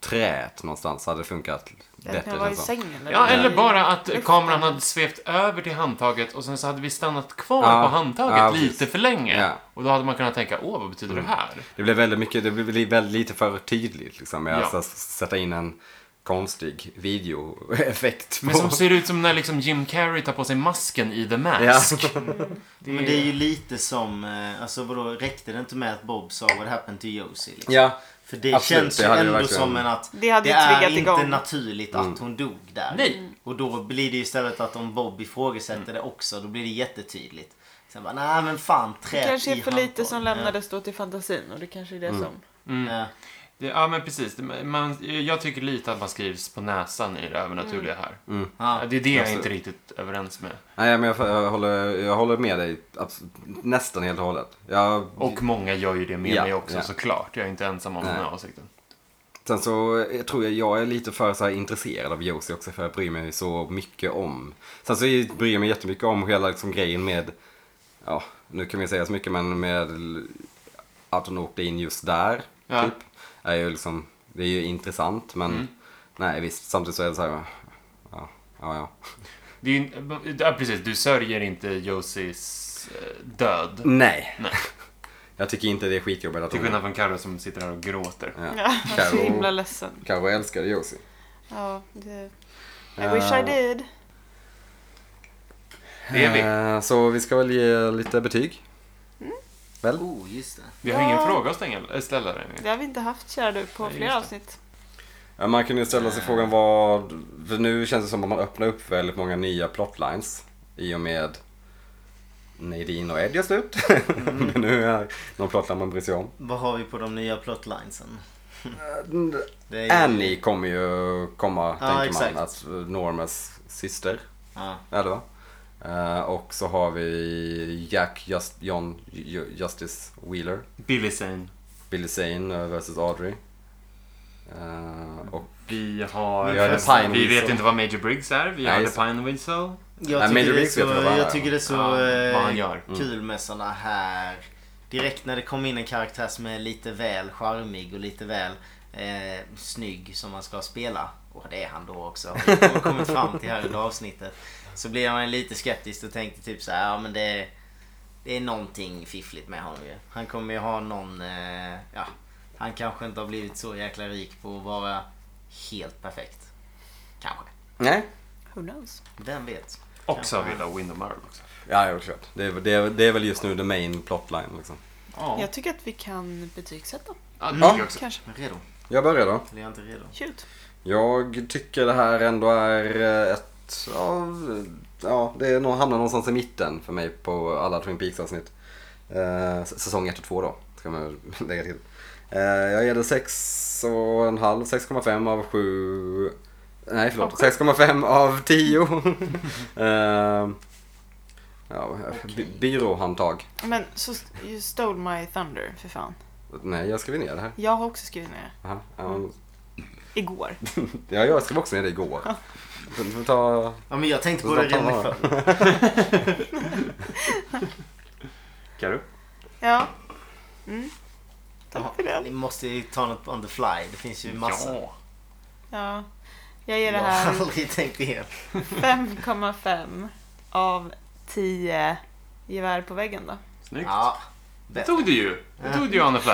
Speaker 1: träet någonstans hade funkat
Speaker 3: Det
Speaker 1: bättre.
Speaker 3: kan vara i
Speaker 1: känns det.
Speaker 3: sängen.
Speaker 4: Ja, eller
Speaker 3: i-
Speaker 4: bara att
Speaker 3: luften.
Speaker 4: kameran hade svept över till handtaget och sen så hade vi stannat kvar
Speaker 1: Ja.
Speaker 4: på handtaget
Speaker 1: Ja, precis.
Speaker 4: lite för länge.
Speaker 1: Ja. Mm.
Speaker 4: Och då hade man kunnat tänka, åh, vad betyder det här?
Speaker 1: Det blev väldigt mycket, det blev väldigt lite för tydligt liksom. Med
Speaker 4: Ja.
Speaker 1: att så här s- sätta in en konstig videoeffekt.
Speaker 4: Men
Speaker 1: på-
Speaker 4: som ser ut som när liksom Jim Carrey tar på sig masken i The
Speaker 1: ja.
Speaker 4: Mask.
Speaker 2: Men det är ju lite som, eh, alltså vadå, räckte det inte med att Bob sa what happened to Josie? Liksom?
Speaker 1: ja,
Speaker 2: För det
Speaker 1: Absolut,
Speaker 2: känns ju
Speaker 1: det hade ju
Speaker 2: ändå
Speaker 1: verkligen- Mm.
Speaker 2: som en att
Speaker 3: Det hade ju
Speaker 2: är
Speaker 3: triggat
Speaker 2: inte
Speaker 3: igång.
Speaker 2: naturligt att hon dog där.
Speaker 4: Nej.
Speaker 2: Och då blir det ju istället att om Bob ifrågasätter det också, då blir det jättetydligt. Sen bara, nej men fan,
Speaker 5: Det
Speaker 2: trät
Speaker 5: kanske är
Speaker 2: i
Speaker 5: för lite
Speaker 2: handtagen."
Speaker 5: som lämnades då till fantasin och det kanske är det som...
Speaker 2: Ja. Ja.
Speaker 4: Det, ja, men precis. Det- Man, jag tycker lite att man skrivs på näsan i det övernaturliga
Speaker 2: Mm.
Speaker 4: här.
Speaker 1: Mm.
Speaker 2: Ja.
Speaker 4: Det är det jag
Speaker 1: Alltså-
Speaker 4: inte riktigt överens med.
Speaker 1: Nej, men jag, jag, håller, jag håller med dig abs- nästan helt och hållet. Jag,
Speaker 4: Och många gör ju det med
Speaker 1: Ja,
Speaker 4: mig också
Speaker 1: ja.
Speaker 4: såklart. Jag är inte ensam om
Speaker 1: Nej.
Speaker 4: den här åsikten.
Speaker 1: Sen så eh, tror jag jag är lite för så här intresserad av Josie också för jag bryr mig så mycket om. Sen så bryr jag mig jättemycket om hela liksom grejen med, ja nu kan vi säga så mycket men med l- att hon åkte in just där.
Speaker 4: Ja. Mm.
Speaker 1: Typ. Är ju liksom, det är ju intressant men nej visst samtidigt så är det så här, ja, ja, ja.
Speaker 4: Det är ju, ja, precis. Du sörjer inte Josies eh, död.
Speaker 1: Nej.
Speaker 4: Nej.
Speaker 1: Jag tycker inte det är skitjobbigt att
Speaker 4: Till skillnad från Carro som sitter här och gråter.
Speaker 1: Ja.
Speaker 5: Ja, jag är så
Speaker 1: Karo.
Speaker 5: himla ledsen.
Speaker 1: Kanske älskade Josie.
Speaker 5: Ja, det...
Speaker 3: I wish I
Speaker 1: Eh,
Speaker 3: did.
Speaker 4: Det är vi.
Speaker 1: Eh, Så vi ska väl ge lite betyg. Väl?
Speaker 2: Oh, just det.
Speaker 4: Vi har ingen
Speaker 3: Ja.
Speaker 4: fråga att stänga- äh, ställa där.
Speaker 5: Det har vi inte haft kära du på
Speaker 4: Nej,
Speaker 5: flera
Speaker 4: just
Speaker 5: avsnitt.
Speaker 1: Ja, man kan ju ställa sig frågan vad... För nu känns det som att man öppnar upp väldigt många nya plotlines i och med Nadine och Ed gör slut.
Speaker 4: Mm.
Speaker 1: Men nu är någon plotline man bryr sig om.
Speaker 2: Vad har vi på de nya plotlinesen? Det är
Speaker 4: Eh,
Speaker 2: ju-
Speaker 1: Annie kommer ju komma,
Speaker 2: Ja,
Speaker 1: tänker
Speaker 2: exakt.
Speaker 1: man, att Normas syster.
Speaker 2: Ja.
Speaker 1: Eller va? Eh, och så har vi Jack Just, John Ju- Justice Wheeler.
Speaker 4: Billy Zane.
Speaker 1: Billy Zane vs Audrey. Eh, och
Speaker 4: Vi har...
Speaker 1: Vi har The Pine
Speaker 4: vi vet
Speaker 1: Whistle.
Speaker 4: inte vad Major Briggs är. Vi har
Speaker 1: Nej,
Speaker 4: The
Speaker 1: så-
Speaker 4: Pine Whistle.
Speaker 1: Nej,
Speaker 2: Jag,
Speaker 1: Major
Speaker 2: tycker det är
Speaker 1: Briggs
Speaker 2: så,
Speaker 1: vet vad det är.
Speaker 2: jag tycker det är så
Speaker 4: Ja,
Speaker 2: eh,
Speaker 4: vad han gör. Mm.
Speaker 2: kul med såna här... Direkt när det kom in en karaktär som är lite väl charmig och lite väl eh, snygg som man ska spela. Och det är han då också. har Vi har kommit fram till här under avsnittet. Så blev man lite skeptisk och tänkte typ så här, ja men det... Det är någonting fiffligt med honom ju. Han kommer ju ha någon... Eh, ja, han kanske inte har blivit så jäkla rik på att vara helt perfekt. Kanske.
Speaker 1: Nej.
Speaker 5: Who knows?
Speaker 2: Vem vet?
Speaker 4: Och så har
Speaker 2: Kanske.
Speaker 4: vi Low Window Marvel också.
Speaker 1: Ja, jag har klart. Det är, det, är, det är väl just nu the main plotline liksom.
Speaker 4: Ja,
Speaker 5: Jag tycker att vi kan betygsätta.
Speaker 4: ja det tycker jag också.
Speaker 5: Kanske.
Speaker 2: Men Redo?
Speaker 1: Jag börjar då.
Speaker 2: Eller är jag inte redo?
Speaker 5: Shoot.
Speaker 1: Jag tycker det här ändå är eh, ett av... Ja, det är nog, hamnar någonstans i mitten för mig på alla Twin Peaks-avsnitt. Eh, s- säsong 1 och 2 då, ska man lägga till. Eh, jag ger det 6,5, 6,5 av 7... Nej, förlåt. 6,5 av 10. eh, ja, by- byråhandtag.
Speaker 3: Men så st- you stole my thunder för fan.
Speaker 1: Nej, jag skrev ner det här.
Speaker 3: Jag har också skrivit ner
Speaker 1: Aha, ja, men-
Speaker 3: det. Igår.
Speaker 1: Ja, jag skrev också ner det igår. Får- får Ta...
Speaker 2: Ja men jag tänkte
Speaker 1: Så
Speaker 2: på det
Speaker 1: de tar
Speaker 2: redan
Speaker 1: vara.
Speaker 2: förr.
Speaker 4: Karo?
Speaker 3: Ja. Mm. Tack för
Speaker 2: Ja,
Speaker 3: det.
Speaker 2: Ni måste ju ta något on the fly. Det finns ju massa.
Speaker 4: Ja.
Speaker 3: Ja. Jag ger det
Speaker 2: Jag har
Speaker 3: här
Speaker 2: aldrig tänkt igen.
Speaker 3: 5,5 av 10 gevär på väggen då.
Speaker 4: Snyggt.
Speaker 2: Ja.
Speaker 4: Det
Speaker 2: bättre.
Speaker 4: tog du ju. Det tog du ju on the fly.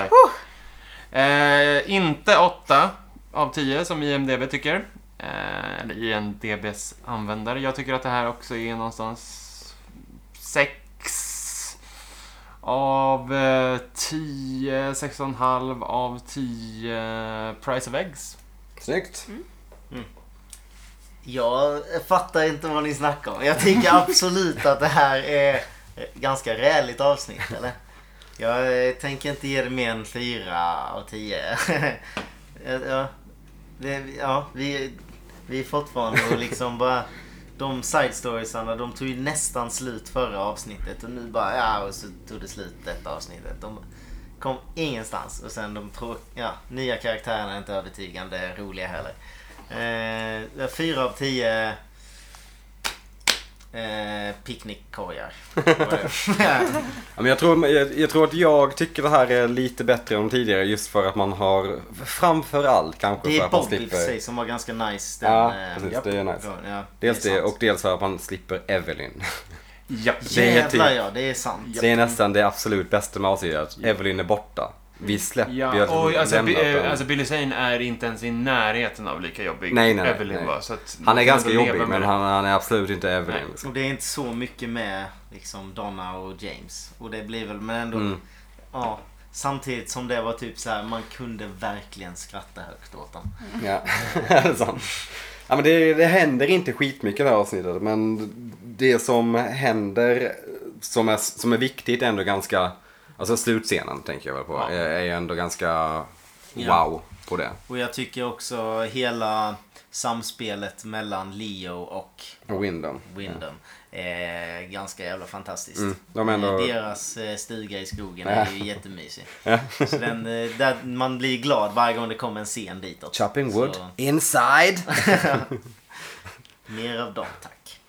Speaker 4: Eh, inte 8 av 10 som IMDB tycker. Eh, eller IMDBs användare. Jag tycker att det här också är någonstans 6 av eh, 10, 6,5 av 10 price of eggs.
Speaker 1: Snyggt.
Speaker 2: Jag fattar inte vad ni snackar om. Jag tycker absolut att det här är ett ganska räligt avsnitt eller? Jag eh, tänker inte ge det mer än 4 av 10. ja, det, ja, vi, vi är fortfarande och liksom bara... De side storiesarna, de tog ju nästan slut förra avsnittet och nu bara ja och så tog det slut detta avsnittet. De kom ingenstans och sen de trå- ja, nya karaktärerna är inte övertygande roliga heller. Eh, fyra av tio eh, picknickkorgar.
Speaker 1: Ja, men jag, tror, jag, jag tror att jag tycker det här är lite bättre än tidigare just för att man har framförallt kanske
Speaker 2: Det
Speaker 1: för
Speaker 2: är
Speaker 1: att man
Speaker 2: Bobby i och för
Speaker 1: slipper
Speaker 2: sig som var ganska nice. Den,
Speaker 1: Ja,
Speaker 2: eh,
Speaker 1: precis,
Speaker 2: japp.
Speaker 1: det är nice.
Speaker 2: Ja, det
Speaker 1: Dels
Speaker 2: är
Speaker 1: det
Speaker 2: sant.
Speaker 1: och dels för att man slipper Evelyn.
Speaker 4: Japp.
Speaker 1: det är
Speaker 2: Jävlar
Speaker 1: typ-
Speaker 2: ja, det är sant.
Speaker 1: Det är nästan det absolut bästa med avsnittet. att Evelyn är borta. Vi släpper ju
Speaker 4: Ja,
Speaker 1: att
Speaker 4: och
Speaker 1: hon
Speaker 4: alltså,
Speaker 1: lämnat
Speaker 4: Bi- eh,
Speaker 1: dem.
Speaker 4: alltså Billy Zane är inte ens i närheten av lika jobbig
Speaker 1: Nej, nej,
Speaker 4: Evelyn
Speaker 1: nej.
Speaker 4: var. Så att
Speaker 1: Han är
Speaker 4: man
Speaker 1: ganska
Speaker 4: kan ändå
Speaker 1: jobbig
Speaker 4: leva
Speaker 1: men
Speaker 4: med det.
Speaker 1: han, han är absolut inte Evelyn.
Speaker 4: Nej.
Speaker 1: Liksom.
Speaker 2: Och det är inte så mycket med liksom Donna och James. Och det blir väl men ändå...
Speaker 1: Mm.
Speaker 2: Ja, samtidigt som det var typ så här, man kunde verkligen skratta högt åt den.
Speaker 1: Ja, det är sant. Ja, men det, det händer inte skitmycket i det här avsnittet men det som händer som är, som är viktigt är ändå ganska, alltså slutscenen tänker jag väl på,
Speaker 4: Ja.
Speaker 1: är, är ju ändå ganska
Speaker 2: Ja.
Speaker 1: wow på det.
Speaker 2: Och jag tycker också hela samspelet mellan Leo och
Speaker 1: Och Windom.
Speaker 2: Windom är Eh, ganska jävla fantastiskt.
Speaker 1: Mm, de är ändå-
Speaker 2: Eh, Deras eh, stuga i skogen är ju jättemysig. Så den, eh, där, man blir glad varje gång det kommer en scen ditåt.
Speaker 1: Chopping wood,
Speaker 2: Så,
Speaker 1: inside.
Speaker 2: mer av dem tack.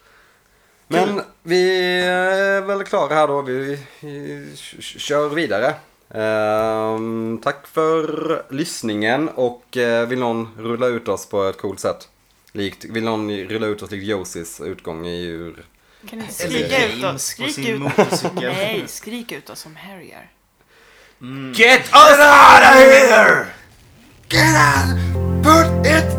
Speaker 1: Men vi är väl klara här då. Vi, vi k- kör vidare. Ehm, tack för lyssningen och eh, vill någon rulla ut oss på ett coolt sätt? Likt, vill någon rulla ut oss likt Josis utgång i ur...
Speaker 5: Kan ni
Speaker 2: Eller
Speaker 3: Skrika ut då.
Speaker 2: James på
Speaker 3: Skrik
Speaker 2: sin
Speaker 3: ut.
Speaker 2: motorcykel.
Speaker 5: Nej, skrik ut oss som Harry är.
Speaker 1: Get us out of here! Get out! Put it